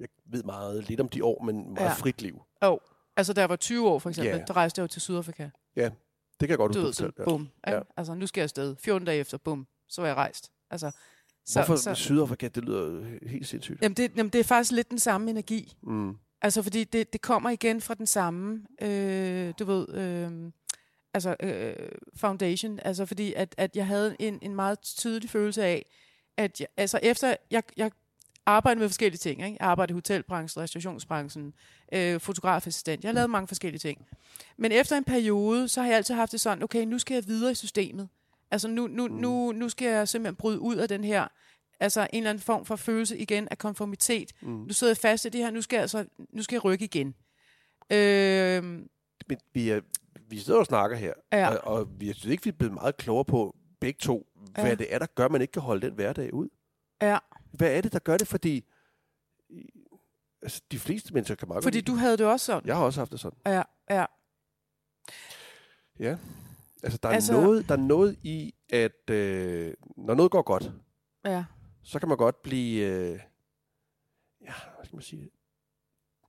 [SPEAKER 1] jeg ved meget lidt om de år, men meget ja.
[SPEAKER 2] Ja.
[SPEAKER 1] frit liv.
[SPEAKER 2] Altså, da jeg var 20 år, for eksempel,
[SPEAKER 1] Ja.
[SPEAKER 2] yeah. der rejste jeg jo til Sydafrika.
[SPEAKER 1] Det kan jeg godt
[SPEAKER 2] Du ved,
[SPEAKER 1] huske.
[SPEAKER 2] sådan,
[SPEAKER 1] fortælle, ja.
[SPEAKER 2] bum. Ja.
[SPEAKER 1] Ja.
[SPEAKER 2] Altså, nu skal jeg afsted. 14 dage efter, bum, så var jeg rejst. Altså, så,
[SPEAKER 1] Hvorfor så,
[SPEAKER 2] så,
[SPEAKER 1] Sydafrika? Det lyder jo helt sindssygt.
[SPEAKER 2] jamen, det, jamen, det er faktisk lidt den samme energi.
[SPEAKER 1] Mm.
[SPEAKER 2] Altså, fordi det, det kommer igen fra den samme, øh, du ved, øh, altså, øh, foundation. Altså, fordi at, at jeg havde en, en meget tydelig følelse af, at jeg, altså, efter jeg, jeg arbejdede med forskellige ting, ikke? jeg arbejdede i hotelbranchen, restaurationsbranchen, øh, fotografassistent, jeg har lavet mange forskellige ting. Men efter en periode, så har jeg altid haft det sådan, okay, nu skal jeg videre i systemet. Altså, nu, nu, nu, nu skal jeg simpelthen bryde ud af den her, altså en eller anden form for følelse igen af konformitet. Mm. Nu sidder jeg fast i det her, nu skal jeg, altså, nu skal jeg rykke igen. Øh,
[SPEAKER 1] Men vi, er, vi sidder og snakker her,
[SPEAKER 2] Ja.
[SPEAKER 1] og, og vi, jeg synes ikke, vi er blevet meget klogere på begge to, hvad
[SPEAKER 2] Ja.
[SPEAKER 1] det er, der gør, at man ikke kan holde den hverdag ud.
[SPEAKER 2] ja.
[SPEAKER 1] Hvad er det, der gør det? Fordi øh, altså, de fleste mennesker kan meget
[SPEAKER 2] Fordi
[SPEAKER 1] godt lide-
[SPEAKER 2] du havde det også sådan.
[SPEAKER 1] Jeg har også haft det sådan.
[SPEAKER 2] Ja, ja.
[SPEAKER 1] Ja. Altså, der er, altså...
[SPEAKER 2] Altså-
[SPEAKER 1] Noget, der er noget i, at øh, når noget går godt,
[SPEAKER 2] ja.
[SPEAKER 1] så kan man godt blive... Øh, ja, hvad skal man sige? det?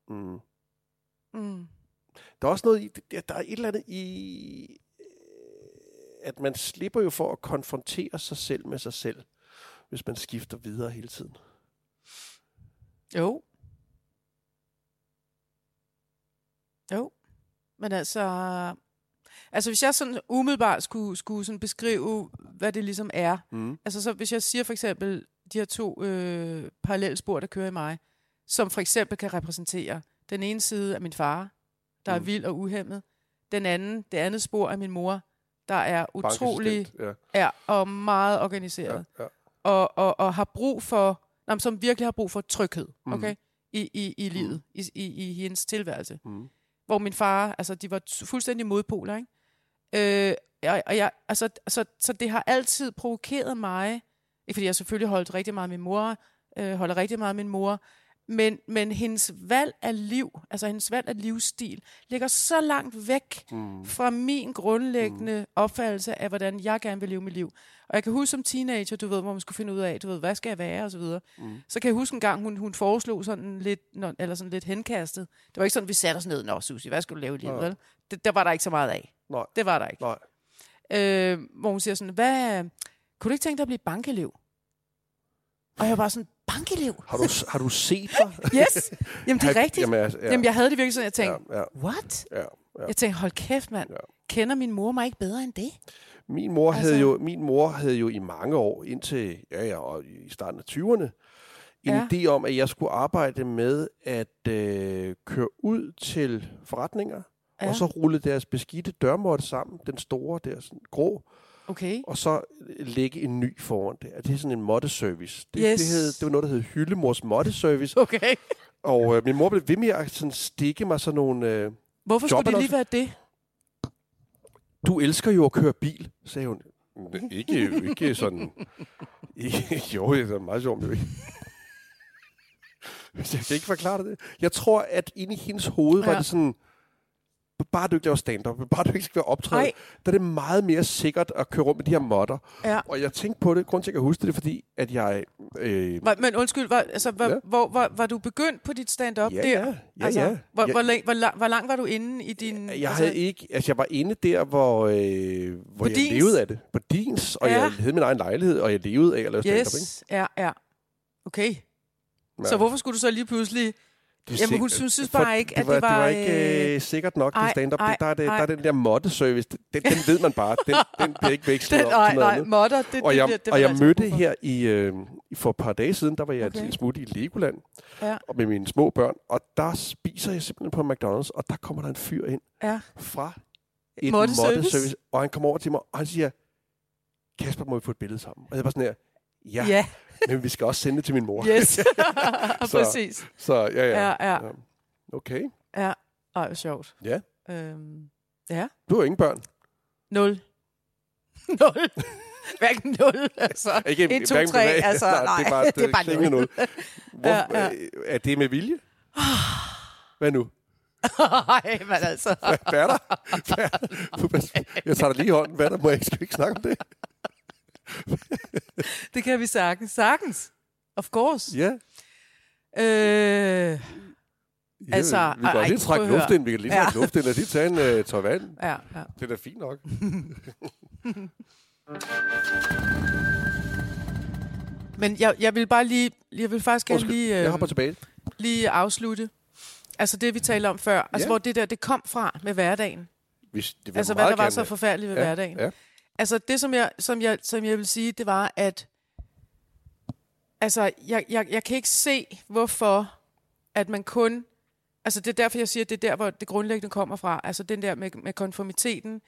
[SPEAKER 1] Mm.
[SPEAKER 2] Mm.
[SPEAKER 1] Der er også noget i... Der der er et eller andet i... øh, At man slipper jo for at konfrontere sig selv med sig selv, hvis man skifter videre hele tiden.
[SPEAKER 2] Jo. Jo. Men altså... Altså, hvis jeg sådan umiddelbart skulle, skulle sådan beskrive, hvad det ligesom er.
[SPEAKER 1] Mm.
[SPEAKER 2] Altså, så hvis jeg siger for eksempel de her to øh, parallelle spor, der kører i mig, som for eksempel kan repræsentere den ene side af min far, der mm. er
[SPEAKER 1] Mm.
[SPEAKER 2] vild og uhemmet. Den anden, det andet spor af min mor, der er utrolig
[SPEAKER 1] Ja,
[SPEAKER 2] er, og meget organiseret
[SPEAKER 1] ja, ja.
[SPEAKER 2] og, og, og har brug for, nej, men som virkelig har brug for tryghed,
[SPEAKER 1] Mhm.
[SPEAKER 2] okay? I, i, i livet, i, i, i hendes tilværelse.
[SPEAKER 1] Mm.
[SPEAKER 2] Hvor min far, altså de var t- fuldstændig modpoler, ikke? Øh, og, og jeg, altså, så, så det har altid provokeret mig, ikke fordi jeg selvfølgelig holdt rigtig meget af min mor, øh, holder rigtig meget af min mor, men, men hendes valg af liv, altså hendes valg af livsstil, ligger så langt væk
[SPEAKER 1] Mm.
[SPEAKER 2] fra min grundlæggende mm. opfattelse af, hvordan jeg gerne vil leve mit liv. Og jeg kan huske som teenager, du ved, hvor man skulle finde ud af, du ved, hvad skal jeg være, og så videre. Mm. Så kan jeg huske en gang, hun, hun foreslog sådan lidt, nå, eller sådan lidt henkastet. Det var ikke sådan, vi satte os ned, nå Susie, hvad skal du lave i livet,
[SPEAKER 1] Nej.
[SPEAKER 2] vel? Det, der var der ikke så meget af.
[SPEAKER 1] Nej.
[SPEAKER 2] Det var der ikke.
[SPEAKER 1] Nej.
[SPEAKER 2] Øh, hvor hun siger sådan, hvad, kunne du ikke tænke dig at blive bankelev? Og jeg var sådan, bankelev?
[SPEAKER 1] Har, du, har du set mig?
[SPEAKER 2] Yes! Jamen, det er rigtigt. Jamen,
[SPEAKER 1] Jamen, altså, ja,
[SPEAKER 2] ja. Jamen, jeg havde det virkelig sådan, jeg tænkte,
[SPEAKER 1] ja, ja,
[SPEAKER 2] ja. what?
[SPEAKER 1] ja, ja.
[SPEAKER 2] Jeg tænkte, hold kæft, mand.
[SPEAKER 1] Ja.
[SPEAKER 2] Ja. Kender min mor mig ikke bedre end det?
[SPEAKER 1] Min mor, altså...
[SPEAKER 2] Altså-
[SPEAKER 1] havde jo, min mor havde jo i mange år, indtil ja, ja, og i starten af 20'erne, en
[SPEAKER 2] Ja.
[SPEAKER 1] ja. idé om, at jeg skulle arbejde med at øh, køre ud til forretninger, ja.
[SPEAKER 2] Ja.
[SPEAKER 1] og så rulle deres beskidte dørmåtte sammen, den store der, sådan grå,
[SPEAKER 2] Okay.
[SPEAKER 1] og så øh, lægge en ny foran der. Det er sådan en måtteservice. Det,
[SPEAKER 2] Yes.
[SPEAKER 1] det, hed, det var noget, der hed Hyldemors Måtteservice,
[SPEAKER 2] Okay.
[SPEAKER 1] og øh, min mor blev ved med at sådan stikke mig sådan nogle... Øh,
[SPEAKER 2] Hvorfor skulle det lige
[SPEAKER 1] Jobannonce.
[SPEAKER 2] være det?
[SPEAKER 1] du elsker jo at køre bil, sagde hun. "Men Ikke, ikke sådan... Ikke, jo, det er meget sjovt, men jo ikke. Jeg kan ikke forklare dig det. Jeg tror, at inde i hendes hoved ja.
[SPEAKER 2] Ja.
[SPEAKER 1] var det sådan... Bare du ikke laver stand-up, bare du ikke skal være optræde,
[SPEAKER 2] Nej.
[SPEAKER 1] der er det meget mere sikkert at køre rundt med de her modder.
[SPEAKER 2] Ja.
[SPEAKER 1] Og jeg tænkte på det, grund til, at jeg husker det, er fordi, at jeg... Øh,
[SPEAKER 2] Var, men undskyld, var, altså, var, ja.
[SPEAKER 1] Ja.
[SPEAKER 2] hvor, var, var du begyndt på dit stand-up
[SPEAKER 1] Ja,
[SPEAKER 2] der?
[SPEAKER 1] ja. Ja,
[SPEAKER 2] altså,
[SPEAKER 1] ja.
[SPEAKER 2] Hvor,
[SPEAKER 1] Jeg-
[SPEAKER 2] hvor, lang, hvor, lang, hvor lang var du inde i din...
[SPEAKER 1] jeg
[SPEAKER 2] altså,
[SPEAKER 1] havde ikke, altså jeg var inde der, hvor, øh, hvor jeg
[SPEAKER 2] Dins.
[SPEAKER 1] levede af det. På dins, og
[SPEAKER 2] Ja.
[SPEAKER 1] jeg havde min egen lejlighed, og jeg levede af at lave stand-up. Ikke?
[SPEAKER 2] Yes, ja, ja. Okay.
[SPEAKER 1] Men
[SPEAKER 2] Så hvorfor skulle du så lige pludselig...
[SPEAKER 1] Det er
[SPEAKER 2] Jamen,
[SPEAKER 1] sikkert-
[SPEAKER 2] hun synes
[SPEAKER 1] for
[SPEAKER 2] bare ikke, at
[SPEAKER 1] det var,
[SPEAKER 2] det
[SPEAKER 1] det
[SPEAKER 2] var,
[SPEAKER 1] var ikke øh, sikkert nok,
[SPEAKER 2] ej,
[SPEAKER 1] det stand-up.
[SPEAKER 2] ej,
[SPEAKER 1] Det, der, er det, der
[SPEAKER 2] ej.
[SPEAKER 1] er den der modde-service, den, den, den ved man bare. Den, den bliver ikke vekslet
[SPEAKER 2] Den,
[SPEAKER 1] op til
[SPEAKER 2] nej,
[SPEAKER 1] noget
[SPEAKER 2] nej,
[SPEAKER 1] andet.
[SPEAKER 2] modder, det,
[SPEAKER 1] Og
[SPEAKER 2] det,
[SPEAKER 1] jeg,
[SPEAKER 2] det, altså det
[SPEAKER 1] og jeg mødte her i, øh, for et par dage siden, der var jeg
[SPEAKER 2] Okay.
[SPEAKER 1] okay. en smut i Legoland
[SPEAKER 2] Ja.
[SPEAKER 1] og med mine små børn, og der spiser jeg simpelthen på McDonald's, og der kommer der en fyr ind
[SPEAKER 2] Ja.
[SPEAKER 1] fra et
[SPEAKER 2] Måtteservice.
[SPEAKER 1] måtteservice, og han kommer over til mig, og han siger, Kasper, må vi få et billede sammen? Og jeg var sådan her, ja,
[SPEAKER 2] Ja,
[SPEAKER 1] ja.
[SPEAKER 2] ja
[SPEAKER 1] men vi skal også sende det til min mor.
[SPEAKER 2] yes.
[SPEAKER 1] Så-
[SPEAKER 2] Præcis.
[SPEAKER 1] Så ja, ja.
[SPEAKER 2] Ja, ja.
[SPEAKER 1] Okay.
[SPEAKER 2] Ja. Ej, hvor sjovt.
[SPEAKER 1] Ja.
[SPEAKER 2] Øhm,
[SPEAKER 1] Du har ingen børn.
[SPEAKER 2] nul. nul. Hverken nul, altså.
[SPEAKER 1] Ikke,
[SPEAKER 2] Et, to,
[SPEAKER 1] hverken
[SPEAKER 2] tre,
[SPEAKER 1] bevæg-
[SPEAKER 2] altså, nej,
[SPEAKER 1] det er bare,
[SPEAKER 2] det er
[SPEAKER 1] det er
[SPEAKER 2] bare
[SPEAKER 1] bare klingende
[SPEAKER 2] nul.
[SPEAKER 1] nul. Hvor,
[SPEAKER 2] Ja, ja. Ah.
[SPEAKER 1] øh, Er det med vilje? Hvad nu?
[SPEAKER 2] Nej, men altså.
[SPEAKER 1] Hvad er der? Hvad er der? Jeg tager dig lige i hånden. Hvad er der? Må jeg ikke, skal vi ikke snakke om det?
[SPEAKER 2] Det kan vi sagtens. Sagtens. Of course.
[SPEAKER 1] Ja.
[SPEAKER 2] Øh,
[SPEAKER 1] ja
[SPEAKER 2] Altså,
[SPEAKER 1] vi kan
[SPEAKER 2] ej,
[SPEAKER 1] ej, lige
[SPEAKER 2] prøv
[SPEAKER 1] trække
[SPEAKER 2] at høre.
[SPEAKER 1] luft ind. Vi kan lige
[SPEAKER 2] Ja.
[SPEAKER 1] trække luft ind og lige tage en uh, tår vand.
[SPEAKER 2] ja, ja.
[SPEAKER 1] Det er da fint nok.
[SPEAKER 2] Men jeg, jeg vil bare lige, jeg vil faktisk gerne
[SPEAKER 1] Undskyld,
[SPEAKER 2] lige,
[SPEAKER 1] jeg hopper
[SPEAKER 2] øh,
[SPEAKER 1] tilbage.
[SPEAKER 2] lige afslutte. Altså det, vi talte om før. Altså
[SPEAKER 1] Ja.
[SPEAKER 2] hvor det der, det kom fra med hverdagen.
[SPEAKER 1] Hvis, det vil
[SPEAKER 2] Altså
[SPEAKER 1] jeg
[SPEAKER 2] hvad
[SPEAKER 1] meget
[SPEAKER 2] der var
[SPEAKER 1] gerne
[SPEAKER 2] så
[SPEAKER 1] have.
[SPEAKER 2] forfærdeligt ved
[SPEAKER 1] Ja,
[SPEAKER 2] hverdagen.
[SPEAKER 1] ja.
[SPEAKER 2] Altså det, som jeg, som, jeg, som jeg vil sige, det var, at altså, jeg, jeg, jeg kan ikke se, hvorfor at man kun... Altså det er derfor, jeg siger, at det er der, hvor det grundlæggende kommer fra. Altså den der med, med konformiteten.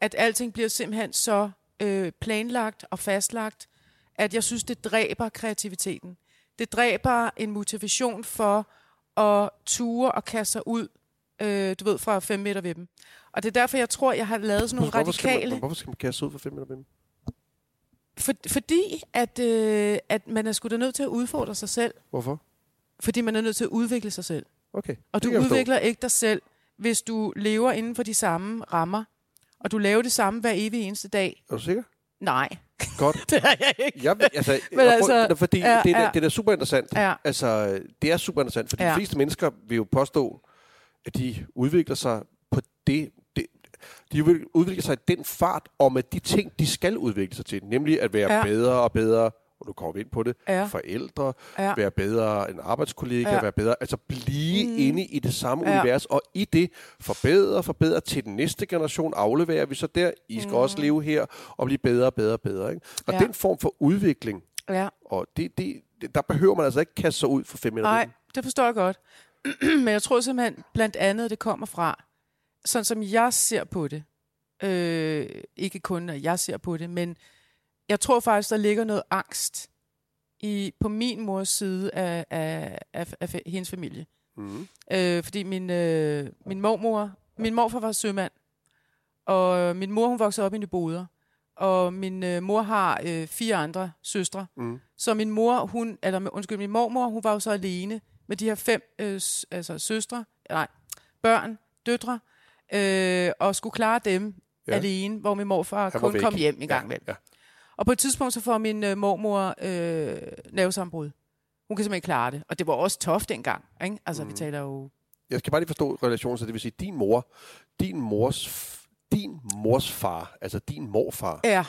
[SPEAKER 2] At alting bliver simpelthen så øh, planlagt og fastlagt, at jeg synes, det dræber kreativiteten. Det dræber en motivation for at ture og kaste sig ud, øh, du ved, fra 5 meter ved dem. Og det er derfor, jeg tror, jeg har lavet sådan nogle
[SPEAKER 1] Hvorfor skal
[SPEAKER 2] radikale...
[SPEAKER 1] man, men hvorfor skal man kaste sig ud for fem minutter?
[SPEAKER 2] For, fordi at, øh, at man er sgu da nødt til at udfordre sig selv,
[SPEAKER 1] Hvorfor?
[SPEAKER 2] fordi man er nødt til at udvikle sig selv.
[SPEAKER 1] Okay. det
[SPEAKER 2] Og du
[SPEAKER 1] kan jeg forstå.
[SPEAKER 2] udvikler ikke dig selv, hvis du lever inden for de samme rammer, og du laver det samme hver evig eneste dag.
[SPEAKER 1] Er du sikker?
[SPEAKER 2] Nej,
[SPEAKER 1] Godt.
[SPEAKER 2] det er jeg ikke.
[SPEAKER 1] Jeg, altså,
[SPEAKER 2] Men altså,
[SPEAKER 1] altså, fordi
[SPEAKER 2] ja,
[SPEAKER 1] ja, det, er,
[SPEAKER 2] ja.
[SPEAKER 1] ja. det er da super interessant.
[SPEAKER 2] Ja.
[SPEAKER 1] Altså, det er super interessant, fordi
[SPEAKER 2] Ja.
[SPEAKER 1] de fleste mennesker vil jo påstå, at de udvikler sig på det, det de udvik- udvikler sig i den fart og med de ting, de skal udvikle sig til, nemlig at være
[SPEAKER 2] Ja.
[SPEAKER 1] ja. bedre og bedre, og nu kommer vi ind på det,
[SPEAKER 2] Ja.
[SPEAKER 1] forældre,
[SPEAKER 2] Ja.
[SPEAKER 1] ja. være bedre end arbejdskollega,
[SPEAKER 2] Ja.
[SPEAKER 1] ja. være bedre, altså blive mm. inde i det samme
[SPEAKER 2] Ja.
[SPEAKER 1] ja. univers, og i det forbedre, forbedre til den næste generation, afleverer vi så der, I skal mm. også leve her, og blive bedre, bedre, bedre. Ikke? Og
[SPEAKER 2] Ja.
[SPEAKER 1] ja. den form for udvikling,
[SPEAKER 2] Ja.
[SPEAKER 1] og det, det, det, der behøver man altså ikke kaste sig ud for fem minutter.
[SPEAKER 2] Nej, det forstår jeg godt. Men jeg tror simpelthen, blandt andet, det kommer fra, sådan som jeg ser på det. Øh, ikke kun, at jeg ser på det, men jeg tror faktisk, der ligger noget angst i, på min mors side af, af, af, af fa- hendes familie.
[SPEAKER 1] Mm.
[SPEAKER 2] Øh, fordi min, øh, min mormor, min morfar var sømand, og øh, min mor hun voksede op i Nyboder, og min øh, mor har øh, fire andre søstre.
[SPEAKER 1] Mm.
[SPEAKER 2] Så min mor, hun, eller undskyld, min mormor, hun var jo så alene med de her fem øh, s- altså søstre, nej, børn, døtre, øh, og skulle klare dem ja.
[SPEAKER 1] Ja.
[SPEAKER 2] alene, hvor min morfar
[SPEAKER 1] Han var
[SPEAKER 2] kun
[SPEAKER 1] væk.
[SPEAKER 2] kom hjem en gang ja.
[SPEAKER 1] ja,
[SPEAKER 2] vel.
[SPEAKER 1] ja.
[SPEAKER 2] Og på et tidspunkt, så får min øh, mormor øh, nervesambrud. Hun kan simpelthen ikke klare det. Og det var også toft dengang. Ikke? Altså, mm. vi taler jo...
[SPEAKER 1] Jeg skal bare lige forstå relationen, så det vil sige, din mor, din mors, f- din mors far, altså din morfar,
[SPEAKER 2] Ja,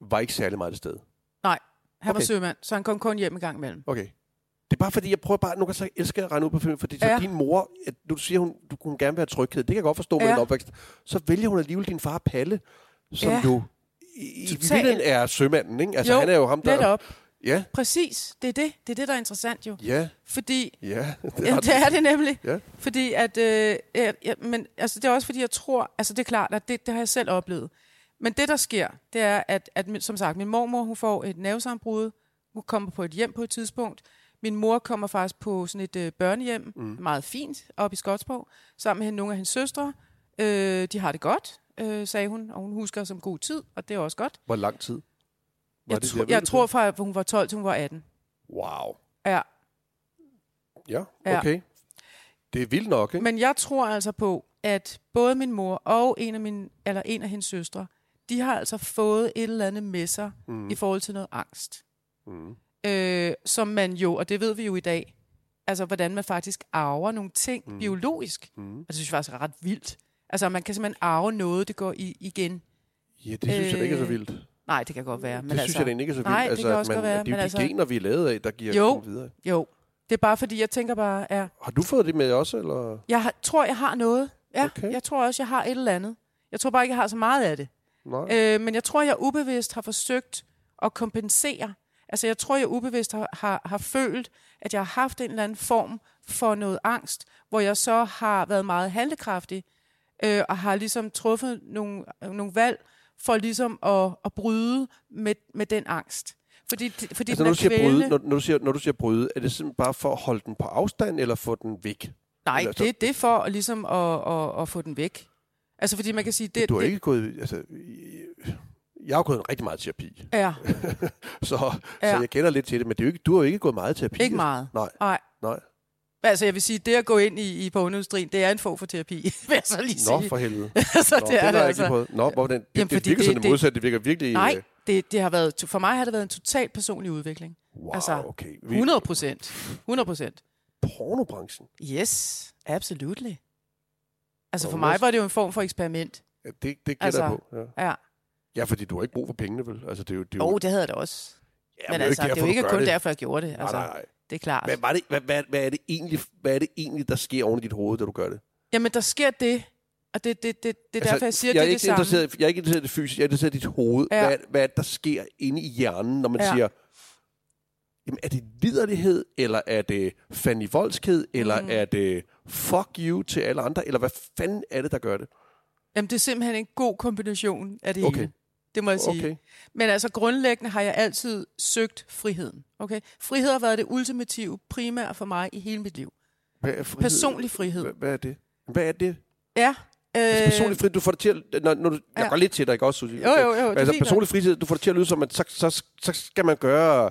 [SPEAKER 1] var ikke særlig meget til stede.
[SPEAKER 2] han okay. var
[SPEAKER 1] Okay.
[SPEAKER 2] sømand, så han kom kun hjem en gang imellem.
[SPEAKER 1] Okay. Det er bare fordi, jeg prøver bare, nu kan jeg så elske at regne ud på film, fordi så
[SPEAKER 2] Ja.
[SPEAKER 1] ja. din mor, at nu siger hun, du kunne gerne vil have tryghed, det kan jeg godt forstå med
[SPEAKER 2] Ja.
[SPEAKER 1] ja. en opvækst, så vælger hun alligevel din far Palle, som
[SPEAKER 2] Ja.
[SPEAKER 1] ja. jo i, i
[SPEAKER 2] Totalt.
[SPEAKER 1] virkeligheden er sømanden, ikke? Altså
[SPEAKER 2] Jo,
[SPEAKER 1] han er jo ham, der
[SPEAKER 2] Netop.
[SPEAKER 1] Ja,
[SPEAKER 2] Præcis, det er det. Det er det, der er interessant jo.
[SPEAKER 1] ja,
[SPEAKER 2] Fordi
[SPEAKER 1] ja.
[SPEAKER 2] Ja, det er det nemlig.
[SPEAKER 1] Ja.
[SPEAKER 2] Ja. Fordi at, øh, ja, ja, men altså, det er også fordi, jeg tror, altså det er klart, at det, det har jeg selv oplevet. Men det, der sker, det er, at, at min- som sagt, min mormor, hun får et nervesambrud. Hun kommer på et hjem på et tidspunkt. Min mor kommer faktisk på sådan et øh, børnehjem, mm. meget fint, op i Skotsborg, sammen med hende, nogle af hendes søstre. Øh, de har det godt, øh, sagde hun, og hun husker som god tid, og det er også godt.
[SPEAKER 1] Hvor lang tid? Var
[SPEAKER 2] Jeg,
[SPEAKER 1] det
[SPEAKER 2] tro,
[SPEAKER 1] der, ved
[SPEAKER 2] jeg
[SPEAKER 1] du
[SPEAKER 2] tror fra, at hun var 12 til hun var 18.
[SPEAKER 1] det? Wow.
[SPEAKER 2] Ja.
[SPEAKER 1] Ja,
[SPEAKER 2] Ja.
[SPEAKER 1] okay. Det er vildt nok, ikke?
[SPEAKER 2] Men jeg tror altså på, at både min mor og en af, mine, eller en af hendes søstre, de har altså fået et eller andet med sig mm. i forhold til noget angst.
[SPEAKER 1] Mm.
[SPEAKER 2] Øh, som man jo, og det ved vi jo i dag, altså hvordan man faktisk arver nogle ting mm. biologisk. Mm. Altså det synes jeg faktisk er ret vildt. Altså man kan simpelthen arve noget, det går i, igen.
[SPEAKER 1] Ja, det synes jeg da ikke er så vildt. Det
[SPEAKER 2] Nej, det kan godt være. Men
[SPEAKER 1] synes
[SPEAKER 2] Øh, altså,
[SPEAKER 1] jeg da egentlig ikke er så vildt.
[SPEAKER 2] nej, det kan
[SPEAKER 1] at
[SPEAKER 2] også
[SPEAKER 1] man,
[SPEAKER 2] godt
[SPEAKER 1] Det
[SPEAKER 2] være,
[SPEAKER 1] er jo
[SPEAKER 2] men
[SPEAKER 1] de
[SPEAKER 2] altså-
[SPEAKER 1] gener, vi er lavet af, der giver
[SPEAKER 2] Jo.
[SPEAKER 1] dem videre.
[SPEAKER 2] Jo, det er bare fordi, jeg tænker bare, ja,
[SPEAKER 1] Har du fået det med også, eller?
[SPEAKER 2] jeg har, tror, jeg har noget. Ja,
[SPEAKER 1] Okay.
[SPEAKER 2] okay. jeg tror også, jeg har et eller andet. Jeg tror bare ikke, jeg har så meget af det.
[SPEAKER 1] Nej. Altså,
[SPEAKER 2] Øh, men jeg tror, jeg ubevidst har forsøgt at kompensere. Altså, jeg tror, jeg ubevidst har, har, har følt, at jeg har haft en eller anden form for noget angst, hvor jeg så har været meget handlekraftig, øh, og har ligesom truffet nogle, nogle valg for ligesom at, at bryde med, med den angst. Fordi, fordi
[SPEAKER 1] altså,
[SPEAKER 2] den
[SPEAKER 1] når
[SPEAKER 2] er
[SPEAKER 1] du, siger bryde,
[SPEAKER 2] kvælende.
[SPEAKER 1] når, når, du siger, når du siger bryde, er det simpelthen bare for at holde den på afstand, eller få den væk?
[SPEAKER 2] Nej,
[SPEAKER 1] Eller så-
[SPEAKER 2] det, det er for at, ligesom at, at, at få den væk. Altså, fordi man kan sige, det,
[SPEAKER 1] Du har
[SPEAKER 2] det
[SPEAKER 1] ikke gået... Altså, i- jeg har gået en rigtig meget i terapi,
[SPEAKER 2] er
[SPEAKER 1] så, ja. så
[SPEAKER 2] Ja.
[SPEAKER 1] jeg kender lidt til det, men det er jo ikke, du har jo ikke gået meget i terapi.
[SPEAKER 2] ikke meget.
[SPEAKER 1] Nej,
[SPEAKER 2] Nej.
[SPEAKER 1] nej.
[SPEAKER 2] Altså, jeg vil sige, det at gå ind i, i pornoindustrien, det er en form for terapi, vil jeg så lige
[SPEAKER 1] Nå,
[SPEAKER 2] sige.
[SPEAKER 1] for helvede.
[SPEAKER 2] altså,
[SPEAKER 1] Nå,
[SPEAKER 2] det
[SPEAKER 1] den
[SPEAKER 2] er det
[SPEAKER 1] har jeg
[SPEAKER 2] altså.
[SPEAKER 1] ikke prøvet. Nå, hvor den, det,
[SPEAKER 2] Jamen,
[SPEAKER 1] det
[SPEAKER 2] fordi
[SPEAKER 1] virker sådan det
[SPEAKER 2] det- det-
[SPEAKER 1] modsat. Det virker virkelig... øh,
[SPEAKER 2] Nej, det, det har været, for mig har det været en total personlig udvikling.
[SPEAKER 1] Wow,
[SPEAKER 2] altså,
[SPEAKER 1] okay. Vi,
[SPEAKER 2] 100 procent. 100 procent.
[SPEAKER 1] Pornobranchen.
[SPEAKER 2] Yes, absolutely. Altså, for
[SPEAKER 1] Og
[SPEAKER 2] mig
[SPEAKER 1] også-
[SPEAKER 2] var det jo en form for eksperiment.
[SPEAKER 1] Ja, det, det gætter
[SPEAKER 2] Altså,
[SPEAKER 1] jeg på. Ja.
[SPEAKER 2] Ja.
[SPEAKER 1] ja, fordi du har ikke brug for pengene, vel? Altså, det er jo... Det er
[SPEAKER 2] Jo,
[SPEAKER 1] jo
[SPEAKER 2] oh, det havde jeg da også.
[SPEAKER 1] ja,
[SPEAKER 2] Men
[SPEAKER 1] er
[SPEAKER 2] altså, det er jo
[SPEAKER 1] du
[SPEAKER 2] ikke
[SPEAKER 1] gør
[SPEAKER 2] kun derfor, jeg gjorde det.
[SPEAKER 1] Nej,
[SPEAKER 2] Altså,
[SPEAKER 1] nej, nej.
[SPEAKER 2] det er klart.
[SPEAKER 1] Hvad, var det, hvad, hvad, hvad, er det egentlig, hvad er det egentlig, der sker oven i dit hoved, da du gør det?
[SPEAKER 2] Jamen, der sker det, og det, det, det, det er derfor, jeg siger,
[SPEAKER 1] Altså, jeg er
[SPEAKER 2] det er
[SPEAKER 1] ikke
[SPEAKER 2] det samme.
[SPEAKER 1] interesseret, Jeg er ikke interesseret i det fysiske, jeg er interesseret i dit hoved. Ja.
[SPEAKER 2] Ja.
[SPEAKER 1] Hvad, er det- hvad er det, der sker inde i hjernen, når man ja.
[SPEAKER 2] Ja.
[SPEAKER 1] siger, jamen, er det liderlighed, eller er det Fanny Voldskhed, eller mm. er det fuck you til alle andre, eller hvad fanden er det, der gør det?
[SPEAKER 2] Jamen, det er simpelthen en god kombination af det
[SPEAKER 1] Okay.
[SPEAKER 2] hele. Det må jeg sige.
[SPEAKER 1] Okay.
[SPEAKER 2] Men altså grundlæggende har jeg altid søgt friheden. Okay? Frihed har været det ultimative primære for mig i hele mit liv.
[SPEAKER 1] Hvad er frihed?
[SPEAKER 2] Personlig frihed.
[SPEAKER 1] Hvad, hvad er det? Hvad er det?
[SPEAKER 2] Ja.
[SPEAKER 1] Altså,
[SPEAKER 2] Øh,
[SPEAKER 1] personlig frihed, du får det til at... Når, når du, jeg
[SPEAKER 2] ja.
[SPEAKER 1] går lidt til dig, ikke også, Susie?
[SPEAKER 2] Jo, jo, jo, det er
[SPEAKER 1] altså,
[SPEAKER 2] fint nok.
[SPEAKER 1] personlig frihed, du får det til at lyde som, at så, så, så skal man gøre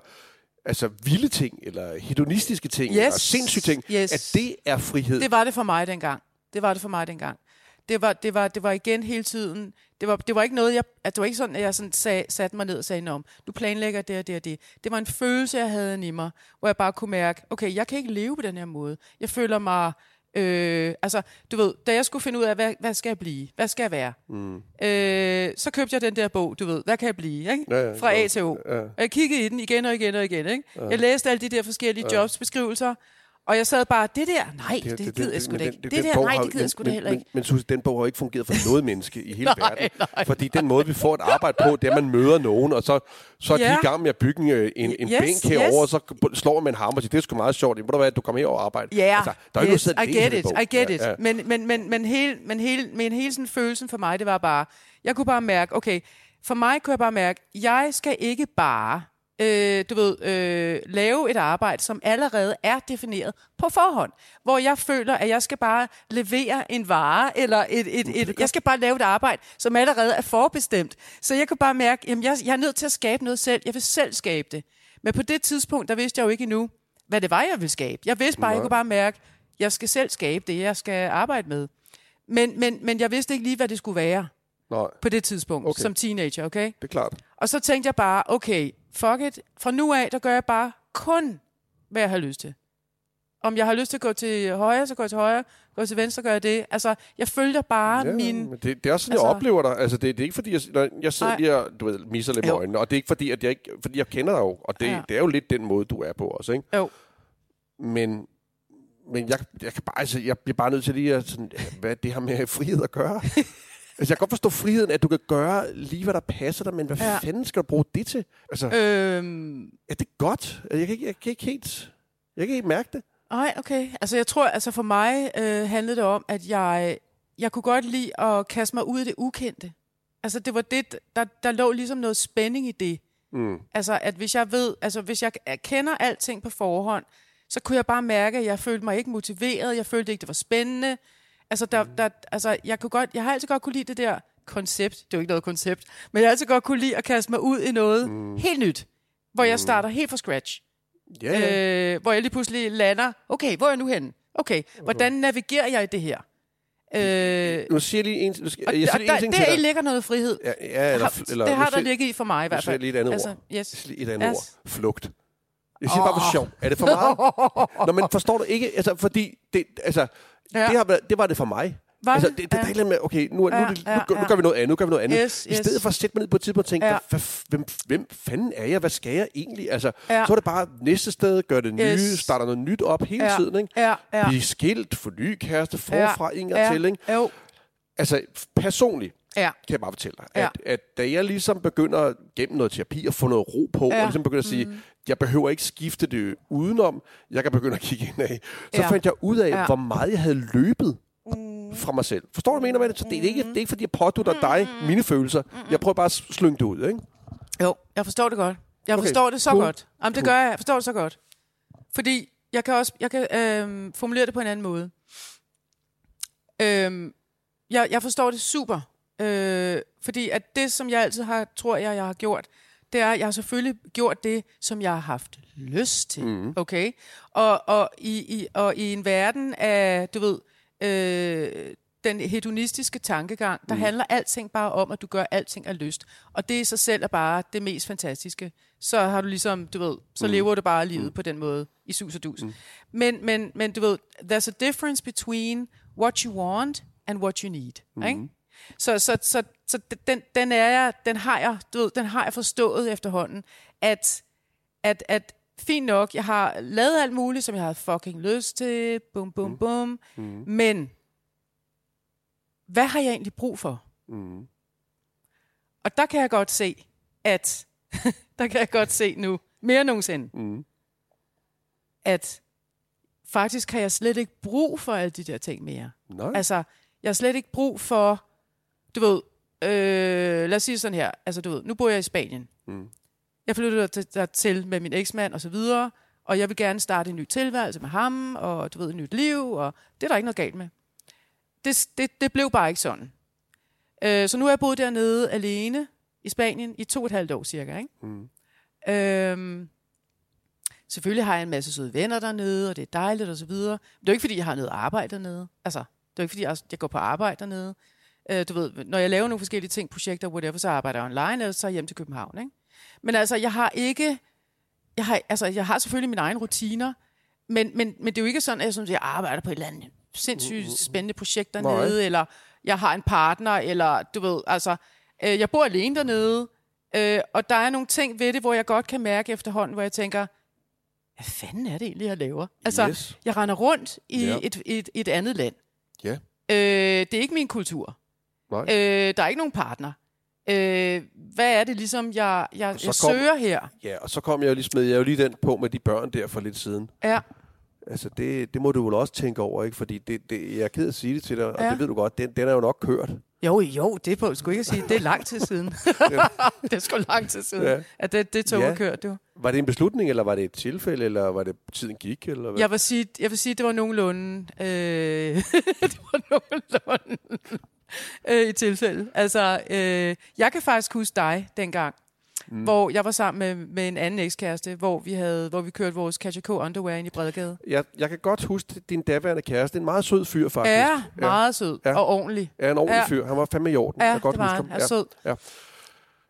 [SPEAKER 1] altså, vilde ting, eller hedonistiske ting,
[SPEAKER 2] Yes.
[SPEAKER 1] eller sindssyge ting.
[SPEAKER 2] Yes.
[SPEAKER 1] At det er frihed.
[SPEAKER 2] det var det for mig dengang. Det var det for mig dengang. Det var, det var, det var igen hele tiden. Det var, det var ikke noget, jeg, at det var ikke sådan, at jeg sådan sag, satte mig ned og sagde, Nå, du planlægger det og det og det. Det var en følelse, jeg havde inde i mig, hvor jeg bare kunne mærke, okay, jeg kan ikke leve på den her måde. Jeg føler mig, øh, altså, du ved, da jeg skulle finde ud af, hvad, hvad skal jeg blive? Hvad skal jeg være? Mm. Øh, så købte jeg den der bog, du ved, hvad kan jeg blive? Ikke?
[SPEAKER 1] Ja, ja,
[SPEAKER 2] Fra
[SPEAKER 1] jo.
[SPEAKER 2] A til O.
[SPEAKER 1] Ja.
[SPEAKER 2] Og jeg kiggede i den igen og igen og igen. Ikke? Jeg læste alle de der forskellige jobsbeskrivelser, og jeg sad bare, det der, nej, det, det gider jeg sgu
[SPEAKER 1] men
[SPEAKER 2] da ikke.
[SPEAKER 1] den-
[SPEAKER 2] Det,
[SPEAKER 1] den
[SPEAKER 2] der,
[SPEAKER 1] bog
[SPEAKER 2] nej,
[SPEAKER 1] har-
[SPEAKER 2] det gider jeg sgu da
[SPEAKER 1] men-
[SPEAKER 2] heller
[SPEAKER 1] men-
[SPEAKER 2] ikke.
[SPEAKER 1] Men Susie, den bog har ikke fungeret for noget menneske i hele
[SPEAKER 2] Nej,
[SPEAKER 1] verden.
[SPEAKER 2] nej,
[SPEAKER 1] Fordi den måde, vi får et arbejde på, det er, at man møder nogen, og så, så er de
[SPEAKER 2] Ja.
[SPEAKER 1] i gang med at bygge øh, en, en
[SPEAKER 2] Yes,
[SPEAKER 1] bænk herover,
[SPEAKER 2] yes.
[SPEAKER 1] og så slår man en hammer og siger, det er sgu meget sjovt. Ved du hvad, du kommer herover og arbejder.
[SPEAKER 2] Ja, yeah,
[SPEAKER 1] altså, der er jo
[SPEAKER 2] yes,
[SPEAKER 1] ikke noget
[SPEAKER 2] I
[SPEAKER 1] sat
[SPEAKER 2] get
[SPEAKER 1] i den
[SPEAKER 2] it,
[SPEAKER 1] bog.
[SPEAKER 2] I get
[SPEAKER 1] Ja,
[SPEAKER 2] it.
[SPEAKER 1] ja.
[SPEAKER 2] Men, men, men, men, hele, men, hele, men hele sådan følelsen for mig, det var bare, jeg kunne bare mærke, okay, for mig kunne jeg bare mærke, jeg skal ikke bare, øh, du ved, øh, lave et arbejde, som allerede er defineret på forhånd, hvor jeg føler, at jeg skal bare levere en vare, eller et, et, et, jeg skal bare lave et arbejde, som allerede er forbestemt. Så jeg kunne bare mærke, jamen jeg, jeg er nødt til at skabe noget selv, jeg vil selv skabe det. Men på det tidspunkt, der vidste jeg jo ikke endnu, hvad det var, jeg ville skabe. Jeg vidste bare, jeg kunne bare mærke, jeg skal selv skabe det, jeg skal arbejde med. Men, men, men jeg vidste ikke lige, hvad det skulle være
[SPEAKER 1] Nej,
[SPEAKER 2] på det tidspunkt,
[SPEAKER 1] Okay.
[SPEAKER 2] okay. som teenager, okay?
[SPEAKER 1] det er klart.
[SPEAKER 2] Og så tænkte jeg bare, okay, fuck it. Fra nu af, der gør jeg bare kun, hvad jeg har lyst til. Om jeg har lyst til at gå til højre, så går jeg til højre. Går jeg til venstre, gør jeg det. Altså, jeg følger bare ja, Ah, min...
[SPEAKER 1] men det, det er også sådan, altså, jeg
[SPEAKER 2] altså-
[SPEAKER 1] oplever dig. Altså, det, det er ikke fordi, jeg, når jeg sidder
[SPEAKER 2] Nej.
[SPEAKER 1] lige og du ved, misser lidt med
[SPEAKER 2] Jo.
[SPEAKER 1] øjnene, og det er ikke fordi, at jeg, ikke, fordi jeg kender dig jo, og det, ja.
[SPEAKER 2] Ja.
[SPEAKER 1] det er jo lidt den måde, du er på også, ikke?
[SPEAKER 2] Jo.
[SPEAKER 1] Men, men jeg, jeg, kan bare, altså, jeg bliver bare nødt til lige at sådan, hvad er det har med frihed at gøre? Altså, jeg kan godt forstå friheden, at du kan gøre lige, hvad der passer dig, men hvad
[SPEAKER 2] Ja.
[SPEAKER 1] ja. fanden skal du bruge det til? Altså, øh.
[SPEAKER 2] Øhm,
[SPEAKER 1] er det godt? Altså, Jeg kan, ikke, jeg kan ikke helt... Jeg kan ikke mærke det.
[SPEAKER 2] Nej, okay. Altså jeg tror, altså for mig øh, handlede det om, at jeg, jeg kunne godt lide at kaste mig ud i det ukendte. Altså det var det, der, der lå ligesom noget spænding i det.
[SPEAKER 1] Mm.
[SPEAKER 2] Altså at hvis jeg ved, altså hvis jeg kender alting på forhånd, så kunne jeg bare mærke, at jeg følte mig ikke motiveret, jeg følte ikke, det var spændende. Altså, der, der, altså jeg, kunne godt, jeg har altid godt kunne lide det der koncept, det er jo ikke noget koncept, men jeg har altid godt kunne lide at kaste mig ud i noget mm. helt nyt, hvor jeg starter helt fra scratch
[SPEAKER 1] Ja, ja.
[SPEAKER 2] øh, hvor jeg lige pludselig lander. Okay, hvor er jeg nu henne? Okay, hvordan navigerer jeg i det her? Øh,
[SPEAKER 1] Nu siger jeg lige en, nu skal,
[SPEAKER 2] og
[SPEAKER 1] jeg
[SPEAKER 2] og
[SPEAKER 1] siger lige
[SPEAKER 2] der,
[SPEAKER 1] en ting til
[SPEAKER 2] der i
[SPEAKER 1] dig.
[SPEAKER 2] ligger noget frihed.
[SPEAKER 1] Ja, ja, eller,
[SPEAKER 2] Har-
[SPEAKER 1] eller,
[SPEAKER 2] det har
[SPEAKER 1] nu
[SPEAKER 2] der
[SPEAKER 1] siger-
[SPEAKER 2] ligget i for mig i
[SPEAKER 1] nu
[SPEAKER 2] hvert
[SPEAKER 1] siger jeg
[SPEAKER 2] fald.
[SPEAKER 1] lige et andet
[SPEAKER 2] Altså,
[SPEAKER 1] ord.
[SPEAKER 2] yes.
[SPEAKER 1] Jeg siger lige et andet
[SPEAKER 2] Yes.
[SPEAKER 1] ord. Flugt. Jeg siger oh. bare, hvor sjov. Er det for meget? Nå, men forstår du ikke? Altså, fordi det, altså, ja. det, har, været- det var det for mig.
[SPEAKER 2] Var
[SPEAKER 1] altså,
[SPEAKER 2] det?
[SPEAKER 1] det, det, det
[SPEAKER 2] Ja.
[SPEAKER 1] er ja. med, okay, nu, ja, nu,
[SPEAKER 2] Ja,
[SPEAKER 1] er det- nu,
[SPEAKER 2] ja,
[SPEAKER 1] ja, nu,
[SPEAKER 2] ja.
[SPEAKER 1] gør vi noget andet, nu gør vi noget andet.
[SPEAKER 2] Yes,
[SPEAKER 1] I
[SPEAKER 2] yes.
[SPEAKER 1] stedet for at sætte mig ned på et tidspunkt og tænke,
[SPEAKER 2] Ja.
[SPEAKER 1] ja. hvem, hvem fanden er jeg? Hvad skal jeg egentlig? Altså,
[SPEAKER 2] Ja.
[SPEAKER 1] ja. så er det bare næste sted, gør det nye,
[SPEAKER 2] Yes.
[SPEAKER 1] yes. starter noget nyt op hele
[SPEAKER 2] Ja,
[SPEAKER 1] tiden, ikke?
[SPEAKER 2] ja, ja.
[SPEAKER 1] Blive skilt, få ny kæreste, forfra, ja. en gang
[SPEAKER 2] ja,
[SPEAKER 1] til, ikke?
[SPEAKER 2] Jo,
[SPEAKER 1] Altså, f- personligt,
[SPEAKER 2] ja,
[SPEAKER 1] kan jeg bare fortælle dig,
[SPEAKER 2] Ja.
[SPEAKER 1] ja. at, at da jeg ligesom begynder gennem noget terapi at få noget ro på,
[SPEAKER 2] Ja.
[SPEAKER 1] ja. og ligesom begynder at sige, mm. jeg behøver ikke skifte det udenom, jeg kan begynde at kigge indad, så
[SPEAKER 2] Ja.
[SPEAKER 1] ja. fandt jeg ud af,
[SPEAKER 2] Ja.
[SPEAKER 1] ja. hvor meget jeg havde løbet mm. fra mig selv. Forstår du, hvad jeg mener med det? Så det er
[SPEAKER 2] Mm.
[SPEAKER 1] ikke, det er ikke fordi jeg pådutter dig mine følelser. Jeg prøver bare at slynge det ud, ikke?
[SPEAKER 2] jo. Jeg forstår det godt. Jeg
[SPEAKER 1] Okay,
[SPEAKER 2] forstår det så
[SPEAKER 1] cool.
[SPEAKER 2] godt. Jamen, det gør jeg. Jeg forstår det så godt. Fordi jeg kan også jeg kan, øhm, formulere det på en anden måde. Øhm, jeg, jeg forstår det super. Øh, fordi at det, som jeg altid har, tror jeg, jeg har gjort, det er, at jeg har selvfølgelig gjort det, som jeg har haft lyst til. Mm. Okay? Og, og, i, i, og i en verden af, du ved, øh, den hedonistiske tankegang, der mm. handler alting bare om, at du gør alting af lyst. Og det i sig selv er bare det mest fantastiske. Så har du ligesom, du ved, så mm. lever du bare livet mm. på den måde, i sus og dus. Mm. Men, men, men du ved, there's a difference between what you want and what you need. Mm. Ikke? Så, så, så, så den, den, er jeg, den, har jeg, du ved, den har jeg forstået efterhånden, at, at, at fint nok, jeg har lavet alt muligt, som jeg har fucking lyst til, bum, bum, mm. bum, mm. men hvad har jeg egentlig brug for? Mm. Og der kan jeg godt se, at, der kan jeg godt se nu, mere end nogensinde, mm. at faktisk har jeg slet ikke brug for alle de der ting mere.
[SPEAKER 1] Nej. Altså,
[SPEAKER 2] Altså, jeg har slet ikke brug for, du ved, øh, lad os sige sådan her, altså du ved, nu bor jeg i Spanien. Mm. Jeg flyttede der- dertil med min eksmand og så videre, og jeg vil gerne starte en ny tilværelse med ham, og du ved, et nyt liv, og det er der ikke noget galt med. Det, det, det blev bare ikke sådan. Øh, så nu har jeg boet dernede alene i Spanien i to og et halvt år cirka, ikke? Mm. Øhm, selvfølgelig har jeg en masse søde venner dernede, og det er dejligt og så videre. Men det er jo ikke, fordi jeg har noget arbejde dernede. Altså, det er jo ikke, fordi jeg, jeg går på arbejde dernede. Øh, du ved, når jeg laver nogle forskellige ting, projekter, whatever, så arbejder jeg online, eller så tager jeg hjem til København, ikke? Men altså, jeg har ikke... Jeg har, altså, jeg har selvfølgelig mine egne rutiner, men, men, men det er jo ikke sådan, at jeg, synes, jeg arbejder på et eller andet sindssygt spændende projekt dernede, Nej. eller jeg har en partner, eller du ved, altså, øh, jeg bor alene dernede, øh, og der er nogle ting ved det, hvor jeg godt kan mærke efterhånden, hvor jeg tænker, hvad fanden er det egentlig, jeg laver? Altså,
[SPEAKER 1] Yes.
[SPEAKER 2] jeg render rundt i
[SPEAKER 1] Ja.
[SPEAKER 2] et, et, et andet land.
[SPEAKER 1] ja.
[SPEAKER 2] Øh, det er ikke min kultur.
[SPEAKER 1] Nej.
[SPEAKER 2] Øh, der er ikke nogen partner. Øh, hvad er det ligesom, jeg, jeg,
[SPEAKER 1] Så
[SPEAKER 2] jeg
[SPEAKER 1] kom-
[SPEAKER 2] søger her?
[SPEAKER 1] ja, og så kom jeg jo lige, smed jeg jo lige den på med de børn der for lidt siden.
[SPEAKER 2] Ja,
[SPEAKER 1] Altså, det, det må du vel også tænke over, ikke? Fordi det, det, jeg er ked af at sige det til dig, og
[SPEAKER 2] Ja.
[SPEAKER 1] det ved du godt, den, den er jo nok kørt.
[SPEAKER 2] Jo, jo, det på, skulle ikke at sige, det er lang tid siden. det er sgu lang tid siden, ja.
[SPEAKER 1] Ja.
[SPEAKER 2] at det, det tog ja.
[SPEAKER 1] Ja.
[SPEAKER 2] og kørte. Jo.
[SPEAKER 1] Var det en beslutning, eller var det et tilfælde, eller var det tiden gik? Eller hvad?
[SPEAKER 2] Jeg vil sige, jeg vil sige, det var nogenlunde, øh, det var nogenlunde øh, i tilfælde. Altså, øh, jeg kan faktisk huske dig dengang, mm. hvor jeg var sammen med, med en anden ekskæreste, hvor vi havde, hvor vi kørte vores Katja K. underwear ind i Bredgade.
[SPEAKER 1] Jeg, jeg kan godt huske din daværende kæreste. En meget sød fyr, faktisk.
[SPEAKER 2] Ja, meget sød
[SPEAKER 1] Ja.
[SPEAKER 2] og ordentlig.
[SPEAKER 1] Ja, en ordentlig
[SPEAKER 2] Ja.
[SPEAKER 1] ja. fyr. Han var fandme i orden.
[SPEAKER 2] Ja,
[SPEAKER 1] jeg kan godt
[SPEAKER 2] det var
[SPEAKER 1] huske
[SPEAKER 2] han.
[SPEAKER 1] ham.
[SPEAKER 2] Ja, sød.
[SPEAKER 1] Ja.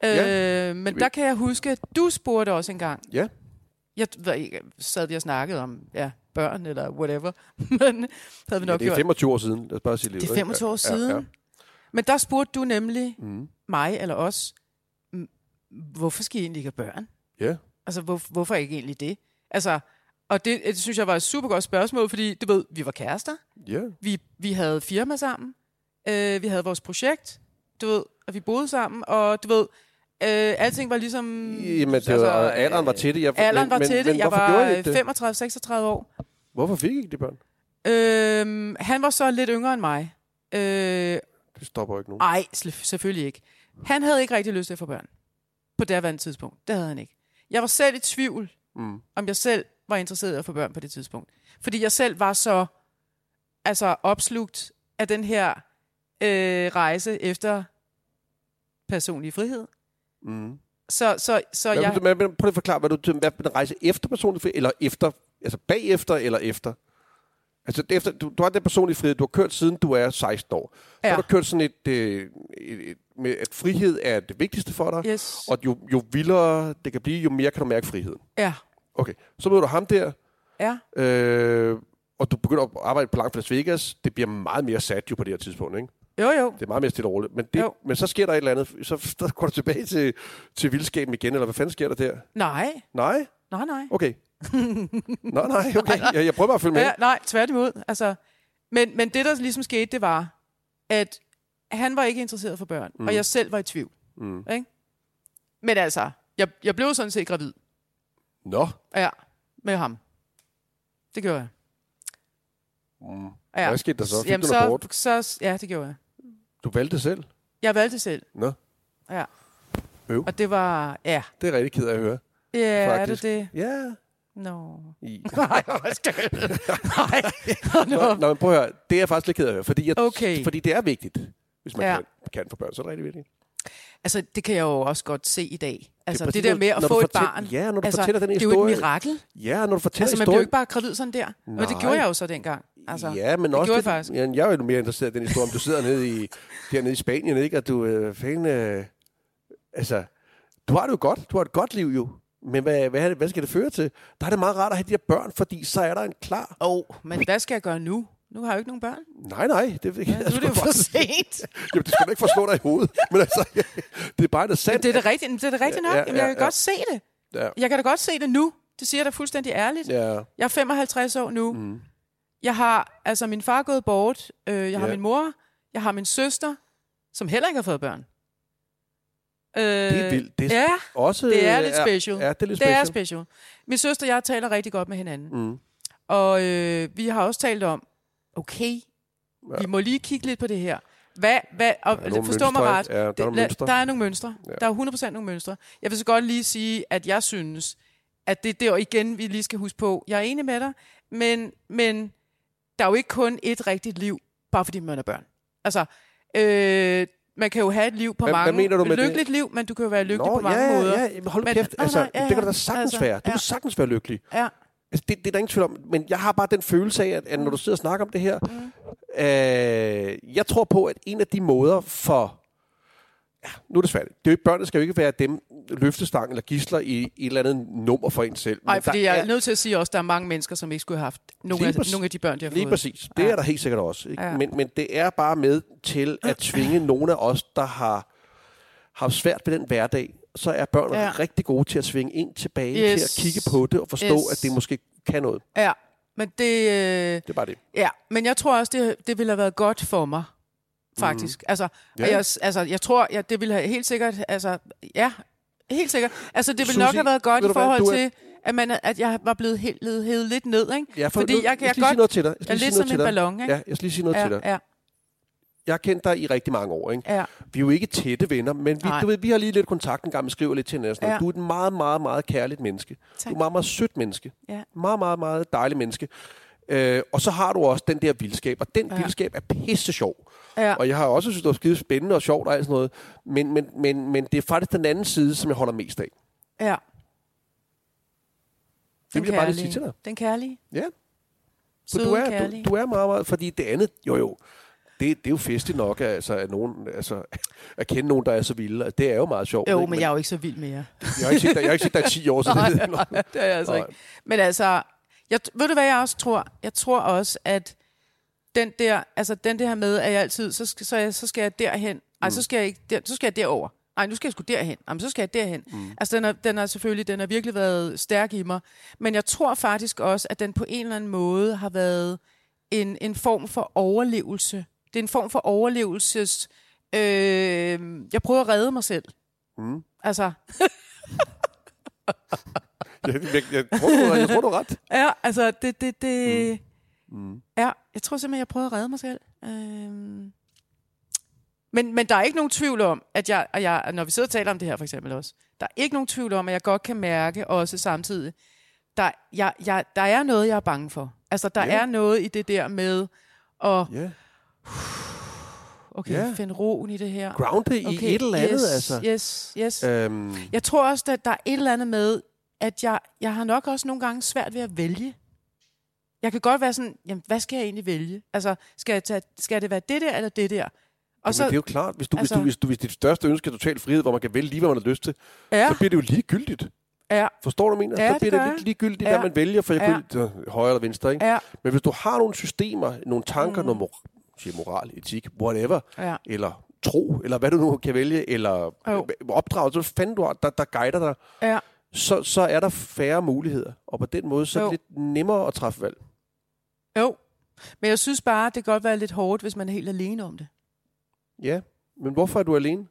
[SPEAKER 2] Øh, men der kan jeg huske, at du spurgte også engang,
[SPEAKER 1] ja.
[SPEAKER 2] jeg ved ikke, sad vi og snakkede om ja, børn eller whatever, men det havde vi
[SPEAKER 1] ja
[SPEAKER 2] nok
[SPEAKER 1] det er
[SPEAKER 2] gjort.
[SPEAKER 1] 25 år siden. Lad os bare sige lidt.
[SPEAKER 2] det er
[SPEAKER 1] ikke?
[SPEAKER 2] 25 år
[SPEAKER 1] Ja,
[SPEAKER 2] siden.
[SPEAKER 1] Ja,
[SPEAKER 2] Ja,
[SPEAKER 1] ja.
[SPEAKER 2] Men der spurgte du nemlig
[SPEAKER 1] Mm.
[SPEAKER 2] mig eller os, "M, hvorfor skal I egentlig ikke have børn?
[SPEAKER 1] ja.
[SPEAKER 2] Altså, hvor, hvorfor ikke egentlig det? Altså, og det, det synes jeg var et super godt spørgsmål, fordi du ved, vi var kærester,
[SPEAKER 1] ja.
[SPEAKER 2] vi, vi havde firma sammen, øh, vi havde vores projekt, du ved, at vi boede sammen, og du ved, øh, alting var ligesom... øh,
[SPEAKER 1] Jamen, det var, alderen var til det. Jeg,
[SPEAKER 2] Alderen
[SPEAKER 1] men-
[SPEAKER 2] var
[SPEAKER 1] men,
[SPEAKER 2] til det.
[SPEAKER 1] Men,
[SPEAKER 2] jeg
[SPEAKER 1] hvorfor gjorde I
[SPEAKER 2] var øh,
[SPEAKER 1] ikke det?
[SPEAKER 2] 35-36 år.
[SPEAKER 1] Hvorfor fik I ikke de børn?
[SPEAKER 2] Øhm, han var så lidt yngre end mig. Øh,
[SPEAKER 1] Det stopper jo ikke nogen.
[SPEAKER 2] ej, sel- selvfølgelig ikke. Han havde ikke rigtig lyst til at få børn. På daværende tidspunkt. Det havde han ikke. Jeg var selv i tvivl,
[SPEAKER 1] Mm.
[SPEAKER 2] om jeg selv var interesseret i at få børn på det tidspunkt. Fordi jeg selv var så altså opslugt af den her øh, rejse efter personlig frihed.
[SPEAKER 1] Mm.
[SPEAKER 2] Så, så, så
[SPEAKER 1] Hvad,
[SPEAKER 2] jeg...
[SPEAKER 1] jeg... men, men, prøv lige at forklare, hvad du hvad den rejse efter personlig frihed, eller efter, altså bagefter eller efter? Altså, det efter, du, du har den personlige frihed, du har kørt siden du er 16 år. Ja. Så har
[SPEAKER 2] Ja.
[SPEAKER 1] du kørt sådan et, øh, et, et, med, at frihed er det vigtigste for dig,
[SPEAKER 2] Yes.
[SPEAKER 1] og jo, jo vildere det kan blive, jo mere kan du mærke friheden.
[SPEAKER 2] Ja.
[SPEAKER 1] Okay, så møder du ham der,
[SPEAKER 2] Ja.
[SPEAKER 1] øh, og du begynder at arbejde på langt Las Vegas. Det bliver meget mere sat jo på det her tidspunkt, ikke?
[SPEAKER 2] Jo, jo.
[SPEAKER 1] Det er meget mere stille og roligt. Men, det,
[SPEAKER 2] Jo.
[SPEAKER 1] men så sker der et eller andet, så så går du tilbage til, til vildskaben igen, eller hvad fanden sker der der?
[SPEAKER 2] Nej.
[SPEAKER 1] Nej?
[SPEAKER 2] Nej, nej.
[SPEAKER 1] Okay. Nå, nej, okay. Jeg, jeg prøver bare at følge med.
[SPEAKER 2] Ja, nej, tværtimod. Altså, men, men det, der ligesom skete, det var, at han var ikke interesseret for børn, mm. og jeg selv var i tvivl.
[SPEAKER 1] Mm.
[SPEAKER 2] Ikke? Men altså, jeg, jeg blev sådan set gravid.
[SPEAKER 1] Nå.
[SPEAKER 2] Ja, med ham. Det gjorde jeg.
[SPEAKER 1] Mm.
[SPEAKER 2] Ja.
[SPEAKER 1] Hvad skete der så? Fik
[SPEAKER 2] Jamen,
[SPEAKER 1] du en
[SPEAKER 2] så,
[SPEAKER 1] abort?
[SPEAKER 2] så, ja, det gjorde jeg.
[SPEAKER 1] Du valgte selv.
[SPEAKER 2] Jeg valgte det selv,
[SPEAKER 1] Nå,
[SPEAKER 2] og det var... Ja,
[SPEAKER 1] det er jeg rigtig ked af at høre.
[SPEAKER 2] ja er
[SPEAKER 1] Faktisk.
[SPEAKER 2] det det?
[SPEAKER 1] Ja.
[SPEAKER 2] No.
[SPEAKER 1] I.
[SPEAKER 2] Nej, hvad skal jeg? Nej.
[SPEAKER 1] Nå,
[SPEAKER 2] Nå.
[SPEAKER 1] nå, men prøv at høre. Det er jeg faktisk lidt ked af at høre, fordi, jeg,
[SPEAKER 2] Okay.
[SPEAKER 1] fordi det er vigtigt. Hvis man ja.
[SPEAKER 2] Ja.
[SPEAKER 1] kan, kan få børn, så er det rigtig vigtigt.
[SPEAKER 2] Altså, det kan jeg jo også godt se i dag. Altså, det,
[SPEAKER 1] præcis,
[SPEAKER 2] det der
[SPEAKER 1] når-
[SPEAKER 2] med at
[SPEAKER 1] når du
[SPEAKER 2] få et
[SPEAKER 1] fortæl-
[SPEAKER 2] barn.
[SPEAKER 1] Ja, når du
[SPEAKER 2] altså,
[SPEAKER 1] fortæller den
[SPEAKER 2] det er jo
[SPEAKER 1] historie.
[SPEAKER 2] et mirakel.
[SPEAKER 1] Ja, når du fortæller
[SPEAKER 2] Altså, man bliver jo
[SPEAKER 1] historien.
[SPEAKER 2] ikke bare gravid sådan der. Nej. Og
[SPEAKER 1] Nej.
[SPEAKER 2] det gjorde jeg jo så dengang. Altså,
[SPEAKER 1] ja, men
[SPEAKER 2] det
[SPEAKER 1] også
[SPEAKER 2] gjorde
[SPEAKER 1] det,
[SPEAKER 2] jeg faktisk.
[SPEAKER 1] Ja, jeg er jo mere interesseret i den historie, om du sidder nede i, dernede i Spanien, ikke? Og du, øh, fanden, øh, altså, du har det jo godt. Du har et godt liv jo. Men hvad, hvad, er det- hvad skal det føre til? Der er det meget rart at have de her børn, fordi så er der en klar...
[SPEAKER 2] Åh, oh, men hvad skal jeg gøre nu? Nu har jeg jo ikke nogen børn.
[SPEAKER 1] Nej, nej. Det,
[SPEAKER 2] Ja, nu er det jo for sent.
[SPEAKER 1] Jamen, det skal du ikke forstå dig i hovedet. Men altså, det er bare det sandt.
[SPEAKER 2] Det er det rigtigt, det er det rigtigt
[SPEAKER 1] Ja,
[SPEAKER 2] nok.
[SPEAKER 1] ja,
[SPEAKER 2] Jamen,
[SPEAKER 1] ja,
[SPEAKER 2] jeg kan
[SPEAKER 1] ja.
[SPEAKER 2] godt se det.
[SPEAKER 1] Ja.
[SPEAKER 2] Jeg kan da godt se det nu. Det siger jeg da fuldstændig ærligt.
[SPEAKER 1] Ja.
[SPEAKER 2] Jeg er 55 år nu.
[SPEAKER 1] Mm.
[SPEAKER 2] Jeg har, altså min far er gået bort. Øh, jeg har
[SPEAKER 1] Ja.
[SPEAKER 2] min mor. Jeg har min søster, som heller ikke har fået børn. Øh,
[SPEAKER 1] Det er vildt. Det er
[SPEAKER 2] Ja,
[SPEAKER 1] også...
[SPEAKER 2] det er
[SPEAKER 1] øh,
[SPEAKER 2] lidt special.
[SPEAKER 1] Ja, det er lidt
[SPEAKER 2] det er Altså,
[SPEAKER 1] special.
[SPEAKER 2] special. Min søster og jeg taler rigtig godt med hinanden.
[SPEAKER 1] Mm.
[SPEAKER 2] Og øh, vi har også talt om, okay,
[SPEAKER 1] Ja.
[SPEAKER 2] ja. vi må lige kigge lidt på det her. Hvad, hvad, og,
[SPEAKER 1] Der er nogle
[SPEAKER 2] forstå mig
[SPEAKER 1] mønstre,
[SPEAKER 2] ret.
[SPEAKER 1] ikke? Ja, der er nogle
[SPEAKER 2] la-
[SPEAKER 1] mønstre.
[SPEAKER 2] der er nogle mønstre.
[SPEAKER 1] Ja.
[SPEAKER 2] Ja. Der er 100% nogle mønstre. Jeg vil så godt lige sige, at jeg synes, at det er der igen, vi lige skal huske på. Jeg er enig med dig, men, men der er jo ikke kun et rigtigt liv, bare fordi man er børn. Altså, øh, man kan jo have et liv på
[SPEAKER 1] Hvad- hvad
[SPEAKER 2] mange...
[SPEAKER 1] mener du med det?
[SPEAKER 2] lykkeligt liv, men du kan jo være lykkelig
[SPEAKER 1] Nå,
[SPEAKER 2] på mange
[SPEAKER 1] ja,
[SPEAKER 2] måder.
[SPEAKER 1] Ja, ja, men hold nu
[SPEAKER 2] Men-
[SPEAKER 1] kæft.
[SPEAKER 2] nej,
[SPEAKER 1] Altså,
[SPEAKER 2] nej, ja,
[SPEAKER 1] det kan du
[SPEAKER 2] ja.
[SPEAKER 1] da sagtens
[SPEAKER 2] Altså,
[SPEAKER 1] være. Du
[SPEAKER 2] ja.
[SPEAKER 1] kan sagtens være lykkelig.
[SPEAKER 2] ja.
[SPEAKER 1] Altså, det, det er der ingen tvivl om. Men jeg har bare den følelse af, at, at
[SPEAKER 2] Mm.
[SPEAKER 1] når du sidder og snakker om det her, øh, jeg tror på, at en af de måder for... Ja, nu er det svært. Det er jo ikke, børnene skal jo ikke være dem løftestang eller gisler i et eller andet nummer for en selv. Men
[SPEAKER 2] Nej,
[SPEAKER 1] der
[SPEAKER 2] fordi jeg
[SPEAKER 1] er-
[SPEAKER 2] er nødt til at sige også, at der er mange mennesker, som ikke skulle have haft nogle, af,
[SPEAKER 1] Lige præcis.
[SPEAKER 2] nogle af de børn, de har
[SPEAKER 1] Lige
[SPEAKER 2] fået.
[SPEAKER 1] præcis. Det
[SPEAKER 2] Ja.
[SPEAKER 1] er der helt sikkert også. Ikke? Ja.
[SPEAKER 2] Ja.
[SPEAKER 1] Men, men det er bare med til at tvinge nogle af os, der har har svært ved den hverdag, så er børn ja.
[SPEAKER 2] Ja.
[SPEAKER 1] rigtig gode til at svinge ind tilbage, yes.
[SPEAKER 2] Yes.
[SPEAKER 1] til at kigge på det og forstå, yes.
[SPEAKER 2] Yes.
[SPEAKER 1] at det måske kan noget.
[SPEAKER 2] Ja, men det... Øh,
[SPEAKER 1] Det er bare det.
[SPEAKER 2] ja, men jeg tror også, det, det ville have været godt for mig,
[SPEAKER 1] Mhm.
[SPEAKER 2] faktisk. Mm. Altså,
[SPEAKER 1] Ja.
[SPEAKER 2] ja. jeg, altså, jeg tror, jeg, det ville have helt sikkert... Altså, ja, helt sikkert. Altså, det ville
[SPEAKER 1] Susie,
[SPEAKER 2] nok have været godt
[SPEAKER 1] ved du
[SPEAKER 2] i
[SPEAKER 1] hvad,
[SPEAKER 2] forhold
[SPEAKER 1] du er-
[SPEAKER 2] til, at, man, at jeg var blevet helt, ledet, hævet lidt ned, ikke?
[SPEAKER 1] Ja,
[SPEAKER 2] Fordi jeg kan-
[SPEAKER 1] jeg
[SPEAKER 2] jeg
[SPEAKER 1] skal lige sige
[SPEAKER 2] godt-
[SPEAKER 1] noget til dig. Jeg
[SPEAKER 2] Jeg er
[SPEAKER 1] skal lige
[SPEAKER 2] lidt
[SPEAKER 1] sige
[SPEAKER 2] som
[SPEAKER 1] noget
[SPEAKER 2] en
[SPEAKER 1] til dig.
[SPEAKER 2] ballon, ikke?
[SPEAKER 1] Ja, jeg skal lige sige noget til dig.
[SPEAKER 2] ja, ja,
[SPEAKER 1] Jeg har kendt dig i rigtig mange år, ikke?
[SPEAKER 2] ja.
[SPEAKER 1] Vi er jo ikke tætte venner, men vi,
[SPEAKER 2] Nej.
[SPEAKER 1] du ved, vi har lige lidt kontakt en gang, vi skriver lidt til hinanden. og sådan noget.
[SPEAKER 2] Ja.
[SPEAKER 1] Du er et meget, meget, meget kærligt menneske. Du
[SPEAKER 2] Tak.
[SPEAKER 1] er et meget, meget sødt menneske.
[SPEAKER 2] Ja.
[SPEAKER 1] Meget, meget, meget dejligt menneske. Øh, og så har du også den der vildskab, og den ja.
[SPEAKER 2] Ja.
[SPEAKER 1] vildskab er pisse sjov.
[SPEAKER 2] ja.
[SPEAKER 1] Og jeg har også synes, det var skide spændende og sjovt og alt sådan noget. Men, men, men, men det er faktisk den anden side, som jeg holder mest af.
[SPEAKER 2] ja. Den
[SPEAKER 1] vil jeg bare lige
[SPEAKER 2] kærlige.
[SPEAKER 1] sige til dig.
[SPEAKER 2] Den kærlige.
[SPEAKER 1] Ja, for
[SPEAKER 2] Søde
[SPEAKER 1] du er,
[SPEAKER 2] kærlige.
[SPEAKER 1] du, du er meget, meget, fordi det andet, jo jo, det, det er jo festligt nok, altså, at, nogen, altså, at kende nogen, der er så vilde. Altså, Det er jo meget sjovt.
[SPEAKER 2] Jo,
[SPEAKER 1] ikke?
[SPEAKER 2] men jeg er jo ikke så vild mere.
[SPEAKER 1] jeg har ikke set dig, jeg har ikke set dig i 10 år, så det er
[SPEAKER 2] Nej, det er jeg altså
[SPEAKER 1] Nej.
[SPEAKER 2] ikke. Men altså, jeg, ved du hvad jeg også tror? Jeg tror også, at den der, altså den der med, at jeg altid, så skal, så, jeg, så skal jeg derhen. Ej, så skal jeg ikke der, så skal jeg derover. Ej, nu skal jeg sgu derhen. Jamen, så skal jeg derhen. Mm. Altså, den har, den har selvfølgelig, den har virkelig været stærk i mig. Men jeg tror faktisk også, at den på en eller anden måde har været en, en form for overlevelse. Det er en form for overlevelses Øh, jeg prøver at redde mig selv.
[SPEAKER 1] Mm.
[SPEAKER 2] Altså,
[SPEAKER 1] Jeg, jeg, jeg, tror, du, har- jeg tror, du har ret.
[SPEAKER 2] ja, altså det, det, det... Mm.
[SPEAKER 1] Mm.
[SPEAKER 2] Ja, jeg tror simpelthen, jeg prøvede at redde mig selv. Øhm. Men, men der er ikke nogen tvivl om, at jeg, og jeg, når vi sidder og taler om det her for eksempel også, der er ikke nogen tvivl om, at jeg godt kan mærke også samtidig, der, jeg, jeg, der er noget, jeg er bange for. Altså, der
[SPEAKER 1] Ja.
[SPEAKER 2] er noget i det der med at
[SPEAKER 1] Ja.
[SPEAKER 2] okay,
[SPEAKER 1] Ja.
[SPEAKER 2] finde roen i det her.
[SPEAKER 1] Groundet i
[SPEAKER 2] Okay,
[SPEAKER 1] et eller andet,
[SPEAKER 2] yes,
[SPEAKER 1] altså.
[SPEAKER 2] Yes, yes.
[SPEAKER 1] Øhm,
[SPEAKER 2] Jeg tror også, at der er et eller andet med, at jeg, jeg har nok også nogle gange svært ved at vælge. Jeg kan godt være sådan, jamen, hvad skal jeg egentlig vælge? Altså, skal, jeg tage, skal det være det der eller det der? Og
[SPEAKER 1] så,
[SPEAKER 2] så,
[SPEAKER 1] men det er jo klart, hvis, du, altså,
[SPEAKER 2] altså-
[SPEAKER 1] hvis, du, hvis, du, hvis dit største ønske er total frihed, hvor man kan vælge lige, hvad man har lyst til,
[SPEAKER 2] ja,
[SPEAKER 1] så bliver det jo ligegyldigt.
[SPEAKER 2] ja,
[SPEAKER 1] Forstår du, hvad jeg mener?
[SPEAKER 2] Ja,
[SPEAKER 1] så
[SPEAKER 2] det
[SPEAKER 1] bliver
[SPEAKER 2] gør
[SPEAKER 1] det,
[SPEAKER 2] jeg.
[SPEAKER 1] lidt ligegyldigt,
[SPEAKER 2] Ja.
[SPEAKER 1] hvad man vælger, for jeg
[SPEAKER 2] Ja.
[SPEAKER 1] kunne, øh, højre eller venstre, ikke?
[SPEAKER 2] ja,
[SPEAKER 1] Men hvis du har nogle systemer, nogle tanker, mm. noget mor- siger moral, etik, whatever,
[SPEAKER 2] ja.
[SPEAKER 1] eller tro, eller hvad du nu kan vælge, eller
[SPEAKER 2] Jo.
[SPEAKER 1] øh, opdragelse, hvad fanden du har, der, der guider dig,
[SPEAKER 2] Ja.
[SPEAKER 1] så, så er der færre muligheder. Og på den måde, så er det
[SPEAKER 2] Jo.
[SPEAKER 1] lidt nemmere at træffe valg.
[SPEAKER 2] Jo. Men jeg synes bare, det kan godt være lidt hårdt, hvis man er helt alene om det.
[SPEAKER 1] Ja, men hvorfor er du alene?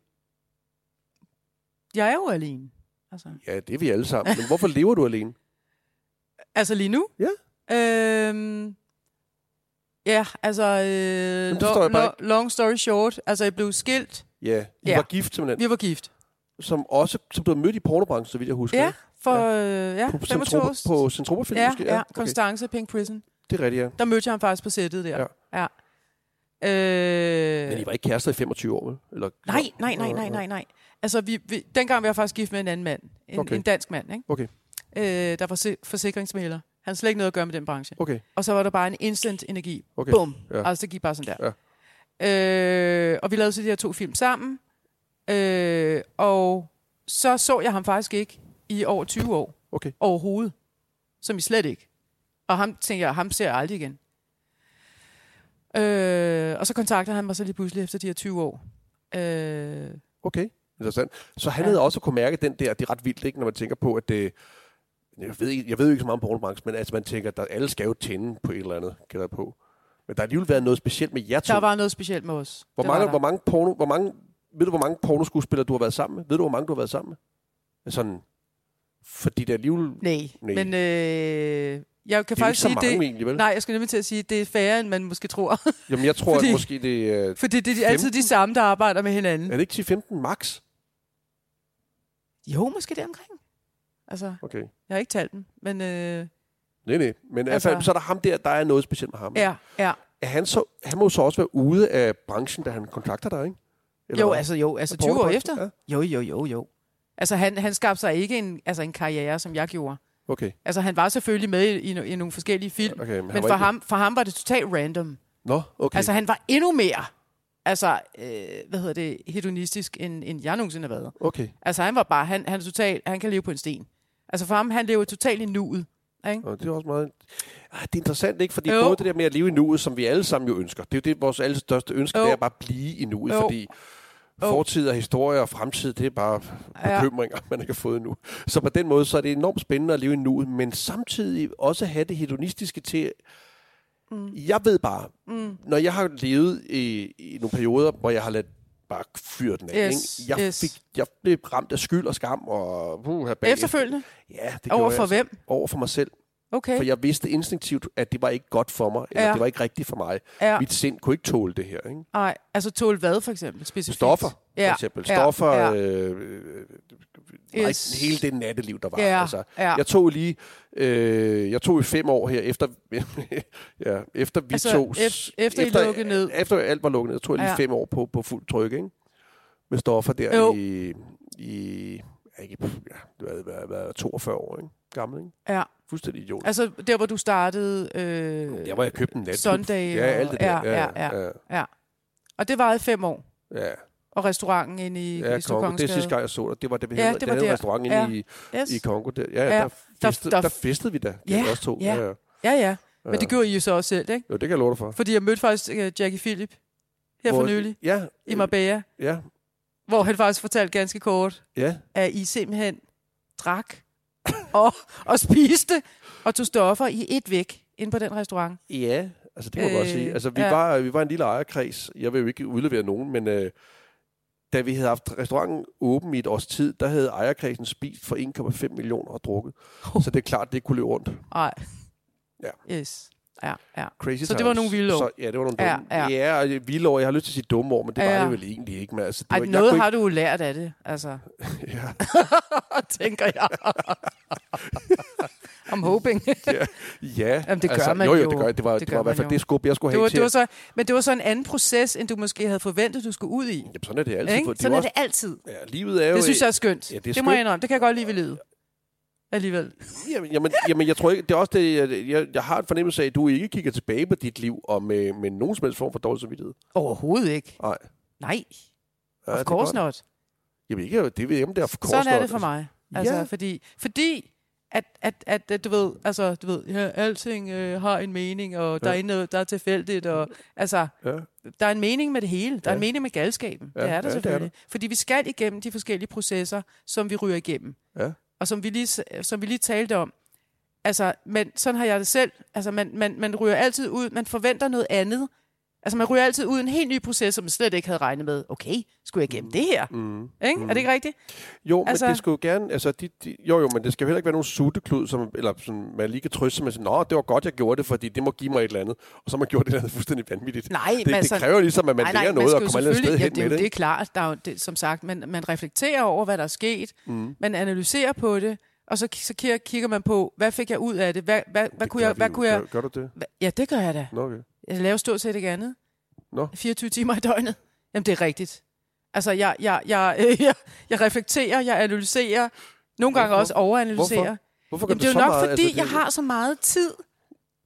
[SPEAKER 2] Jeg er jo alene. Altså,
[SPEAKER 1] Ja, det er vi alle sammen. Men hvorfor lever du alene?
[SPEAKER 2] altså lige nu?
[SPEAKER 1] Ja.
[SPEAKER 2] Øhm, ja, altså, øh,
[SPEAKER 1] det forstår jeg
[SPEAKER 2] long,
[SPEAKER 1] bare
[SPEAKER 2] long, long story short, altså jeg blev skilt.
[SPEAKER 1] Ja, I
[SPEAKER 2] Ja.
[SPEAKER 1] var gift simpelthen,
[SPEAKER 2] Vi var gift.
[SPEAKER 1] som også som blev mødt i pornobranchen, så vidt jeg husker.
[SPEAKER 2] Ja,
[SPEAKER 1] ikke?
[SPEAKER 2] for øh, ja,
[SPEAKER 1] På
[SPEAKER 2] 25 år.
[SPEAKER 1] Centropa- på Centropa-film,
[SPEAKER 2] ja,
[SPEAKER 1] måske?
[SPEAKER 2] ja,
[SPEAKER 1] okay.
[SPEAKER 2] Constance Pink Prison.
[SPEAKER 1] Det er rigtigt, ja.
[SPEAKER 2] Der mødte jeg ham faktisk på sættet der. Ja. Øh, ja.
[SPEAKER 1] Men I
[SPEAKER 2] Øh,
[SPEAKER 1] var ikke kærester i 25 år, vel? Eller,
[SPEAKER 2] nej, nej, nej, nej, nej, nej. Altså, vi, vi, dengang var jeg faktisk gift med en anden mand. En,
[SPEAKER 1] Okay.
[SPEAKER 2] okay. en dansk mand, ikke?
[SPEAKER 1] Okay.
[SPEAKER 2] Øh, der var se- forsikringsmæler. Han havde slet ikke noget at gøre med den branche.
[SPEAKER 1] Okay,
[SPEAKER 2] Og så var der bare en instant energi.
[SPEAKER 1] okay.
[SPEAKER 2] Bum.
[SPEAKER 1] Ja.
[SPEAKER 2] Altså, det gik bare sådan der. Øh, og vi lavede så de her to film sammen. Øh, og så så jeg ham faktisk ikke i over 20 år.
[SPEAKER 1] Okay.
[SPEAKER 2] Overhovedet. Som i slet ikke. Og ham tænker jeg, ham ser jeg aldrig igen. Øh, og så kontakter han mig så lige pludselig efter de her 20 år. Øh,
[SPEAKER 1] Okay, interessant. Så han
[SPEAKER 2] Ja.
[SPEAKER 1] havde også kunne mærke den der, det er ret vildt, ikke, når man tænker på, at det, jeg ved, ikke- jeg ved jo ikke så meget om pornobranchen, men altså man tænker, at der, alle skal jo tænde på et eller andet, gætter jeg på. Men der har alligevel været noget specielt med jer to.
[SPEAKER 2] der var noget specielt med os.
[SPEAKER 1] hvor,
[SPEAKER 2] Det var
[SPEAKER 1] mange,
[SPEAKER 2] der.
[SPEAKER 1] hvor mange porno, hvor mange, ved du, hvor mange pornoskuespillere du har været sammen med? Ved du, hvor mange du har været sammen med? Sådan, fordi der alligevel... Det
[SPEAKER 2] Nej.
[SPEAKER 1] Nej.
[SPEAKER 2] Men øh, jeg kan
[SPEAKER 1] er jo ikke
[SPEAKER 2] faktisk
[SPEAKER 1] så
[SPEAKER 2] sige,
[SPEAKER 1] mange
[SPEAKER 2] det...
[SPEAKER 1] egentlig, vel?
[SPEAKER 2] Nej, jeg skal nemlig til at sige, det er færre, end man måske tror.
[SPEAKER 1] Jamen, jeg tror, fordi...
[SPEAKER 2] Fordi-
[SPEAKER 1] at måske det er...
[SPEAKER 2] Fordi det er altid de samme, der arbejder med hinanden.
[SPEAKER 1] Er det ikke 10-15 max?
[SPEAKER 2] Jo, måske deromkring. Altså,
[SPEAKER 1] Okay.
[SPEAKER 2] jeg har ikke talt dem, men øh,
[SPEAKER 1] Nej, nej. Men altså, altså,
[SPEAKER 2] Altså-
[SPEAKER 1] så er der ham der, der er noget specielt med ham.
[SPEAKER 2] ja, ja.
[SPEAKER 1] Er han, så, han må jo så også være ude af branchen, da han kontakter dig, ikke?
[SPEAKER 2] jo,
[SPEAKER 1] hvad?
[SPEAKER 2] altså jo, altså
[SPEAKER 1] Porno
[SPEAKER 2] 20 år
[SPEAKER 1] branchen?
[SPEAKER 2] efter.
[SPEAKER 1] Ja,
[SPEAKER 2] Jo, jo, jo, jo. Altså, han, han skabte sig ikke en, altså, en karriere, som jeg gjorde.
[SPEAKER 1] okay.
[SPEAKER 2] Altså, han var selvfølgelig med i, i, no- i nogle forskellige film,
[SPEAKER 1] okay
[SPEAKER 2] men for ham, for ham var det totalt random. Okay.
[SPEAKER 1] Nå, okay.
[SPEAKER 2] Altså,
[SPEAKER 1] Altså,
[SPEAKER 2] han var endnu mere, altså, øh, hvad hedder det, hedonistisk, end, end jeg nogensinde har været.
[SPEAKER 1] okay.
[SPEAKER 2] Altså, han var bare, han, han, er total, han kan leve på en sten. Altså, for ham, han lever totalt i nuet. Ikke?
[SPEAKER 1] Og det er også meget... Ah, det er interessant, ikke? Fordi jo.
[SPEAKER 2] Jo.
[SPEAKER 1] både det der med at leve i nuet, som vi alle sammen jo ønsker. Det er jo det, vores alles største ønske, jo.
[SPEAKER 2] Jo.
[SPEAKER 1] det er bare at blive i nuet, jo.
[SPEAKER 2] Jo.
[SPEAKER 1] fordi fortid og historie og fremtid, det er bare
[SPEAKER 2] Ja.
[SPEAKER 1] bekymringer, man ikke har fået endnu. Så på den måde, så er det enormt spændende at leve i nuet, men samtidig også have det hedonistiske til... Mm. Jeg ved bare, mm. når jeg har levet i, i nogle perioder, hvor jeg har ladt bare fyre den af,
[SPEAKER 2] Yes,
[SPEAKER 1] ikke? Jeg,
[SPEAKER 2] yes.
[SPEAKER 1] fik, jeg blev ramt af skyld og skam og... Uh,
[SPEAKER 2] Efterfølgende?
[SPEAKER 1] Ja, det
[SPEAKER 2] Over
[SPEAKER 1] gjorde
[SPEAKER 2] for
[SPEAKER 1] jeg. altså.
[SPEAKER 2] hvem?
[SPEAKER 1] Over for mig selv.
[SPEAKER 2] Okay.
[SPEAKER 1] For jeg vidste instinktivt, at det var ikke godt for mig, eller ja.
[SPEAKER 2] Ja.
[SPEAKER 1] det var ikke rigtigt for mig. Ja.
[SPEAKER 2] Ja.
[SPEAKER 1] Mit sind kunne ikke tåle det her. Ikke?
[SPEAKER 2] Nej, altså tåle hvad for eksempel? Specifikt?
[SPEAKER 1] Stoffer, ja.
[SPEAKER 2] Ja,
[SPEAKER 1] for eksempel. Stoffer, ja.
[SPEAKER 2] ja.
[SPEAKER 1] Øh, øh, nej,
[SPEAKER 2] Yes.
[SPEAKER 1] hele det natteliv, der var.
[SPEAKER 2] Ja,
[SPEAKER 1] Altså,
[SPEAKER 2] ja.
[SPEAKER 1] Jeg tog lige, øh, jeg tog i fem år her, efter, ja, efter vi
[SPEAKER 2] Altså,
[SPEAKER 1] tog...
[SPEAKER 2] ef- efter I lukkede ned.
[SPEAKER 1] Efter alt var lukket ned, tog jeg lige ja.
[SPEAKER 2] Ja.
[SPEAKER 1] fem år på, på fuld tryk, ikke? Med stoffer der
[SPEAKER 2] Jo.
[SPEAKER 1] i... i ja, ikke, ja, det var, var, var 42 år, ikke? Gammel, ikke?
[SPEAKER 2] Ja.
[SPEAKER 1] Fuldstændig idiot.
[SPEAKER 2] Altså der, hvor du startede... Øh,
[SPEAKER 1] Der var jeg købt en natklub.
[SPEAKER 2] Sunday
[SPEAKER 1] Ja,
[SPEAKER 2] og-
[SPEAKER 1] alt det der.
[SPEAKER 2] ja, ja,
[SPEAKER 1] ja.
[SPEAKER 2] Og det varede fem år.
[SPEAKER 1] ja.
[SPEAKER 2] Og restauranten inde i
[SPEAKER 1] ja
[SPEAKER 2] Christo
[SPEAKER 1] Kongo. Det er
[SPEAKER 2] Kongensgade.
[SPEAKER 1] sidste gang, jeg så dig. Det var det, vi
[SPEAKER 2] Ja,
[SPEAKER 1] havde,
[SPEAKER 2] det
[SPEAKER 1] det
[SPEAKER 2] var
[SPEAKER 1] var den
[SPEAKER 2] der.
[SPEAKER 1] restaurant inde
[SPEAKER 2] Ja.
[SPEAKER 1] i,
[SPEAKER 2] Yes.
[SPEAKER 1] i Kongo. Der. Ja, ja,
[SPEAKER 2] Ja.
[SPEAKER 1] der, festede, der,
[SPEAKER 2] der-
[SPEAKER 1] der festede vi da.
[SPEAKER 2] Ja,
[SPEAKER 1] Ja, også to.
[SPEAKER 2] ja.
[SPEAKER 1] Ja, ja.
[SPEAKER 2] Ja, ja.
[SPEAKER 1] Ja.
[SPEAKER 2] Men det gjorde I jo så også selv, ikke?
[SPEAKER 1] Jo, det kan jeg love dig for.
[SPEAKER 2] Fordi jeg mødte faktisk øh, Jackie Philip her for
[SPEAKER 1] Hvor-
[SPEAKER 2] nylig
[SPEAKER 1] Ja.
[SPEAKER 2] i Marbella,
[SPEAKER 1] Ja,
[SPEAKER 2] hvor han faktisk fortalte ganske kort,
[SPEAKER 1] ja.
[SPEAKER 2] at I simpelthen drak og, og spiste og tog stoffer i et væk inde på den restaurant.
[SPEAKER 1] Ja, altså det må man
[SPEAKER 2] Øh,
[SPEAKER 1] godt sige. Altså vi,
[SPEAKER 2] ja.
[SPEAKER 1] var, vi var en lille ejerkreds. Jeg vil jo ikke udlevere nogen, men øh, da vi havde haft restauranten åben i et års tid, der havde ejerkredsen spist for 1,5 millioner og drukket. Så det er klart, det ikke kunne løbe rundt.
[SPEAKER 2] Nej.
[SPEAKER 1] Ja.
[SPEAKER 2] Yes. Ja, ja.
[SPEAKER 1] Crazy
[SPEAKER 2] Så det
[SPEAKER 1] times.
[SPEAKER 2] var nogle vilde år.
[SPEAKER 1] Så, ja, det var nogle
[SPEAKER 2] Ja,
[SPEAKER 1] dumme. Ja,
[SPEAKER 2] ja.
[SPEAKER 1] ja. ja og vilde år. Jeg har lyst til at sige dumme år, men det var
[SPEAKER 2] Ja.
[SPEAKER 1] det vel egentlig ikke. Men altså, det
[SPEAKER 2] Ej,
[SPEAKER 1] var, jeg
[SPEAKER 2] noget
[SPEAKER 1] kunne
[SPEAKER 2] har du jo lært af det, altså,
[SPEAKER 1] ikke, ja.
[SPEAKER 2] tænker jeg. I'm hoping.
[SPEAKER 1] Ja, altså,
[SPEAKER 2] Jamen, det gør man
[SPEAKER 1] jo, jo.
[SPEAKER 2] jo.
[SPEAKER 1] det, gør, det, var, det,
[SPEAKER 2] Det
[SPEAKER 1] det var
[SPEAKER 2] gør
[SPEAKER 1] i hvert
[SPEAKER 2] man
[SPEAKER 1] fald
[SPEAKER 2] jo.
[SPEAKER 1] det skub, jeg skulle
[SPEAKER 2] det
[SPEAKER 1] have
[SPEAKER 2] var,
[SPEAKER 1] til.
[SPEAKER 2] det var så, men det var så en anden proces, end du måske havde forventet, du skulle ud i.
[SPEAKER 1] Jamen, sådan er det altid.
[SPEAKER 2] Ikke?
[SPEAKER 1] for Det er
[SPEAKER 2] Sådan
[SPEAKER 1] jo
[SPEAKER 2] er
[SPEAKER 1] også,
[SPEAKER 2] Altså, det altid.
[SPEAKER 1] det. Ja, livet er jo...
[SPEAKER 2] Det synes jeg er skønt.
[SPEAKER 1] Ja, det er
[SPEAKER 2] det, må
[SPEAKER 1] skønt.
[SPEAKER 2] jeg indrømme. Det kan jeg godt lide ved livet. Alligevel.
[SPEAKER 1] Jamen, jamen, jamen, jeg tror ikke... Det er også det, jeg, jeg, jeg har en fornemmelse af, at du ikke kigger tilbage på dit liv og med, med nogen som helst form for dårlig samvittighed.
[SPEAKER 2] Overhovedet ikke.
[SPEAKER 1] Nej.
[SPEAKER 2] Nej,
[SPEAKER 1] Ja,
[SPEAKER 2] of
[SPEAKER 1] det er
[SPEAKER 2] course
[SPEAKER 1] godt.
[SPEAKER 2] not.
[SPEAKER 1] Jamen, ikke, det ved jeg, om det er of course
[SPEAKER 2] Sådan er
[SPEAKER 1] not.
[SPEAKER 2] det for mig. Altså,
[SPEAKER 1] Ja.
[SPEAKER 2] ja. fordi, fordi at, at, at, at, du ved, altså, du ved, ja, alting øh, har en mening, og der
[SPEAKER 1] Ja.
[SPEAKER 2] er noget, der er tilfældigt, og altså,
[SPEAKER 1] Ja.
[SPEAKER 2] der er en mening med det hele. Der
[SPEAKER 1] Ja.
[SPEAKER 2] er en mening med galskaben.
[SPEAKER 1] Ja,
[SPEAKER 2] Ja, det
[SPEAKER 1] ja,
[SPEAKER 2] er
[SPEAKER 1] det
[SPEAKER 2] der
[SPEAKER 1] er
[SPEAKER 2] selvfølgelig. Det er Fordi vi skal igennem de forskellige processer, som vi ryger igennem.
[SPEAKER 1] Ja.
[SPEAKER 2] Og som vi, lige, s- som vi lige talte om. Altså, men sådan har jeg det selv. Altså, man, man, man ryger altid ud, man forventer noget andet. Altså, man ryger altid ud i en helt ny proces, som man slet ikke havde regnet med. Okay, skulle jeg igennem det her?
[SPEAKER 1] Mm.
[SPEAKER 2] Ikke? Er det ikke rigtigt?
[SPEAKER 1] Jo, altså,
[SPEAKER 2] Altså-
[SPEAKER 1] men det skulle jo gerne... Altså, de, de, jo, jo, men det skal jo heller ikke være nogen sutteklud, som, eller sådan, man lige kan trøste sig med sådan, Nå, det var godt, jeg gjorde det, fordi det må give mig et eller andet. Og så har man gjort et eller andet fuldstændig vanvittigt.
[SPEAKER 2] Nej,
[SPEAKER 1] det,
[SPEAKER 2] men
[SPEAKER 1] det
[SPEAKER 2] altså-
[SPEAKER 1] kræver ligesom, at man lærer noget
[SPEAKER 2] skal
[SPEAKER 1] og
[SPEAKER 2] jo
[SPEAKER 1] kommer et eller andet sted
[SPEAKER 2] selvfølgelig-
[SPEAKER 1] hen
[SPEAKER 2] ja,
[SPEAKER 1] med
[SPEAKER 2] det. er jo- Det er
[SPEAKER 1] det.
[SPEAKER 2] klart, der er jo, det, som sagt, man, man reflekterer over, hvad der er sket, mm. man analyserer på det, og så, så kigger, kigger man på, hvad fik jeg ud af det? Hvad, hvad, hvad
[SPEAKER 1] Det
[SPEAKER 2] kunne
[SPEAKER 1] gør
[SPEAKER 2] jeg...
[SPEAKER 1] vi
[SPEAKER 2] Hvad
[SPEAKER 1] jo.
[SPEAKER 2] kunne jeg
[SPEAKER 1] Gør, gør du det?
[SPEAKER 2] hva, ja, det gør jeg da.
[SPEAKER 1] Nå, okay.
[SPEAKER 2] Jeg laver stort set ikke andet.
[SPEAKER 1] Nå.
[SPEAKER 2] 24 timer i døgnet. Jamen, det er rigtigt. Altså, jeg, jeg, jeg, øh, jeg, jeg reflekterer, jeg analyserer, nogle gange
[SPEAKER 1] Hvorfor?
[SPEAKER 2] også overanalyserer.
[SPEAKER 1] Hvorfor? Hvorfor gør
[SPEAKER 2] Jamen,
[SPEAKER 1] du
[SPEAKER 2] det er
[SPEAKER 1] så
[SPEAKER 2] jo nok,
[SPEAKER 1] meget? Altså,
[SPEAKER 2] fordi
[SPEAKER 1] det-
[SPEAKER 2] jeg har så meget tid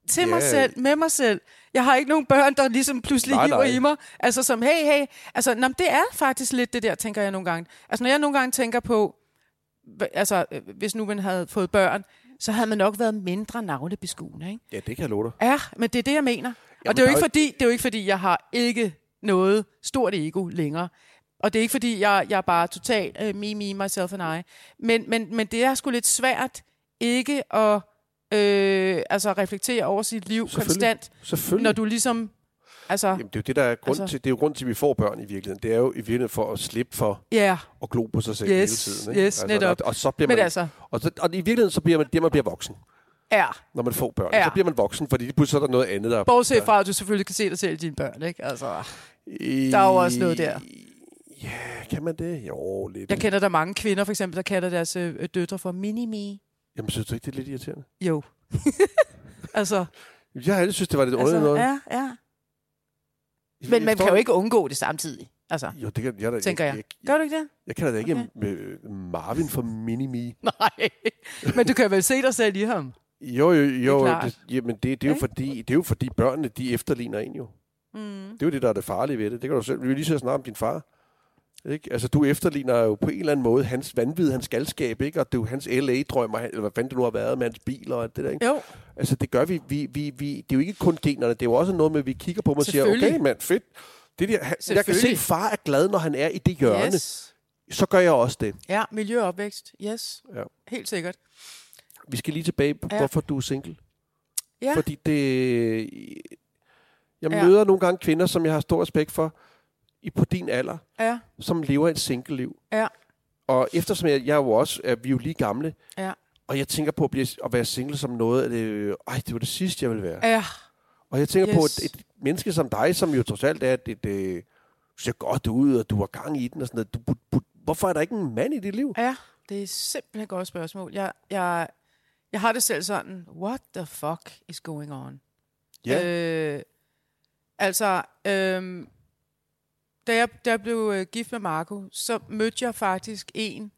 [SPEAKER 2] til yeah. mig
[SPEAKER 1] Ja.
[SPEAKER 2] selv, med mig selv. Jeg har ikke nogen børn, der ligesom pludselig
[SPEAKER 1] Nej,
[SPEAKER 2] nej, hiver
[SPEAKER 1] nej.
[SPEAKER 2] nej. i mig. Altså som, hey, hey. Altså, nå, men det er faktisk lidt det der, tænker jeg nogle gange. Altså, når jeg nogle gange tænker på, hva- altså, øh, hvis nu man havde fået børn, så havde man nok været mindre navlebeskuende, ikke?
[SPEAKER 1] Ja, det kan jeg love dig.
[SPEAKER 2] Ja, men det er det, jeg mener.
[SPEAKER 1] Jamen,
[SPEAKER 2] og det er,
[SPEAKER 1] der
[SPEAKER 2] jo
[SPEAKER 1] er
[SPEAKER 2] ikke
[SPEAKER 1] jo
[SPEAKER 2] fordi, det er jo ikke fordi, jeg har ikke noget stort ego længere. Og det er ikke fordi, jeg, jeg er bare totalt øh, me, me, myself and I. Men, men, men det er sgu lidt svært ikke at øh, altså reflektere over sit liv
[SPEAKER 1] Selvfølgelig.
[SPEAKER 2] konstant,
[SPEAKER 1] Selvfølgelig.
[SPEAKER 2] når du ligesom... Altså,
[SPEAKER 1] Jamen, det er jo det, der er grund
[SPEAKER 2] Altså-
[SPEAKER 1] til. Det er jo grund til, at vi får børn i virkeligheden. Det er jo i virkeligheden for at slippe for
[SPEAKER 2] ja, yeah,
[SPEAKER 1] at glo på sig selv
[SPEAKER 2] Yes,
[SPEAKER 1] hele tiden. Ikke? Altså,
[SPEAKER 2] yes, netop.
[SPEAKER 1] Og, og, så bliver
[SPEAKER 2] men
[SPEAKER 1] man,
[SPEAKER 2] altså,
[SPEAKER 1] og, så, og, i virkeligheden, så bliver man det, man bliver voksen,
[SPEAKER 2] ja.
[SPEAKER 1] når man får børn.
[SPEAKER 2] Ja.
[SPEAKER 1] Så bliver man voksen, fordi lige pludselig så er der noget andet, der...
[SPEAKER 2] Bortset fra, at du selvfølgelig kan se dig selv i dine børn, ikke? Altså,
[SPEAKER 1] I-
[SPEAKER 2] der er jo også noget der.
[SPEAKER 1] Ja, kan man det? Jo, lidt.
[SPEAKER 2] jeg kender der mange kvinder, for eksempel, der kalder deres øh, døtre for mini-me.
[SPEAKER 1] Jamen, synes du ikke, det er lidt irriterende?
[SPEAKER 2] Jo. altså,
[SPEAKER 1] Jeg har altid synes, det var lidt underligt
[SPEAKER 2] altså
[SPEAKER 1] noget.
[SPEAKER 2] ja, ja.
[SPEAKER 1] Jeg- jeg
[SPEAKER 2] Men man kan
[SPEAKER 1] forstår
[SPEAKER 2] jo ikke undgå det samtidig. Altså,
[SPEAKER 1] Jo, det kan jeg da
[SPEAKER 2] Tænker
[SPEAKER 1] jeg.
[SPEAKER 2] jeg.
[SPEAKER 1] Jeg, jeg,
[SPEAKER 2] gør du ikke det?
[SPEAKER 1] jeg kalder det ikke
[SPEAKER 2] Okay.
[SPEAKER 1] okay. Marvin for Minimi.
[SPEAKER 2] Nej. Men du kan vel se dig selv i ham?
[SPEAKER 1] Jo, jo, jo. Det
[SPEAKER 2] klart.
[SPEAKER 1] det, jamen, det, det, er jo
[SPEAKER 2] Ikke?
[SPEAKER 1] fordi, det er jo fordi, børnene de efterligner en jo.
[SPEAKER 2] Mm.
[SPEAKER 1] Det er jo det, der er det farlige ved det. Det kan du selv. Vi vil lige så snart om din far. Ikke? Altså, du efterligner jo på en eller anden måde hans vanvid, hans galskab, ikke? Og det er jo hans LA-drøm, og han- eller hvad fanden det nu har været med hans bil og alt det der, ikke?
[SPEAKER 2] Jo,
[SPEAKER 1] Altså, det gør vi. vi, vi, vi det er jo ikke kun generne, det er jo også noget med, at vi kigger på dem og siger,
[SPEAKER 2] Selvfølgelig.
[SPEAKER 1] okay, mand, fedt. Det der, han, jeg kan se,
[SPEAKER 2] Selvfølgelig.
[SPEAKER 1] at far er glad, når han er i det hjørne. Yes.
[SPEAKER 2] yes.
[SPEAKER 1] Så gør jeg også det.
[SPEAKER 2] Ja, miljø og opvækst, yes.
[SPEAKER 1] Ja.
[SPEAKER 2] Helt sikkert.
[SPEAKER 1] Vi skal lige tilbage på, ja.
[SPEAKER 2] Ja.
[SPEAKER 1] hvorfor du er single.
[SPEAKER 2] Ja.
[SPEAKER 1] Fordi det... Jeg
[SPEAKER 2] Ja.
[SPEAKER 1] møder nogle gange kvinder, som jeg har stor respekt for, i på din alder,
[SPEAKER 2] Ja,
[SPEAKER 1] som lever et single-liv.
[SPEAKER 2] Ja.
[SPEAKER 1] Og eftersom jeg, jeg er jo også, at vi er jo lige gamle,
[SPEAKER 2] Ja.
[SPEAKER 1] og jeg tænker på at, blive, at være single som noget af det... øh, Ej, det var det sidste, jeg ville være.
[SPEAKER 2] ja.
[SPEAKER 1] Og jeg tænker yes. på
[SPEAKER 2] Yes.
[SPEAKER 1] et, et menneske som dig, som jo trods alt er, at det, det ser godt ud, og du har gang i den og sådan noget. Du, bu, bu, hvorfor er der ikke en mand i dit liv?
[SPEAKER 2] ja. Det er simpelthen et godt spørgsmål. Jeg, jeg, jeg har det selv sådan, what the fuck is going on?
[SPEAKER 1] Ja.
[SPEAKER 2] Øh, altså, øh, da, jeg, da jeg blev øh, gift med Marco, så mødte jeg faktisk en,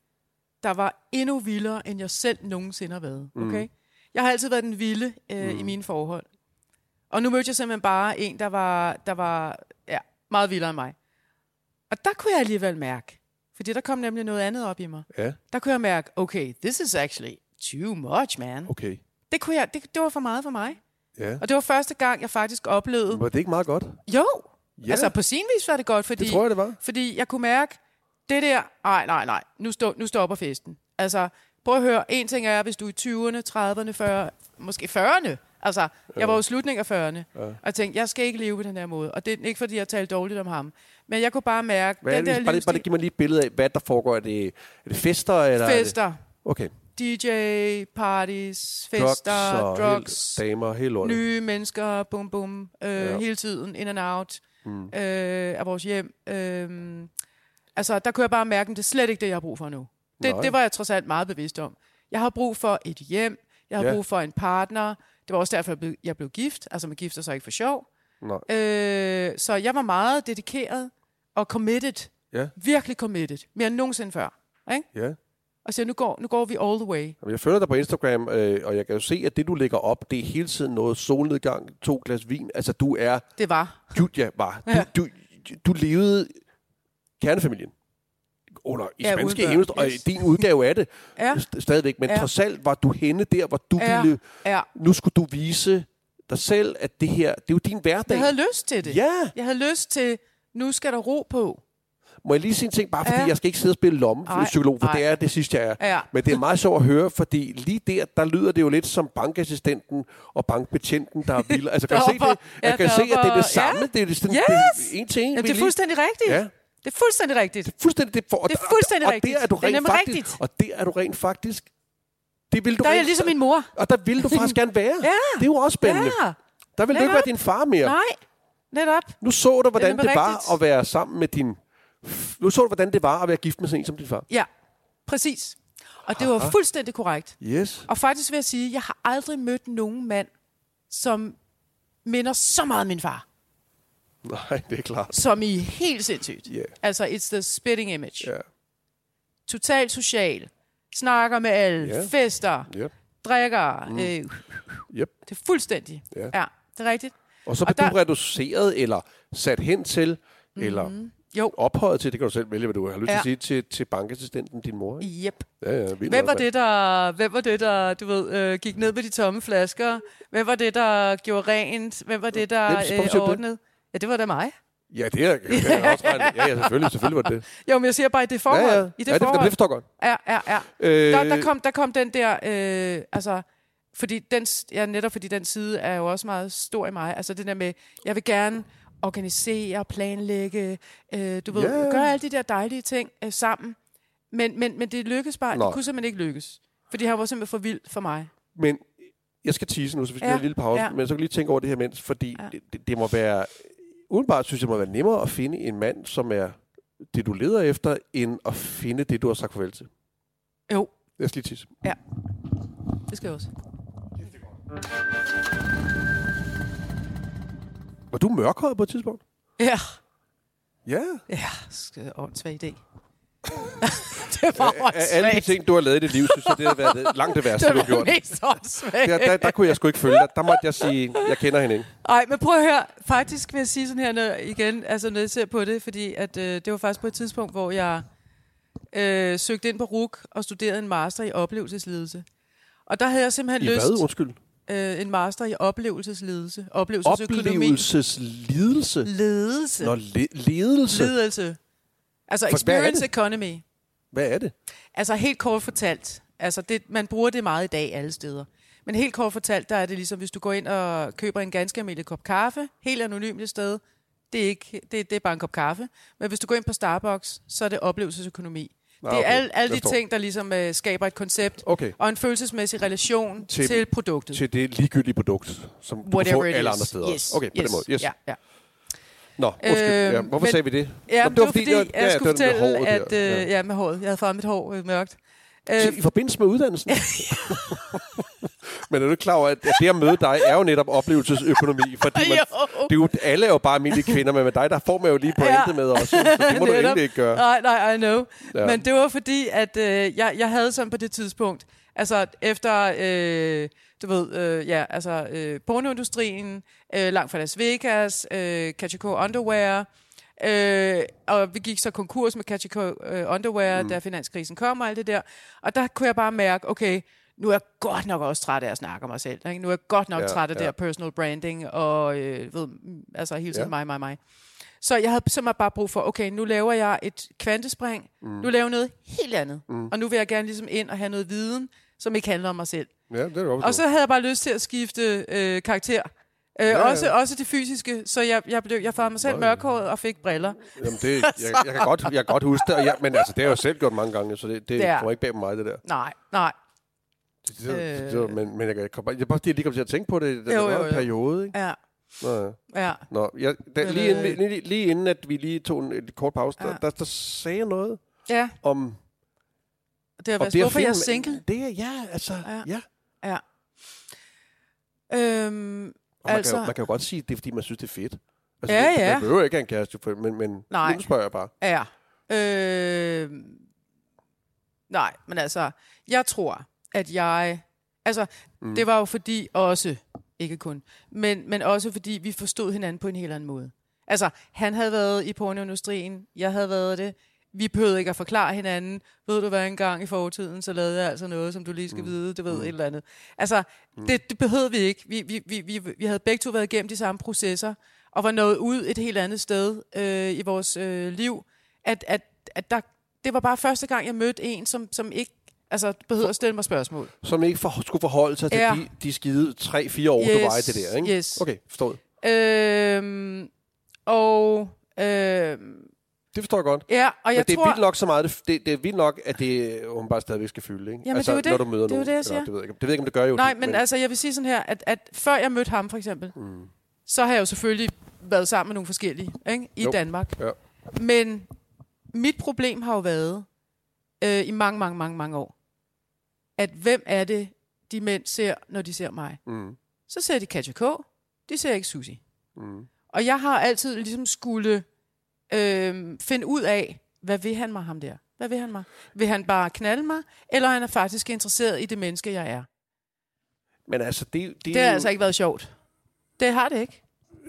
[SPEAKER 2] der var endnu vildere, end jeg selv nogensinde har været. Okay? Mm. Jeg har altid været den vilde øh, mm. i mine forhold. Og nu mødte jeg simpelthen bare en, der var, der var ja, meget vildere end mig. Og der kunne jeg alligevel mærke, fordi der kom nemlig noget andet op i mig.
[SPEAKER 1] Ja,
[SPEAKER 2] Der kunne jeg mærke, okay, this is actually too much, man.
[SPEAKER 1] okay.
[SPEAKER 2] Det, kunne jeg, det, det var for meget for mig.
[SPEAKER 1] Ja.
[SPEAKER 2] Og det var første gang, jeg faktisk oplevede,
[SPEAKER 1] Var det ikke meget godt?
[SPEAKER 2] jo,
[SPEAKER 1] Ja,
[SPEAKER 2] ja. altså på sin vis var det godt, fordi,
[SPEAKER 1] det tror jeg, det var.
[SPEAKER 2] fordi jeg kunne mærke, det der, nej, nej, nej, nu, stå, nu stopper festen. Altså, prøv at høre, en ting er, hvis du er i 20'erne, 30'erne, 40'erne, måske 40'erne, Altså, jeg var jo i slutningen af 40'erne, ja. og jeg tænkte, jeg skal ikke leve på den her måde. Og det er ikke, fordi jeg talte dårligt om ham. Men jeg kunne bare mærke,
[SPEAKER 1] Hvad er
[SPEAKER 2] den
[SPEAKER 1] det,
[SPEAKER 2] der
[SPEAKER 1] bare, lige, bare lige giv mig lige et billede af, hvad der foregår. Er det, er det fester? Eller er det-
[SPEAKER 2] fester,
[SPEAKER 1] Okay.
[SPEAKER 2] DJ, parties,
[SPEAKER 1] Drugs,
[SPEAKER 2] fester,
[SPEAKER 1] og
[SPEAKER 2] drugs,
[SPEAKER 1] Hele, damer, hele lortet.
[SPEAKER 2] nye mennesker, bum bum, øh,
[SPEAKER 1] Ja.
[SPEAKER 2] ja. hele tiden, in and out mm. øh, af vores hjem. Øh, altså, der kunne jeg bare mærke, at det er slet ikke det, jeg har brug for nu. Det,
[SPEAKER 1] Nej.
[SPEAKER 2] det var jeg trods alt meget bevidst om. Jeg har brug for et hjem, jeg har
[SPEAKER 1] Ja.
[SPEAKER 2] ja. brug for en partner. Det var også derfor, jeg blev, jeg blev gift. Altså, man gifter sig ikke for sjov.
[SPEAKER 1] Nej.
[SPEAKER 2] Øh, så jeg var meget dedikeret og committed.
[SPEAKER 1] Ja.
[SPEAKER 2] Virkelig committed. Mere end nogensinde før. Ikke?
[SPEAKER 1] Ja.
[SPEAKER 2] Og så nu går, nu går vi all the way.
[SPEAKER 1] Jamen, Jeg følger dig på Instagram, øh, og jeg kan jo se, at det, du lægger op, det er hele tiden noget solnedgang, to glas vin. Altså, du er...
[SPEAKER 2] Det var.
[SPEAKER 1] Julia var... Du,
[SPEAKER 2] Ja.
[SPEAKER 1] du, du levede kernefamilien under i
[SPEAKER 2] Ja,
[SPEAKER 1] spanske
[SPEAKER 2] uden børn,
[SPEAKER 1] eventyr, og
[SPEAKER 2] yes.
[SPEAKER 1] din udgave af det
[SPEAKER 2] Ja,
[SPEAKER 1] st- stadigvæk. Men
[SPEAKER 2] Ja.
[SPEAKER 1] trods alt var du henne der, hvor du
[SPEAKER 2] Ja.
[SPEAKER 1] ville...
[SPEAKER 2] ja.
[SPEAKER 1] Nu skulle du vise dig selv, at det her... Det er jo din hverdag.
[SPEAKER 2] Jeg havde lyst til det.
[SPEAKER 1] Ja,
[SPEAKER 2] Jeg havde lyst til, nu skal der ro på.
[SPEAKER 1] må jeg lige sige en ting, bare fordi
[SPEAKER 2] Ja.
[SPEAKER 1] jeg skal ikke sidde og spille lomme
[SPEAKER 2] Ej,
[SPEAKER 1] psykolog, for
[SPEAKER 2] ej.
[SPEAKER 1] det er det sidste, jeg er.
[SPEAKER 2] Ja.
[SPEAKER 1] Men det er meget sjovt at høre, fordi lige der, der lyder det jo lidt som bankassistenten og bankbetjenten, der er vilde. Altså, kan jeg se det?
[SPEAKER 2] Deroppe.
[SPEAKER 1] Jeg
[SPEAKER 2] Ja,
[SPEAKER 1] kan se, at det er det
[SPEAKER 2] deroppe.
[SPEAKER 1] samme. Det er det sådan,
[SPEAKER 2] Yes!
[SPEAKER 1] det er en til en.
[SPEAKER 2] Jamen,
[SPEAKER 1] vi
[SPEAKER 2] det er
[SPEAKER 1] lige-
[SPEAKER 2] fuldstændig rigtigt.
[SPEAKER 1] Ja.
[SPEAKER 2] Det er fuldstændig rigtigt.
[SPEAKER 1] fuldstændig det for, og,
[SPEAKER 2] Det er
[SPEAKER 1] og-
[SPEAKER 2] fuldstændig
[SPEAKER 1] og,
[SPEAKER 2] rigtigt.
[SPEAKER 1] Der er du
[SPEAKER 2] Det er
[SPEAKER 1] rent
[SPEAKER 2] nemlig
[SPEAKER 1] faktisk,
[SPEAKER 2] rigtigt.
[SPEAKER 1] Og der er du rent faktisk. Det vil du
[SPEAKER 2] Der er
[SPEAKER 1] rent,
[SPEAKER 2] jeg ligesom min mor.
[SPEAKER 1] Og der vil du faktisk gerne være.
[SPEAKER 2] Ja.
[SPEAKER 1] Det er jo også spændende.
[SPEAKER 2] Ja,
[SPEAKER 1] Der vil du ikke
[SPEAKER 2] Netop.
[SPEAKER 1] være din far mere.
[SPEAKER 2] nej. Netop.
[SPEAKER 1] Nu så du, hvordan
[SPEAKER 2] Det
[SPEAKER 1] det,
[SPEAKER 2] er nemlig
[SPEAKER 1] var
[SPEAKER 2] rigtigt.
[SPEAKER 1] at være sammen med din... Nu så du, hvordan det var at være gift med sådan en som din far.
[SPEAKER 2] Ja, præcis. Og det var fuldstændig korrekt.
[SPEAKER 1] Yes.
[SPEAKER 2] Og faktisk vil jeg sige, at jeg har aldrig mødt nogen mand, som minder så meget om min far.
[SPEAKER 1] Nej, det er klart.
[SPEAKER 2] Som i helt sindssygt.
[SPEAKER 1] Ja.
[SPEAKER 2] Altså, it's the spitting image.
[SPEAKER 1] Ja.
[SPEAKER 2] Totalt social. Snakker med alle.
[SPEAKER 1] Ja.
[SPEAKER 2] Fester.
[SPEAKER 1] Yep.
[SPEAKER 2] Drikker. Mm. Øh,
[SPEAKER 1] Yep.
[SPEAKER 2] det er fuldstændig.
[SPEAKER 1] Ja.
[SPEAKER 2] ja det er rigtigt.
[SPEAKER 1] Og så bliver
[SPEAKER 2] Og
[SPEAKER 1] du
[SPEAKER 2] der- Mhm.
[SPEAKER 1] reduceret, eller sat hen til, mm-hmm. eller
[SPEAKER 2] Jo.
[SPEAKER 1] ophøjet til, det kan du selv vælge, hvad du har lyst til
[SPEAKER 2] Ja.
[SPEAKER 1] at sige, til, til bankassistenten, din mor. ikke?
[SPEAKER 2] Yep.
[SPEAKER 1] Ja, ja, vildt
[SPEAKER 2] Hvem var
[SPEAKER 1] nok,
[SPEAKER 2] det, der, hvem var det, der du ved, øh, gik ned med de tomme flasker? Hvem var det, der gjorde rent? Hvem var
[SPEAKER 1] Hvem-
[SPEAKER 2] det, der
[SPEAKER 1] hvorfor siger
[SPEAKER 2] øh,
[SPEAKER 1] du det?
[SPEAKER 2] ordnede? Ja, det var da mig.
[SPEAKER 1] mand. Ja, det er kan jeg også regne. Ja, ja, selvfølgelig, selvfølgelig var det det.
[SPEAKER 2] Jo, men jeg siger bare i det forhold.
[SPEAKER 1] Ja, ja.
[SPEAKER 2] I det
[SPEAKER 1] ja, det,
[SPEAKER 2] forhold.
[SPEAKER 1] det forstår jeg godt.
[SPEAKER 2] Ja, ja, ja.
[SPEAKER 1] Øh,
[SPEAKER 2] Der, der, kom, der kom den der, øh, altså, fordi den, s- ja, netop fordi den side er jo også meget stor i mig. Altså det der med, jeg vil gerne organisere, planlægge, øh, du ved,
[SPEAKER 1] Ja.
[SPEAKER 2] yeah. gøre alle de der dejlige ting øh, sammen. Men, men, men det lykkedes bare,
[SPEAKER 1] Nej.
[SPEAKER 2] det kunne simpelthen ikke lykkes. Fordi han var simpelthen for vild for mig.
[SPEAKER 1] Men jeg skal tease nu, så vi skal
[SPEAKER 2] Ja,
[SPEAKER 1] ja, en lille pause. Ja.
[SPEAKER 2] ja.
[SPEAKER 1] Men så kan jeg lige tænke over det her mens, fordi ja.
[SPEAKER 2] Ja.
[SPEAKER 1] det, det må være... Udenbart synes jeg, det må være nemmere at finde en mand, som er det, du leder efter, end at finde det, du har sagt farvel til.
[SPEAKER 2] Jo,
[SPEAKER 1] Jeg skal lige tisse.
[SPEAKER 2] det skal jeg også.
[SPEAKER 1] Var du mørkhåret på et tidspunkt?
[SPEAKER 2] Ja,
[SPEAKER 1] Ja.
[SPEAKER 2] ja, skide åndssvag idé. det var
[SPEAKER 1] Af alle de
[SPEAKER 2] åndssvagt.
[SPEAKER 1] ting, du har lavet i dit liv, synes jeg, det har været det- langt det værste,
[SPEAKER 2] Det
[SPEAKER 1] du har
[SPEAKER 2] var
[SPEAKER 1] gjort.
[SPEAKER 2] det mest åndssvage.
[SPEAKER 1] Der, der, der kunne jeg sgu ikke følge dig. Der måtte jeg sige, jeg kender hende ikke.
[SPEAKER 2] Ej, men prøv at høre. Faktisk vil jeg sige sådan her når, igen, altså når jeg ser på det, fordi at, øh, det var faktisk på et tidspunkt, hvor jeg øh, søgte ind på RUK og studerede en master i oplevelsesledelse. Og der havde jeg simpelthen
[SPEAKER 1] I
[SPEAKER 2] lyst...
[SPEAKER 1] hvad, undskyld?
[SPEAKER 2] Øh, en master i oplevelsesledelse. Oplevelsesøkonomi.
[SPEAKER 1] Oplevelseslidelse.
[SPEAKER 2] Ledelse.
[SPEAKER 1] Nå, le- ledelse.
[SPEAKER 2] Ledelse. Altså
[SPEAKER 1] For hvad er
[SPEAKER 2] experience
[SPEAKER 1] det?
[SPEAKER 2] economy.
[SPEAKER 1] Hvad er det?
[SPEAKER 2] Altså helt kort fortalt, altså det, man bruger det meget i dag alle steder. Men helt kort fortalt, der er det ligesom, hvis du går ind og køber en ganske almindelig kop kaffe, helt anonymt et sted, det er, ikke, det, det er bare en kop kaffe. Men hvis du går ind på Starbucks, så er det oplevelsesøkonomi.
[SPEAKER 1] Nå,
[SPEAKER 2] det er
[SPEAKER 1] okay.
[SPEAKER 2] alle, alle de
[SPEAKER 1] Jeg forstår.
[SPEAKER 2] ting, der ligesom øh, skaber et koncept
[SPEAKER 1] Okay.
[SPEAKER 2] og en følelsesmæssig relation
[SPEAKER 1] Til-
[SPEAKER 2] til, til produktet.
[SPEAKER 1] til det ligegyldige produkt, som Whatever du
[SPEAKER 2] Hm. whatever
[SPEAKER 1] får
[SPEAKER 2] it
[SPEAKER 1] alle
[SPEAKER 2] is.
[SPEAKER 1] andre steder
[SPEAKER 2] yes.
[SPEAKER 1] også. Okay, på
[SPEAKER 2] yes.
[SPEAKER 1] den måde. Yes.
[SPEAKER 2] Ja, ja.
[SPEAKER 1] Nå, undskyld.
[SPEAKER 2] Øhm,
[SPEAKER 1] ja. Hvorfor
[SPEAKER 2] men-
[SPEAKER 1] sagde vi det?
[SPEAKER 2] ja
[SPEAKER 1] Nå,
[SPEAKER 2] det var fordi, jeg,
[SPEAKER 1] ja,
[SPEAKER 2] skulle
[SPEAKER 1] det var
[SPEAKER 2] fortælle,
[SPEAKER 1] den med håret
[SPEAKER 2] at...
[SPEAKER 1] der.
[SPEAKER 2] Øh,
[SPEAKER 1] ja.
[SPEAKER 2] ja, med håret. Jeg havde farvet mit hår øh, mørkt.
[SPEAKER 1] Til- I forbindelse med uddannelsen. Men er du ikke klar over, at at det at møde dig er jo netop oplevelsesøkonomi, fordi man,
[SPEAKER 2] Jo.
[SPEAKER 1] det er jo, alle er jo bare almindelige kvinder, men med dig, der får man jo lige pointet
[SPEAKER 2] Ja.
[SPEAKER 1] med også. Så det må du
[SPEAKER 2] Netop.
[SPEAKER 1] egentlig ikke gøre.
[SPEAKER 2] Nej, nej, I know.
[SPEAKER 1] Ja.
[SPEAKER 2] Ja. Men det var fordi, at øh, jeg, jeg havde sådan på det tidspunkt, altså efter, øh, du ved, øh, ja, altså øh, pornoindustrien, øh, langt fra Las Vegas, øh, Kachiko Underwear, øh, og vi gik så konkurs med Kachiko øh, Underwear, mm. da finanskrisen kom og alt det der. Og der kunne jeg bare mærke, okay, nu er jeg godt nok også træt af at snakke om mig selv. Ikke? Nu er jeg godt nok
[SPEAKER 1] Ja,
[SPEAKER 2] ja, træt af ja.
[SPEAKER 1] ja.
[SPEAKER 2] det her personal branding, og øh, ved, mm, altså hele tiden
[SPEAKER 1] Ja.
[SPEAKER 2] ja. mig, mig, mig. Så jeg havde simpelthen bare brug for, okay, nu laver jeg et kvantespring, mm. nu laver jeg noget helt andet. Mm. Og nu vil jeg gerne ligesom ind og have noget viden, som ikke handler om mig selv.
[SPEAKER 1] Ja, det er jo
[SPEAKER 2] Og så havde jeg bare lyst til at skifte øh, karakter. Øh,
[SPEAKER 1] Ja,
[SPEAKER 2] ja,
[SPEAKER 1] ja.
[SPEAKER 2] også, ja. også det fysiske, så jeg, jeg, blev, jeg farvede mig selv
[SPEAKER 1] Nå, ja.
[SPEAKER 2] mørkhåret og fik briller.
[SPEAKER 1] Jamen, det, jeg, jeg, kan godt, jeg kan godt huske det, og jeg, men altså, det har jeg jo selv gjort mange gange, så det, det
[SPEAKER 2] Det er-
[SPEAKER 1] kommer ikke bag på mig, det der.
[SPEAKER 2] Nej, nej.
[SPEAKER 1] Det, det, det,
[SPEAKER 2] Øh.
[SPEAKER 1] det men, men jeg, kan- jeg, kom, bare- jeg, bare, det er lige kom til at tænke på det, den
[SPEAKER 2] Jo,
[SPEAKER 1] jo,
[SPEAKER 2] jo, jo.
[SPEAKER 1] periode, ikke?
[SPEAKER 2] Ja,
[SPEAKER 1] Nå, ja.
[SPEAKER 2] ja.
[SPEAKER 1] Nå, jeg, da,
[SPEAKER 2] Men,
[SPEAKER 1] lige, inden,
[SPEAKER 2] øh,
[SPEAKER 1] vi- lige, lige inden, at vi lige tog en, en kort pause, ja. der,
[SPEAKER 2] Ja.
[SPEAKER 1] der, der sagde jeg noget
[SPEAKER 2] ja
[SPEAKER 1] om...
[SPEAKER 2] det har
[SPEAKER 1] om
[SPEAKER 2] været
[SPEAKER 1] at
[SPEAKER 2] hvorfor jeg er
[SPEAKER 1] finde-
[SPEAKER 2] single.
[SPEAKER 1] Det er, ja, altså, ja.
[SPEAKER 2] Ja.
[SPEAKER 1] ja.
[SPEAKER 2] Øhm,
[SPEAKER 1] Og man, altså,
[SPEAKER 2] Altså-
[SPEAKER 1] kan jo, man kan jo godt sige, at det er, fordi man synes, det er fedt. Altså,
[SPEAKER 2] Ja,
[SPEAKER 1] det,
[SPEAKER 2] ja.
[SPEAKER 1] Man behøver ikke have en kæreste, for- men, men
[SPEAKER 2] Nej.
[SPEAKER 1] nu spørger jeg bare.
[SPEAKER 2] Ja. Øh, nej, men altså, jeg tror, at jeg... Altså, mm. det var jo fordi også, ikke kun, men, men også fordi vi forstod hinanden på en helt anden måde. Altså, han havde været i pornoindustrien, jeg havde været det. Vi behøvede ikke at forklare hinanden. Ved du hvad, en gang i fortiden, så lavede jeg altså noget, som du lige skal mm. vide, det ved mm. et eller andet. Altså, mm. det, det behøvede vi ikke. Vi, vi, vi, vi, vi havde begge to været igennem de samme processer, og var nået ud et helt andet sted øh, i vores øh, liv. At, at, at der, det var bare første gang, jeg mødte en, som, som ikke altså, behøvede at stille mig spørgsmål.
[SPEAKER 1] Som ikke for, skulle forholde sig til
[SPEAKER 2] Ja.
[SPEAKER 1] de, de skide 3-4 år, yes. du
[SPEAKER 2] Yes,
[SPEAKER 1] var i det der, ikke?
[SPEAKER 2] yes.
[SPEAKER 1] Okay, forstået.
[SPEAKER 2] Øhm, og øhm,
[SPEAKER 1] Det forstår jeg godt.
[SPEAKER 2] ja, og jeg
[SPEAKER 1] men det
[SPEAKER 2] tror...
[SPEAKER 1] er vildt nok så meget, det, det, det er vildt nok, at det hun bare stadigvæk skal fylde, ikke? Altså,
[SPEAKER 2] Jamen, det er jo det.
[SPEAKER 1] når du møder
[SPEAKER 2] Det er jo
[SPEAKER 1] nogen.
[SPEAKER 2] det, jeg
[SPEAKER 1] Eller,
[SPEAKER 2] siger.
[SPEAKER 1] Det ved, jeg ikke, det ved jeg ikke, om det gør jo.
[SPEAKER 2] Nej,
[SPEAKER 1] det,
[SPEAKER 2] men, men altså, jeg vil sige sådan her, at, at før jeg mødte ham, for eksempel,
[SPEAKER 1] Mm.
[SPEAKER 2] så har jeg jo selvfølgelig været sammen med nogle forskellige ikke? i
[SPEAKER 1] Jo.
[SPEAKER 2] jo. Danmark.
[SPEAKER 1] Ja.
[SPEAKER 2] Men mit problem har jo været øh, i mange, mange, mange, mange år, at hvem er det, de mænd ser, når de ser mig?
[SPEAKER 1] Mm.
[SPEAKER 2] Så ser de Katja K., de ser ikke Susi.
[SPEAKER 1] Mm.
[SPEAKER 2] Og jeg har altid ligesom skulle øh, finde ud af, hvad vil han mig ham der? Hvad vil han mig? Vil han bare knalde mig, eller er han er faktisk interesseret i det menneske, jeg er?
[SPEAKER 1] Men altså, det, det,
[SPEAKER 2] Det har
[SPEAKER 1] jo-
[SPEAKER 2] altså ikke været sjovt. Det har det ikke.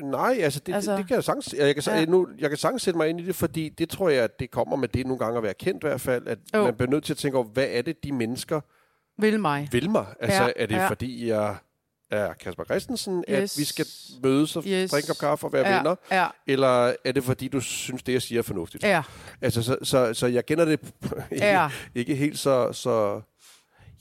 [SPEAKER 1] Nej, altså, det, altså.
[SPEAKER 2] Altså.
[SPEAKER 1] det, det kan jeg sagtens... Jeg kan, ja.
[SPEAKER 2] Ja.
[SPEAKER 1] nu, jeg kan sagtens sætte mig ind i det, fordi det tror jeg, at det kommer med det nogle gange at være kendt i hvert fald, at
[SPEAKER 2] Jo.
[SPEAKER 1] man bliver nødt til at tænke over, hvad er det, de mennesker
[SPEAKER 2] Vil mig.
[SPEAKER 1] vil mig? Altså, ja.
[SPEAKER 2] Ja,
[SPEAKER 1] er det
[SPEAKER 2] ja.
[SPEAKER 1] fordi, jeg er Kasper Christensen, yes.
[SPEAKER 2] Yes.
[SPEAKER 1] at vi skal mødes og yes.
[SPEAKER 2] Yes.
[SPEAKER 1] drikke op kaffe og være ja. venner?
[SPEAKER 2] Ja, ja,
[SPEAKER 1] Eller er det fordi, du synes, det jeg siger er fornuftigt?
[SPEAKER 2] ja,
[SPEAKER 1] Altså, så, så, så jeg kender det ikke,
[SPEAKER 2] Ja.
[SPEAKER 1] ikke helt så, så...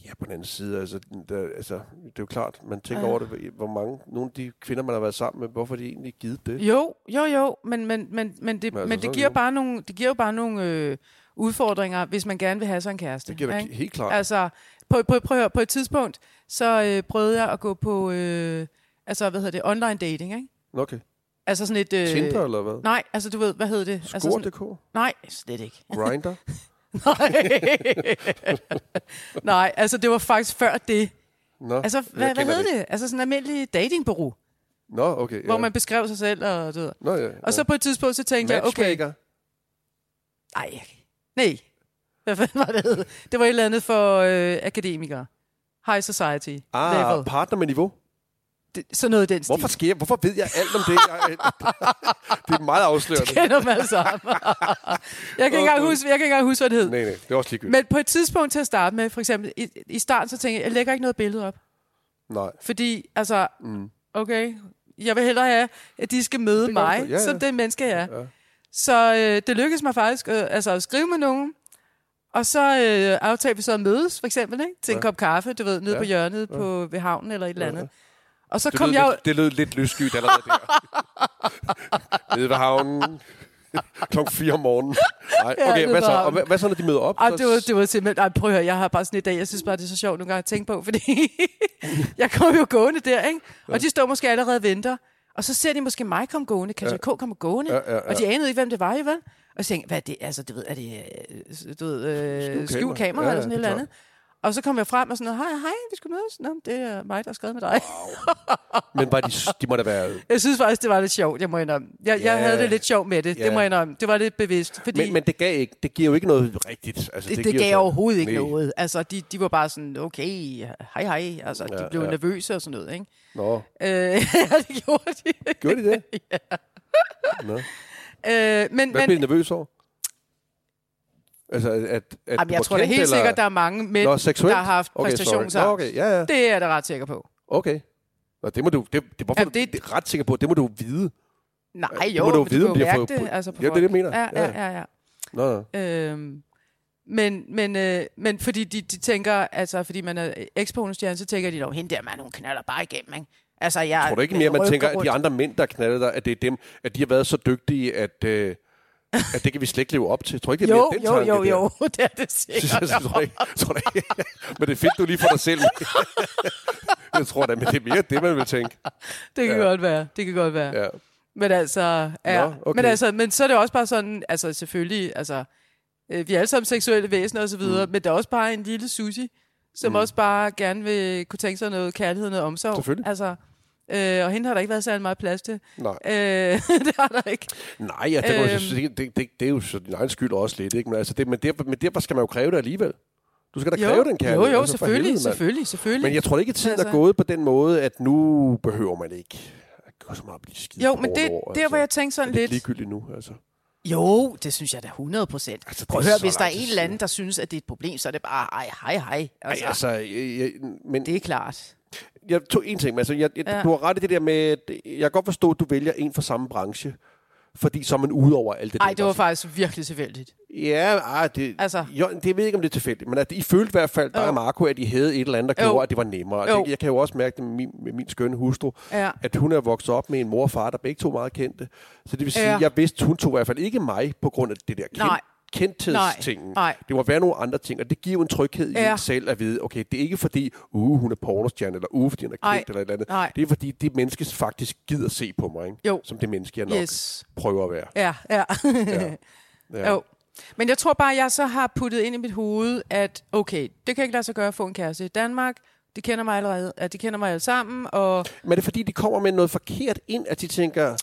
[SPEAKER 1] Ja, på den anden side, altså, der, altså det er jo klart, man tænker ja.
[SPEAKER 2] Ja.
[SPEAKER 1] over det, hvor mange, nogle af de kvinder, man har været sammen med, hvorfor har de egentlig givet det?
[SPEAKER 2] Jo, jo, jo, men, men, men, men, det,
[SPEAKER 1] Men altså,
[SPEAKER 2] men,
[SPEAKER 1] så er
[SPEAKER 2] det,
[SPEAKER 1] det
[SPEAKER 2] giver
[SPEAKER 1] jo-
[SPEAKER 2] bare nogle, det giver jo bare nogle øh, udfordringer, hvis man gerne vil have sig en kæreste.
[SPEAKER 1] Det giver da
[SPEAKER 2] ikke?
[SPEAKER 1] helt klart.
[SPEAKER 2] Altså, på, på, prøv at høre, på et tidspunkt, så øh, prøvede jeg at gå på, øh, altså, hvad hedder det, online dating, ikke?
[SPEAKER 1] Okay.
[SPEAKER 2] Altså sådan et... Øh,
[SPEAKER 1] Tinder eller hvad?
[SPEAKER 2] Nej, altså du ved, hvad hedder det? Altså, sådan,
[SPEAKER 1] Score.dk?
[SPEAKER 2] nej, slet ikke.
[SPEAKER 1] Grinder?
[SPEAKER 2] Nej. nej, altså det var faktisk før det.
[SPEAKER 1] Nå,
[SPEAKER 2] Altså,
[SPEAKER 1] jeg
[SPEAKER 2] hvad, hvad
[SPEAKER 1] kender
[SPEAKER 2] hed
[SPEAKER 1] ikke.
[SPEAKER 2] det? Altså sådan en almindelig datingbureau, ja.
[SPEAKER 1] Nå, okay.
[SPEAKER 2] hvor
[SPEAKER 1] ja.
[SPEAKER 2] man beskrev sig selv og du ved.
[SPEAKER 1] Nå, ja,
[SPEAKER 2] Og så på et tidspunkt, så tænkte jeg, okay,
[SPEAKER 1] Matchmaker?
[SPEAKER 2] Nej, nej. Hvad fanden var det? hed? Det var et eller andet for øh, akademikere. High society.
[SPEAKER 1] Ah,
[SPEAKER 2] level.
[SPEAKER 1] partner med niveau.
[SPEAKER 2] Det, sådan noget i den stil.
[SPEAKER 1] Hvorfor sker Hvorfor ved jeg alt om det? Jeg, det er meget afslørende.
[SPEAKER 2] kender man sammen? jeg, kan ikke engang huske, jeg kan ikke engang huske, hvad det hed.
[SPEAKER 1] Nej, nej, det er også ligegyldigt.
[SPEAKER 2] Men på et tidspunkt til at starte med, for eksempel i, i starten, så tænkte jeg, jeg lægger ikke noget billede op.
[SPEAKER 1] Nej.
[SPEAKER 2] Fordi, altså,
[SPEAKER 1] Mm.
[SPEAKER 2] okay, jeg vil hellere have, at de skal
[SPEAKER 1] Det
[SPEAKER 2] møde
[SPEAKER 1] kan jeg
[SPEAKER 2] mig,
[SPEAKER 1] godt- ja, ja.
[SPEAKER 2] som den menneske jeg er.
[SPEAKER 1] Ja.
[SPEAKER 2] Ja. Så øh, det lykkedes mig faktisk øh, altså at skrive med nogen, og så øh, aftalte vi så at mødes, for eksempel, ikke? til ja.
[SPEAKER 1] Ja.
[SPEAKER 2] en kop kaffe, du ved, nede
[SPEAKER 1] Ja.
[SPEAKER 2] ja. på hjørnet ja. på, ved havnen eller et eller
[SPEAKER 1] Ja,
[SPEAKER 2] andet.
[SPEAKER 1] ja.
[SPEAKER 2] Og så
[SPEAKER 1] Det,
[SPEAKER 2] kom
[SPEAKER 1] lød
[SPEAKER 2] jeg jo...
[SPEAKER 1] lidt, det lød lidt lysskyet allerede der. Nede ved havnen. Klokken 4 om morgenen. Nej,
[SPEAKER 2] Ja,
[SPEAKER 1] okay,
[SPEAKER 2] nede
[SPEAKER 1] hvad
[SPEAKER 2] ved
[SPEAKER 1] så? Og
[SPEAKER 2] havnen.
[SPEAKER 1] hvad, hvad så, når de møder op?
[SPEAKER 2] Ej,
[SPEAKER 1] Så-
[SPEAKER 2] det var, det var simpelthen... Ej, prøv at høre, jeg har bare sådan i dag, jeg synes bare, det er så sjovt nogle gange at tænke på, fordi jeg kommer jo gående der, ikke? Og de står måske allerede og venter, og så ser de måske mig komme gående, Katja K. komme gående,
[SPEAKER 1] Ja, ja, ja.
[SPEAKER 2] og de anede ikke, hvem det var, jo vel? Og så tænkte, jeg, hvad er det, altså, du ved, er det, øh, du ved,
[SPEAKER 1] Skjult
[SPEAKER 2] øh,
[SPEAKER 1] kamera.
[SPEAKER 2] skjult kamera
[SPEAKER 1] Ja,
[SPEAKER 2] eller
[SPEAKER 1] ja,
[SPEAKER 2] sådan et
[SPEAKER 1] det
[SPEAKER 2] eller
[SPEAKER 1] er
[SPEAKER 2] andet? Og så kom jeg frem og sådan noget, hej, hej, vi skal mødes. Nå, men det er mig, der har skrevet med dig.
[SPEAKER 1] Men var de, s- de må da være...
[SPEAKER 2] Jeg synes faktisk, det var lidt sjovt, jeg må indrømme. Jeg,
[SPEAKER 1] Ja.
[SPEAKER 2] jeg havde det lidt sjovt med det,
[SPEAKER 1] Ja.
[SPEAKER 2] det må jeg indrømme. Det var lidt bevidst, fordi...
[SPEAKER 1] Men, men det, gav ikke, det giver jo ikke noget rigtigt. Altså,
[SPEAKER 2] det, det,
[SPEAKER 1] giver
[SPEAKER 2] gav
[SPEAKER 1] så-
[SPEAKER 2] overhovedet ikke
[SPEAKER 1] Nej.
[SPEAKER 2] noget. Altså, de, de var bare sådan, okay, hej hej. Altså, ja,
[SPEAKER 1] Ja,
[SPEAKER 2] de blev
[SPEAKER 1] ja.
[SPEAKER 2] ja. nervøse og sådan noget, ikke?
[SPEAKER 1] Nå,
[SPEAKER 2] Øh, ja, det gjorde de.
[SPEAKER 1] gjorde de det? Nå.
[SPEAKER 2] Øh,
[SPEAKER 1] Hvad
[SPEAKER 2] men men
[SPEAKER 1] bliver du nervøs over? Altså, at, at du
[SPEAKER 2] jamen,
[SPEAKER 1] var
[SPEAKER 2] jeg tror da
[SPEAKER 1] kendt,
[SPEAKER 2] helt
[SPEAKER 1] eller-
[SPEAKER 2] sikkert, der er mange mænd,
[SPEAKER 1] Nå, seksuelt?
[SPEAKER 2] der har haft
[SPEAKER 1] okay, sorry.
[SPEAKER 2] præstationsangst.
[SPEAKER 1] Nå, okay, ja, ja.
[SPEAKER 2] Det er jeg da ret sikker på.
[SPEAKER 1] Okay. Nå, det må du, det, det, hvorfor,
[SPEAKER 2] Jamen,
[SPEAKER 1] det, det,
[SPEAKER 2] det-
[SPEAKER 1] er ret sikker på, det må du vide.
[SPEAKER 2] Nej,
[SPEAKER 1] Ja, Øh, det
[SPEAKER 2] jo,
[SPEAKER 1] må du
[SPEAKER 2] men
[SPEAKER 1] vide,
[SPEAKER 2] du
[SPEAKER 1] om de
[SPEAKER 2] kan
[SPEAKER 1] har
[SPEAKER 2] jo mærke
[SPEAKER 1] fået-
[SPEAKER 2] det. Altså, på
[SPEAKER 1] Ja, det er det, jeg
[SPEAKER 2] folk.
[SPEAKER 1] mener.
[SPEAKER 2] Ja,
[SPEAKER 1] Ja,
[SPEAKER 2] ja, ja. ja.
[SPEAKER 1] Nå, nå.
[SPEAKER 2] Øhm, Men, men, øh, men fordi de, de tænker, altså fordi man er eksponestjerne, så tænker de dog, hende der mand, hun knaller bare igennem, ikke? Altså, jeg
[SPEAKER 1] Tror du ikke mere, man
[SPEAKER 2] rykker
[SPEAKER 1] tænker, at
[SPEAKER 2] rundt.
[SPEAKER 1] de andre mænd, der knaldede dig, at det er dem, at de har været så dygtige, at, øh, at det kan vi slet ikke leve op til? Tror du ikke, det er
[SPEAKER 2] Jo,
[SPEAKER 1] mere den
[SPEAKER 2] jo,
[SPEAKER 1] tanke
[SPEAKER 2] jo,
[SPEAKER 1] der?
[SPEAKER 2] jo, det er det
[SPEAKER 1] Synes jeg,
[SPEAKER 2] sikkert.
[SPEAKER 1] tror jeg ikke, tror jeg ikke. Men det er fedt, du lige for dig selv. jeg tror da, men det er mere det, man vil tænke.
[SPEAKER 2] Det kan
[SPEAKER 1] Ja.
[SPEAKER 2] ja. godt være, det kan godt være. Ja.
[SPEAKER 1] Ja.
[SPEAKER 2] Men altså, ja.
[SPEAKER 1] Nå, okay.
[SPEAKER 2] men altså, men så er det også bare sådan, altså selvfølgelig, altså, øh, vi er alle sammen seksuelle væsener og så videre, mm. men der er også bare en lille sushi, som mm. også bare gerne vil kunne tænke sig noget kærlighed og noget omsorg.
[SPEAKER 1] Selvfølgelig.
[SPEAKER 2] Altså, øh, og hende har der ikke været særlig meget plads til.
[SPEAKER 1] Nej.
[SPEAKER 2] Øh, det har der ikke.
[SPEAKER 1] Nej, ja, det, øhm.
[SPEAKER 2] Øhm.
[SPEAKER 1] det, det, det, det, er jo så din egen skyld også lidt. Ikke? Men, altså, det, men, der, men derfor skal man jo kræve det alligevel. Du skal da kræve den kærlighed.
[SPEAKER 2] jo, jo,
[SPEAKER 1] altså, for
[SPEAKER 2] selvfølgelig,
[SPEAKER 1] helvede, mand.
[SPEAKER 2] selvfølgelig, selvfølgelig.
[SPEAKER 1] Men jeg tror ikke, at tiden er
[SPEAKER 2] Altså-
[SPEAKER 1] gået på den måde, at nu behøver man ikke at gøre så meget op i de skide altså.
[SPEAKER 2] jo, men det,
[SPEAKER 1] pornoer,
[SPEAKER 2] der hvor jeg tænkte
[SPEAKER 1] er
[SPEAKER 2] sådan
[SPEAKER 1] det ikke
[SPEAKER 2] lidt...
[SPEAKER 1] ligegyldigt nu, altså.
[SPEAKER 2] Jo, det synes jeg da 100 procent.
[SPEAKER 1] Altså,
[SPEAKER 2] Altså,
[SPEAKER 1] det
[SPEAKER 2] Prøv at
[SPEAKER 1] er
[SPEAKER 2] høre,
[SPEAKER 1] så
[SPEAKER 2] hvis der er
[SPEAKER 1] lang tid
[SPEAKER 2] en eller anden, der synes, at det er et problem, så er det bare, ej, hej, hej.
[SPEAKER 1] Altså,
[SPEAKER 2] Altså,
[SPEAKER 1] Ej, altså jeg, jeg, men
[SPEAKER 2] Det er klart.
[SPEAKER 1] jeg tog en ting, men altså, jeg, jeg, ja.
[SPEAKER 2] Ja.
[SPEAKER 1] du har ret i det der med, at øh, jeg kan godt forstå, at du vælger en fra samme branche, fordi så er man ude over alt det
[SPEAKER 2] Nej, det var
[SPEAKER 1] der. altså.
[SPEAKER 2] faktisk virkelig tilfældigt.
[SPEAKER 1] Ja, ej, det, altså.
[SPEAKER 2] Altså.
[SPEAKER 1] jo, det, jeg ved ikke, om det er tilfældigt, men at I følte i hvert fald, der
[SPEAKER 2] Jo.
[SPEAKER 1] og Marco, at I havde et eller andet, der
[SPEAKER 2] Jo.
[SPEAKER 1] gjorde, at det var nemmere.
[SPEAKER 2] Jo.
[SPEAKER 1] Det, jeg kan jo også mærke det med min, med min skønne hustru,
[SPEAKER 2] Ja.
[SPEAKER 1] at hun er vokset op med en mor og far, der begge to er meget kendte. Så det vil sige,
[SPEAKER 2] Ja.
[SPEAKER 1] at jeg vidste, hun tog i hvert fald ikke mig på grund af det der kend,
[SPEAKER 2] Nej.
[SPEAKER 1] kendthedstingen.
[SPEAKER 2] Nej, nej.
[SPEAKER 1] Det må være nogle andre ting, og det giver jo en tryghed i
[SPEAKER 2] Ja.
[SPEAKER 1] en selv at vide, okay, det er ikke fordi, uh, hun er pornostjerne, eller uh, fordi hun er
[SPEAKER 2] Nej.
[SPEAKER 1] kendt, eller et eller andet.
[SPEAKER 2] Nej.
[SPEAKER 1] Det er fordi, det menneske faktisk gider se på mig, ikke?
[SPEAKER 2] Jo.
[SPEAKER 1] som det menneske, jeg nok yes.
[SPEAKER 2] Yes.
[SPEAKER 1] prøver at være.
[SPEAKER 2] Ja, ja.
[SPEAKER 1] Ja.
[SPEAKER 2] ja. Jo. Men jeg tror bare, jeg så har puttet ind i mit hoved, at okay, det kan ikke lade sig gøre at få en kæreste i Danmark. De kender mig allerede, at de kender mig alle sammen, og
[SPEAKER 1] Men er det fordi, de kommer med noget forkert ind, at de tænker,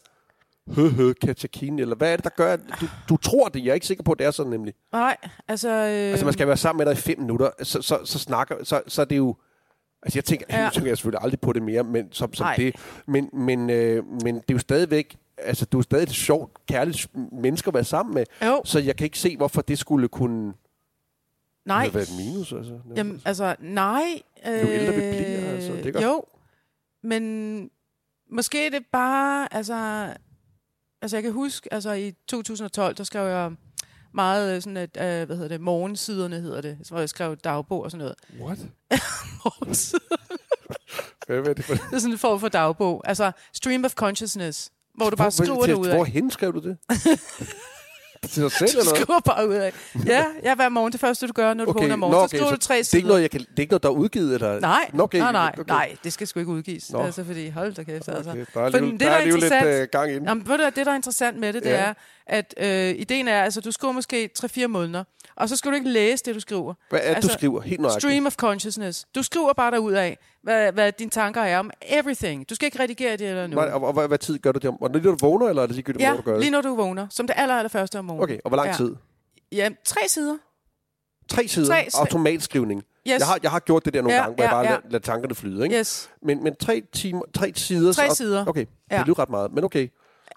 [SPEAKER 1] hø, hø, Katakine, eller hvad er det, der gør, at du, du tror det? Jeg er ikke sikker på, at det er sådan nemlig.
[SPEAKER 2] nej, altså... Øh,
[SPEAKER 1] Altså, man skal være sammen med dig i fem minutter, så, så, så snakker, så, så er det jo... Altså, jeg tænker, ja.
[SPEAKER 2] Ja.
[SPEAKER 1] nu tænker jeg selvfølgelig aldrig på det mere, men som, som
[SPEAKER 2] Nej.
[SPEAKER 1] det. Men, men, øh, men det er jo stadigvæk, altså, du er jo stadig et sjovt, kærligt menneske at være sammen med.
[SPEAKER 2] Jo,
[SPEAKER 1] Så jeg kan ikke se, hvorfor det skulle kunne
[SPEAKER 2] nej.
[SPEAKER 1] have været et minus. Altså.
[SPEAKER 2] Jamen, altså, nej. Øh,
[SPEAKER 1] ældre vi bliver, altså, det gør-
[SPEAKER 2] Jo, men måske er det bare, altså... Altså, jeg kan huske, altså i 2012, der skrev jeg meget øh, sådan et, øh, hvad hedder det, morgensiderne hedder det, hvor jeg skrev dagbog og sådan noget.
[SPEAKER 1] What?
[SPEAKER 2] Morgensider.
[SPEAKER 1] Hvad er det for?
[SPEAKER 2] det er sådan en form for dagbog. Altså, stream of consciousness, hvor du bare skriver det ud
[SPEAKER 1] Hvor
[SPEAKER 2] af.
[SPEAKER 1] hen skrev du det? til dig selv,
[SPEAKER 2] Du
[SPEAKER 1] eller hvad?
[SPEAKER 2] skriver bare ud af. Ja, ja, hver morgen, det første du gør, når du
[SPEAKER 1] Okay,
[SPEAKER 2] vågner om
[SPEAKER 1] nå,
[SPEAKER 2] morgenen,
[SPEAKER 1] okay,
[SPEAKER 2] så skriver
[SPEAKER 1] så
[SPEAKER 2] du tre
[SPEAKER 1] Det er,
[SPEAKER 2] sider.
[SPEAKER 1] ikke noget, jeg kan, det er ikke noget, der er udgivet? Eller?
[SPEAKER 2] Nej,
[SPEAKER 1] Nå, okay,
[SPEAKER 2] nej, nej,
[SPEAKER 1] okay.
[SPEAKER 2] nej, det skal sgu ikke udgives.
[SPEAKER 1] Nå.
[SPEAKER 2] Altså, fordi, hold da kæft, altså.
[SPEAKER 1] Okay, der er
[SPEAKER 2] Fordi
[SPEAKER 1] alligevel,
[SPEAKER 2] det,
[SPEAKER 1] der
[SPEAKER 2] der
[SPEAKER 1] er
[SPEAKER 2] er
[SPEAKER 1] alligevel lidt øh,
[SPEAKER 2] interessant-
[SPEAKER 1] gang ind.
[SPEAKER 2] Jamen, ved du, hvad, det, der er interessant med det, det
[SPEAKER 1] Ja.
[SPEAKER 2] ja. er, at øh, ideen er, altså, du skriver måske 3-4 måneder, og så skal du ikke læse det, du skriver.
[SPEAKER 1] Hvad er det, du
[SPEAKER 2] altså,
[SPEAKER 1] skriver? Helt nøjagtigt.
[SPEAKER 2] Stream of consciousness. Du skriver bare derud af, hvad, hvad dine tanker er om everything. Du skal ikke redigere det eller
[SPEAKER 1] Nej,
[SPEAKER 2] noget.
[SPEAKER 1] og, og, hvad, hvad tid gør du det om? Og lige når du vågner, eller er det ligegyldigt,
[SPEAKER 2] Ja,
[SPEAKER 1] hvornår du gør
[SPEAKER 2] lige
[SPEAKER 1] det?
[SPEAKER 2] når du vågner, som det aller, aller første om morgenen.
[SPEAKER 1] Okay, og hvor lang
[SPEAKER 2] Ja.
[SPEAKER 1] tid?
[SPEAKER 2] Ja, tre sider.
[SPEAKER 1] Tre sider.
[SPEAKER 2] Tre sider.
[SPEAKER 1] Automatskrivning.
[SPEAKER 2] Yes,
[SPEAKER 1] Jeg, har, jeg har gjort det der nogle
[SPEAKER 2] Ja,
[SPEAKER 1] gange, hvor jeg
[SPEAKER 2] ja,
[SPEAKER 1] bare
[SPEAKER 2] ja.
[SPEAKER 1] lader, lader tankerne flyde. Ikke?
[SPEAKER 2] yes.
[SPEAKER 1] Men, men tre, timer, tre sider.
[SPEAKER 2] Tre
[SPEAKER 1] så-
[SPEAKER 2] sider.
[SPEAKER 1] Okay,
[SPEAKER 2] Ja.
[SPEAKER 1] det lyder ret meget, men okay.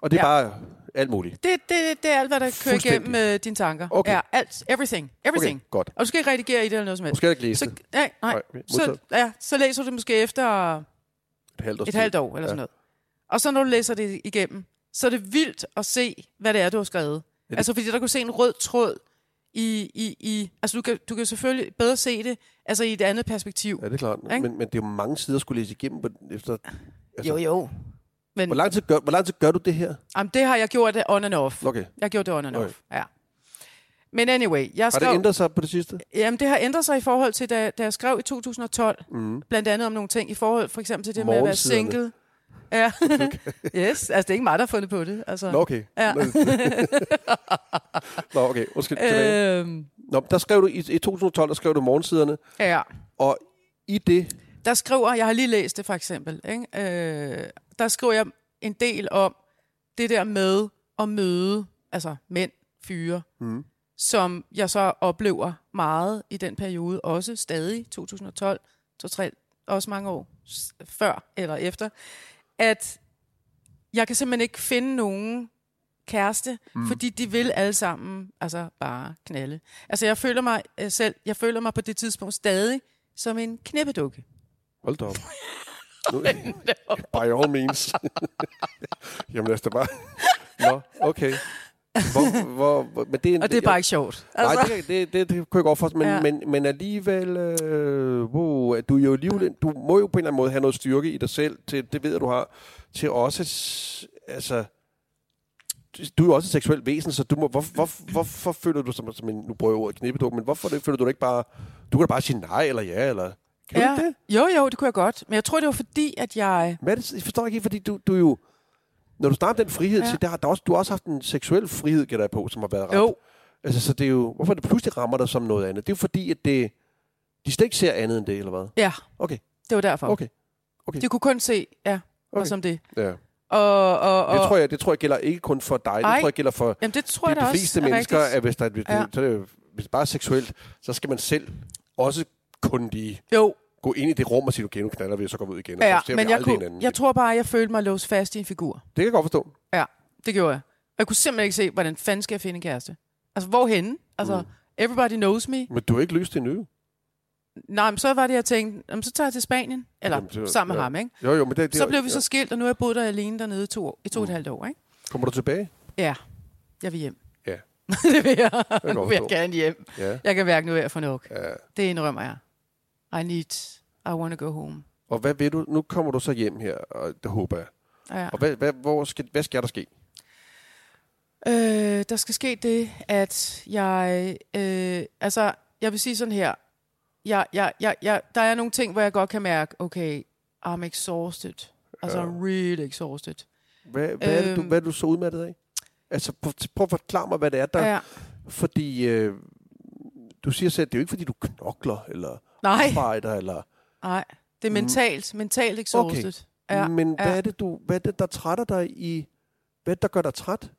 [SPEAKER 1] Og det er bare alt muligt.
[SPEAKER 2] Det, det, det er alt, hvad der kører
[SPEAKER 1] Fuldstændig.
[SPEAKER 2] igennem øh, dine tanker.
[SPEAKER 1] Okay.
[SPEAKER 2] Ja, alt. Everything.
[SPEAKER 1] Okay,
[SPEAKER 2] Everything.
[SPEAKER 1] godt.
[SPEAKER 2] Og du skal ikke redigere i det eller noget som
[SPEAKER 1] Du
[SPEAKER 2] helst.
[SPEAKER 1] skal ikke læse
[SPEAKER 2] Så,
[SPEAKER 1] det
[SPEAKER 2] nej, nej.
[SPEAKER 1] Nej, okay,
[SPEAKER 2] Så,
[SPEAKER 1] modtaget.
[SPEAKER 2] ja, så læser du det måske efter
[SPEAKER 1] et halvt års
[SPEAKER 2] et
[SPEAKER 1] tid.
[SPEAKER 2] halvt år eller sådan noget. Og så når du læser det igennem, så er det vildt at se, hvad det er, du har skrevet.
[SPEAKER 1] det-
[SPEAKER 2] Altså fordi der kan du se en rød tråd i... i, i altså du kan, du kan selvfølgelig bedre se det altså i et andet perspektiv.
[SPEAKER 1] Ja, det er klart.
[SPEAKER 2] Ikke?
[SPEAKER 1] Men, men det er jo mange sider, at skulle læse igennem. På, efter, altså,
[SPEAKER 2] Jo, jo. Men
[SPEAKER 1] Hvor lang, tid gør, hvor lang tid gør du det her?
[SPEAKER 2] jamen, det har jeg gjort det on and off.
[SPEAKER 1] Okay.
[SPEAKER 2] Jeg har gjort det on and
[SPEAKER 1] Okay.
[SPEAKER 2] off, ja. Men anyway, jeg
[SPEAKER 1] Har
[SPEAKER 2] skrev...
[SPEAKER 1] det ændret sig på det sidste?
[SPEAKER 2] Jamen, det har ændret sig i forhold til, da, da jeg skrev i 2012, mm. blandt andet om nogle ting, i forhold for eksempel til det med at være
[SPEAKER 1] Morgensiderne.
[SPEAKER 2] single. Ja, yes, altså det er ikke mig, der har fundet på det. Altså.
[SPEAKER 1] Nå, okay.
[SPEAKER 2] Ja.
[SPEAKER 1] Nå, okay. Undskyld, tilbage.
[SPEAKER 2] øhm,
[SPEAKER 1] Nå, der skrev du i, i 2012, der skrev du morgensiderne,
[SPEAKER 2] ja.
[SPEAKER 1] og i det,
[SPEAKER 2] Der skriver, jeg har lige læst det for eksempel, ikke? Øh, der skriver jeg en del om det der med at møde, altså mænd, fyre,
[SPEAKER 1] Mm.
[SPEAKER 2] som jeg så oplever meget i den periode, også stadig 2012, 2003, også mange år s- før eller efter, at jeg kan simpelthen ikke finde nogen kæreste, mm. fordi de vil alle sammen altså bare knalde. Altså jeg føler mig øh, selv, jeg føler mig på det tidspunkt stadig som en knippedukke.
[SPEAKER 1] hold da op. Nu, by all means. Jamen lad os da bare... Nå, okay. Hvor, hvor, hvor, men det, er en-
[SPEAKER 2] Og det er bare ikke sjovt.
[SPEAKER 1] Nej,
[SPEAKER 3] Altså,
[SPEAKER 1] det, det, det, det kunne jeg godt forstå, men, ja.
[SPEAKER 2] Ja.
[SPEAKER 1] men, men alligevel, øh, wow, at du, er jo alligevel, du må jo på en eller anden måde have noget styrke i dig selv, til, det ved jeg, du har, til også, s- altså, du er jo også et seksuelt væsen, så du må, hvor, hvor, hvorfor føler du som, som en, nu bruger jeg ordet knippeduk, men hvorfor det, føler du dig ikke bare, du kan da bare sige nej eller ja, eller, kan ja.
[SPEAKER 2] Ja.
[SPEAKER 1] du ikke det?
[SPEAKER 2] Jo, jo, det kunne jeg godt. Men jeg tror, det var fordi, at jeg...
[SPEAKER 1] Hvad er det, jeg forstår ikke helt, fordi du, du er jo, når du snakker om den frihed, ja.
[SPEAKER 2] Ja.
[SPEAKER 1] til, der, har- der er også, du har også haft en seksuel frihed, gætter jeg på, som har været ramt.
[SPEAKER 2] Jo,
[SPEAKER 1] Altså, så det er jo... Hvorfor det pludselig rammer dig som noget andet? Det er jo fordi, at det, de slet ikke ser andet end det, eller hvad?
[SPEAKER 2] ja.
[SPEAKER 1] Okay.
[SPEAKER 2] Det var derfor.
[SPEAKER 1] Okay.
[SPEAKER 2] De kunne kun se, ja, okay.
[SPEAKER 1] Okay.
[SPEAKER 2] og som det.
[SPEAKER 1] Ja.
[SPEAKER 2] Og, og, og,
[SPEAKER 1] Det, tror jeg, det tror jeg gælder ikke kun for dig.
[SPEAKER 2] Ej,
[SPEAKER 1] det tror jeg gælder for
[SPEAKER 2] jamen, det tror
[SPEAKER 1] de,
[SPEAKER 2] jeg da
[SPEAKER 1] de
[SPEAKER 2] også
[SPEAKER 1] fleste
[SPEAKER 2] er
[SPEAKER 1] mennesker,
[SPEAKER 2] rigtigt.
[SPEAKER 1] at hvis, der, hvis, ja.
[SPEAKER 2] Ja.
[SPEAKER 1] så er det, jo- hvis det bare er seksuelt, så skal man selv også kun lige
[SPEAKER 2] Jo,
[SPEAKER 1] gå ind i det rum og sige, okay, nu knaller vi, og så går vi ud igen. Og
[SPEAKER 2] ja,
[SPEAKER 1] så ser
[SPEAKER 2] men
[SPEAKER 1] vi
[SPEAKER 2] jeg,
[SPEAKER 1] aldrig
[SPEAKER 2] kunne,
[SPEAKER 1] hinanden.
[SPEAKER 2] jeg tror bare, at jeg følte mig låst fast i en figur.
[SPEAKER 1] Det kan jeg godt forstå.
[SPEAKER 2] Det gjorde jeg. Jeg kunne simpelthen ikke se, hvordan fanden skal jeg finde en kæreste? Altså, hvorhenne? Altså,
[SPEAKER 1] Mm.
[SPEAKER 2] mm. everybody knows me.
[SPEAKER 1] Men du har ikke løst det endnu.
[SPEAKER 2] Nej, men så var det, jeg tænkte, jamen, så tager jeg til Spanien. Eller
[SPEAKER 1] Jamen, det-
[SPEAKER 2] jamen, sammen med
[SPEAKER 1] ja.
[SPEAKER 2] ja. ham, ikke?
[SPEAKER 1] Jo, jo, men det, det
[SPEAKER 2] Så blev vi så
[SPEAKER 1] ja.
[SPEAKER 2] skilt, og nu har jeg boet der alene dernede i to, år, i to og et
[SPEAKER 1] Mm.
[SPEAKER 2] halvt år, ikke?
[SPEAKER 1] Kommer du tilbage?
[SPEAKER 2] Ja, jeg vil hjem.
[SPEAKER 1] Ja.
[SPEAKER 2] det vil jeg.
[SPEAKER 1] godt
[SPEAKER 2] Nu vil jeg
[SPEAKER 1] forstå.
[SPEAKER 2] gerne hjem.
[SPEAKER 1] Ja.
[SPEAKER 2] Jeg kan hverken nu af for nok.
[SPEAKER 1] ja.
[SPEAKER 2] Det indrømmer jeg. I need, I want to go home.
[SPEAKER 1] Og hvad ved du? Nu kommer du så hjem her, og det håber jeg.
[SPEAKER 2] Ja.
[SPEAKER 1] Og hvad, hvad, hvor skal, hvad skal der ske?
[SPEAKER 2] Øh, der skal ske det, at jeg... Øh, altså, jeg vil sige sådan her. Jeg, jeg, jeg, jeg, der er nogle ting, hvor jeg godt kan mærke, okay, I'm exhausted. Altså,
[SPEAKER 1] Ja.
[SPEAKER 2] I'm really exhausted.
[SPEAKER 1] Hvad, hvad, er det, du,
[SPEAKER 2] Øhm.
[SPEAKER 1] hvad er du så udmattet af? Altså, prøv, prøv at forklare mig, hvad det er, der... Ja.
[SPEAKER 2] Ja.
[SPEAKER 1] Fordi øh, du siger selv, at det er jo ikke, fordi du knokler, eller
[SPEAKER 2] Nej,
[SPEAKER 1] arbejder, eller...
[SPEAKER 2] nej. Det er
[SPEAKER 1] Mm.
[SPEAKER 2] mentalt. Mentalt exhausted. Okay. Ja,
[SPEAKER 1] Men hvad
[SPEAKER 2] ja.
[SPEAKER 1] er det, du, hvad er det, der trætter dig i... Hvad er det, der gør dig træt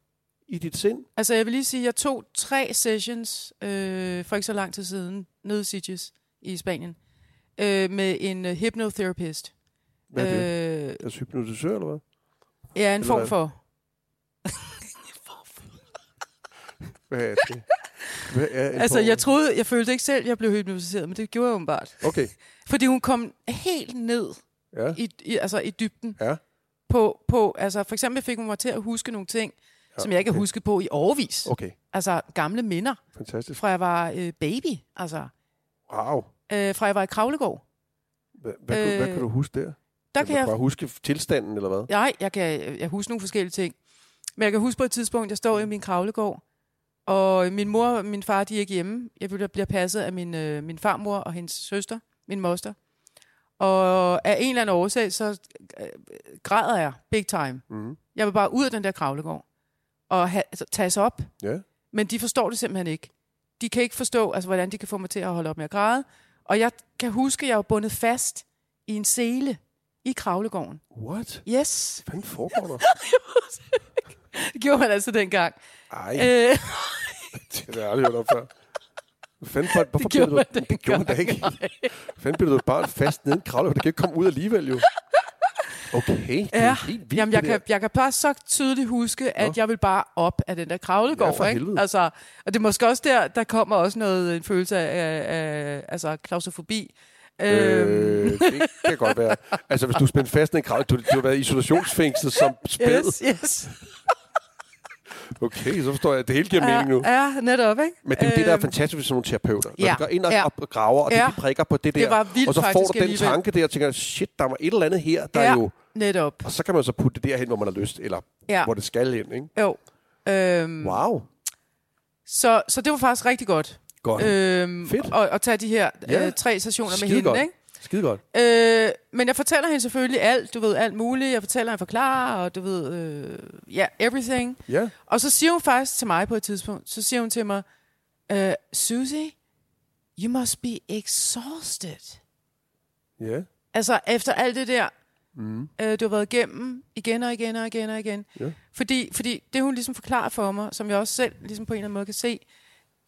[SPEAKER 1] i dit sind?
[SPEAKER 2] Altså, jeg vil lige sige, at jeg tog tre sessions øh, for ikke så lang tid siden, nede i Sitges i Spanien, øh, med en øh, hypnotherapist.
[SPEAKER 1] Hvad er det?
[SPEAKER 2] Øh,
[SPEAKER 1] Altså hypnotisør, eller hvad?
[SPEAKER 2] ja, en
[SPEAKER 1] Eller
[SPEAKER 2] form
[SPEAKER 1] hvad?
[SPEAKER 2] for...
[SPEAKER 1] Hvad er det? Hvad er en
[SPEAKER 2] Altså,
[SPEAKER 1] form-
[SPEAKER 2] jeg troede, jeg følte ikke selv, jeg blev hypnotiseret, men det gjorde jeg åbenbart.
[SPEAKER 1] Okay,
[SPEAKER 2] Fordi hun kom helt ned
[SPEAKER 1] ja.
[SPEAKER 2] i, i, altså, i dybden.
[SPEAKER 1] Ja.
[SPEAKER 2] På, på, altså, for eksempel fik hun mig til at huske nogle ting,
[SPEAKER 1] Ja,
[SPEAKER 2] ja, som jeg ikke har
[SPEAKER 1] okay.
[SPEAKER 2] husket på i årevis.
[SPEAKER 1] Okay,
[SPEAKER 2] Altså, gamle minder
[SPEAKER 1] fantastisk.
[SPEAKER 2] fra jeg var øh, baby. Altså,
[SPEAKER 1] Wow.
[SPEAKER 2] øh, fra jeg var i Kravlegård.
[SPEAKER 1] Hvad, hvad, øh, kan, du- hvad
[SPEAKER 2] Øh,
[SPEAKER 1] kan du huske der?
[SPEAKER 2] Der kan
[SPEAKER 1] du
[SPEAKER 2] jeg
[SPEAKER 1] bare huske tilstanden, eller hvad?
[SPEAKER 2] Nej, jeg kan jeg husker nogle forskellige ting. Men jeg kan huske på et tidspunkt, jeg står i min kravlegård, og min mor og min far, de er ikke hjemme. Jeg bliver- bliver passet af min, øh, min farmor og hendes søster, min moster. Og af en eller anden årsag, så øh, græder jeg big time.
[SPEAKER 1] Mm-hmm.
[SPEAKER 2] Jeg vil bare ud af den der kravlegård og ha, altså, tages op.
[SPEAKER 1] Ja.
[SPEAKER 2] Men de forstår det simpelthen ikke. De kan ikke forstå, altså, hvordan de kan få mig til at holde op med at græde. Og jeg kan huske, at jeg var bundet fast i en sele i kravlegården.
[SPEAKER 1] What?
[SPEAKER 2] Yes.
[SPEAKER 1] Hvad fanden foregår der?
[SPEAKER 2] Det gjorde man altså dengang.
[SPEAKER 1] Ej.
[SPEAKER 2] Øh,
[SPEAKER 1] Det har jeg aldrig hørt om før. Hvad Fanden, for, hvorfor
[SPEAKER 2] gjorde
[SPEAKER 1] blev
[SPEAKER 2] man
[SPEAKER 1] du, det gjorde man da ikke. Fanden blev du et barn fast nede i en kravle, for det kan ikke komme ud alligevel jo. Okay, det er
[SPEAKER 2] Øh, Ja.
[SPEAKER 1] helt vildt,
[SPEAKER 2] jamen, jeg
[SPEAKER 1] det
[SPEAKER 2] kan, jeg kan bare så tydeligt huske, at
[SPEAKER 1] Nå.
[SPEAKER 2] jeg vil bare op af den der kravlegård.
[SPEAKER 1] Ja, for
[SPEAKER 2] ikke?
[SPEAKER 1] helvede.
[SPEAKER 2] Altså, og det er måske også der, der kommer også noget, en følelse af, af altså, klaustrofobi.
[SPEAKER 1] der.
[SPEAKER 2] Øhm,
[SPEAKER 1] Øh, det kan godt være. Altså, hvis du er spændt fast nede i en kravle, du, du har været i isolationsfængsel som spæd.
[SPEAKER 2] yes, yes.
[SPEAKER 1] Okay, så forstår jeg, at det hele giver mening nu.
[SPEAKER 2] Ja, ja, netop, ikke?
[SPEAKER 1] Men det er jo det, der er
[SPEAKER 2] Øhm,
[SPEAKER 1] fantastisk ved sådan nogle terapeuter. Når
[SPEAKER 2] Øh, ja,
[SPEAKER 1] de går ind og,
[SPEAKER 2] ja.
[SPEAKER 1] og graver, og det,
[SPEAKER 2] Ja.
[SPEAKER 1] de prikker på det der,
[SPEAKER 2] Øh, Det var vildt
[SPEAKER 1] og så får
[SPEAKER 2] faktisk
[SPEAKER 1] du den
[SPEAKER 2] alligevel.
[SPEAKER 1] tanke der, og tænker, shit, der var et eller andet her, der ja.
[SPEAKER 2] Ja.
[SPEAKER 1] jo...
[SPEAKER 2] Netop,
[SPEAKER 1] Og så kan man så putte det derhen, hvor man har lyst, eller ja.
[SPEAKER 2] ja.
[SPEAKER 1] hvor det skal hen, ikke?
[SPEAKER 2] Jo. Øhm,
[SPEAKER 1] Wow,
[SPEAKER 2] så, så det var faktisk rigtig godt.
[SPEAKER 1] godt.
[SPEAKER 2] Øhm,
[SPEAKER 1] Fedt.
[SPEAKER 2] Og, og tage de her
[SPEAKER 1] Ja.
[SPEAKER 2] øh, tre sessioner med
[SPEAKER 1] Skidegodt.
[SPEAKER 2] hende, ikke?
[SPEAKER 1] Skide godt.
[SPEAKER 2] Øh, men jeg fortæller hende selvfølgelig alt, du ved, alt muligt. Jeg fortæller hende, forklarer, og du ved, øh, ja, yeah, everything.
[SPEAKER 1] Ja.
[SPEAKER 2] Og så siger hun faktisk til mig på et tidspunkt, så siger hun til mig, øh, Susie, you must be exhausted.
[SPEAKER 1] Ja.
[SPEAKER 2] Altså, efter alt det der,
[SPEAKER 1] Mm.
[SPEAKER 2] øh, du har været igennem igen og igen og igen og igen.
[SPEAKER 1] Ja.
[SPEAKER 2] Fordi, fordi det, hun ligesom forklarer for mig, som jeg også selv ligesom på en eller anden måde kan se,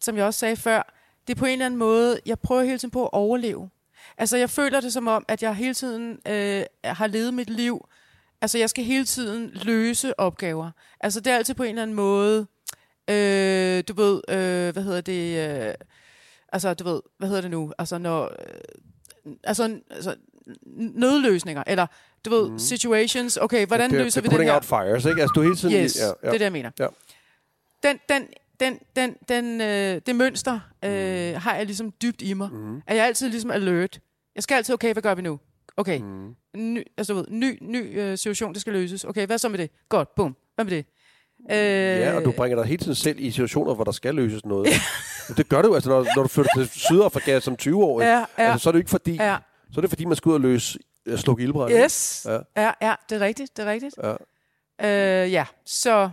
[SPEAKER 2] som jeg også sagde før, det er på en eller anden måde, jeg prøver hele tiden på at overleve. Altså, jeg føler det som om, at jeg hele tiden øh, har levet mit liv. Altså, jeg skal hele tiden løse opgaver. Altså, det er altid på en eller anden måde, øh, du ved, øh, hvad hedder det, øh, altså, du ved, hvad hedder det nu, altså, når, øh, altså, altså n- nødløsninger, eller, du ved, mm. situations, okay, hvordan
[SPEAKER 1] det,
[SPEAKER 2] løser
[SPEAKER 1] det
[SPEAKER 2] vi den
[SPEAKER 1] putting
[SPEAKER 2] her?
[SPEAKER 1] out fires, ikke? Altså, du er hele tiden... i-
[SPEAKER 2] Yes, ja, ja. det er det, jeg mener.
[SPEAKER 1] Ja.
[SPEAKER 2] den, den, den, den, den, øh, det mønster øh, har jeg ligesom dybt i mig.
[SPEAKER 1] Mm.
[SPEAKER 2] At jeg altid ligesom alert. Jeg skal altid, okay, hvad gør vi nu? Okay,
[SPEAKER 1] Mm.
[SPEAKER 2] ny, altså, du ved, ny, ny øh, situation, det skal løses. Okay, hvad så med det? Godt, bum. Hvad med det? Øh,
[SPEAKER 1] Ja, og du bringer dig hele tiden selv i situationer, hvor der skal løses noget. det gør du altså, når, når du flytter til Sydafrika som 20-årig.
[SPEAKER 2] Ja, ja,
[SPEAKER 1] Altså, så er det jo ikke fordi,
[SPEAKER 2] ja.
[SPEAKER 1] så er det fordi, man skal ud og løse, øh, slukke ildbrænde.
[SPEAKER 2] Yes.
[SPEAKER 1] Ja.
[SPEAKER 2] Ja. ja, ja, det er rigtigt, det er rigtigt.
[SPEAKER 1] Ja.
[SPEAKER 2] Øh, ja, så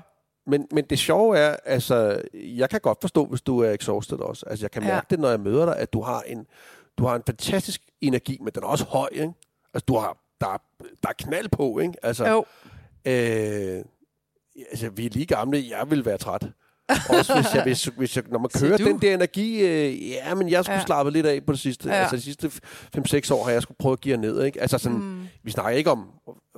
[SPEAKER 1] Men, men det sjove er, altså, jeg kan godt forstå, hvis du er exhausted også. Altså, jeg kan
[SPEAKER 2] Ja.
[SPEAKER 1] mærke det, når jeg møder dig, at du har en, du har en fantastisk energi, men den er også høj, ikke? Altså, du har, der, er- der er knald på, ikke? Altså,
[SPEAKER 2] jo.
[SPEAKER 1] øh, altså, vi er lige gamle, jeg vil være træt. Også hvis jeg, hvis, hvis jeg, når man
[SPEAKER 2] Siger
[SPEAKER 1] kører
[SPEAKER 2] du?
[SPEAKER 1] den der energi, øh, ja, men jeg skulle ja.
[SPEAKER 2] Ja.
[SPEAKER 1] slappe lidt af på det sidste. Ja.
[SPEAKER 2] Ja.
[SPEAKER 1] Altså, de sidste 5-6 år har jeg skulle prøve at give ned, ikke? Altså, sådan, mm.
[SPEAKER 2] Mm.
[SPEAKER 1] Vi snakker ikke om,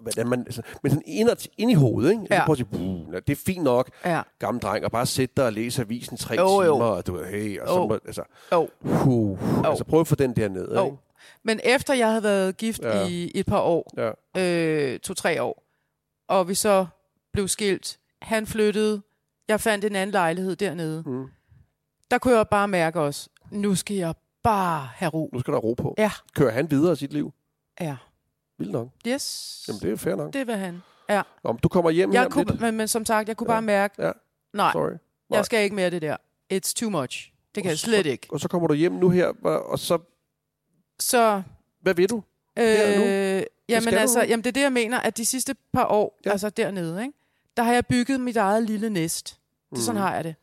[SPEAKER 1] hvordan man... Altså, men sådan ind, ind i hovedet, ikke? Ja.
[SPEAKER 2] Ja.
[SPEAKER 1] Prøv at sige, "Buh, nå, det er fint nok,
[SPEAKER 2] Ja,
[SPEAKER 1] gammel dreng, og bare sætte dig og læse avisen tre
[SPEAKER 2] Jo, jo.
[SPEAKER 1] timer, og du ved, hey, og så
[SPEAKER 2] Jo.
[SPEAKER 1] må, altså,
[SPEAKER 2] jo.
[SPEAKER 1] huh, altså prøv at få den der ned,
[SPEAKER 2] Jo.
[SPEAKER 1] ikke?
[SPEAKER 2] Men efter jeg havde været gift
[SPEAKER 1] Ja.
[SPEAKER 2] ja. i et par år,
[SPEAKER 1] Ja.
[SPEAKER 2] øh, to-tre år, og vi så blev skilt, han flyttede, jeg fandt en anden lejlighed dernede,
[SPEAKER 1] Mm.
[SPEAKER 2] der kunne jeg bare mærke også, nu skal jeg bare have ro.
[SPEAKER 1] Nu skal der ro på.
[SPEAKER 2] Ja.
[SPEAKER 1] Kører han videre i sit liv?
[SPEAKER 2] Ja.
[SPEAKER 1] Vildt nok.
[SPEAKER 2] Yes.
[SPEAKER 1] Jamen, det er fair nok.
[SPEAKER 2] det var han.
[SPEAKER 1] Om du kommer hjem her
[SPEAKER 2] Jeg
[SPEAKER 1] om
[SPEAKER 2] kunne,
[SPEAKER 1] lidt.
[SPEAKER 2] men, men som sagt, jeg kunne
[SPEAKER 1] Ja.
[SPEAKER 2] bare mærke,
[SPEAKER 1] Ja.
[SPEAKER 2] nej,
[SPEAKER 1] Sorry. Nej.
[SPEAKER 2] jeg skal ikke mere det der. It's too much. Det kan jeg
[SPEAKER 1] Så-
[SPEAKER 2] slet ikke.
[SPEAKER 1] Og så kommer du hjem nu her, og og så...
[SPEAKER 2] Så
[SPEAKER 1] Hvad ved du? Her og nu?
[SPEAKER 2] Øh,
[SPEAKER 1] skal
[SPEAKER 2] jamen
[SPEAKER 1] du
[SPEAKER 2] altså,
[SPEAKER 1] nu?
[SPEAKER 2] jamen det er det, jeg mener, at de sidste par år,
[SPEAKER 1] Ja.
[SPEAKER 2] ja. altså dernede, ikke? der har jeg bygget mit eget lille næst. Det mm. Sådan har jeg det.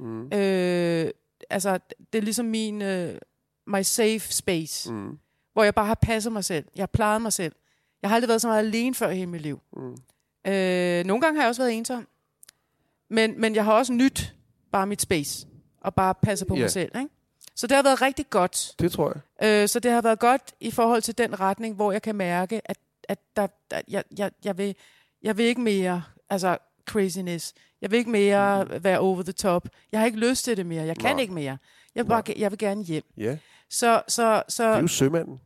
[SPEAKER 1] Mm.
[SPEAKER 2] Øh, altså, det er ligesom min, øh, my safe space, mm.
[SPEAKER 1] Mm.
[SPEAKER 2] hvor jeg bare har passet mig selv. Jeg har plejet mig selv. Jeg har aldrig været så meget alene før i hele mit liv.
[SPEAKER 1] Mm.
[SPEAKER 2] Øh, nogle gange har jeg også været ensom. Men, men jeg har også nyt bare mit space, og bare passer på
[SPEAKER 1] Ja.
[SPEAKER 2] mig selv. Ikke? Så det har været rigtig godt.
[SPEAKER 1] Det tror jeg.
[SPEAKER 2] Øh, så det har været godt i forhold til den retning, hvor jeg kan mærke, at, at der, der, jeg, jeg, jeg, vil, jeg vil ikke mere altså craziness. Jeg vil ikke mere være over the top. Jeg har ikke lyst til det mere. Jeg kan
[SPEAKER 1] Mm-hmm. Nej.
[SPEAKER 2] ikke mere. Jeg vil,
[SPEAKER 1] Nej.
[SPEAKER 2] bare, ge- jeg vil gerne hjem.
[SPEAKER 1] Ja,
[SPEAKER 2] Så, så,
[SPEAKER 1] det er
[SPEAKER 2] så
[SPEAKER 1] jo sømanden.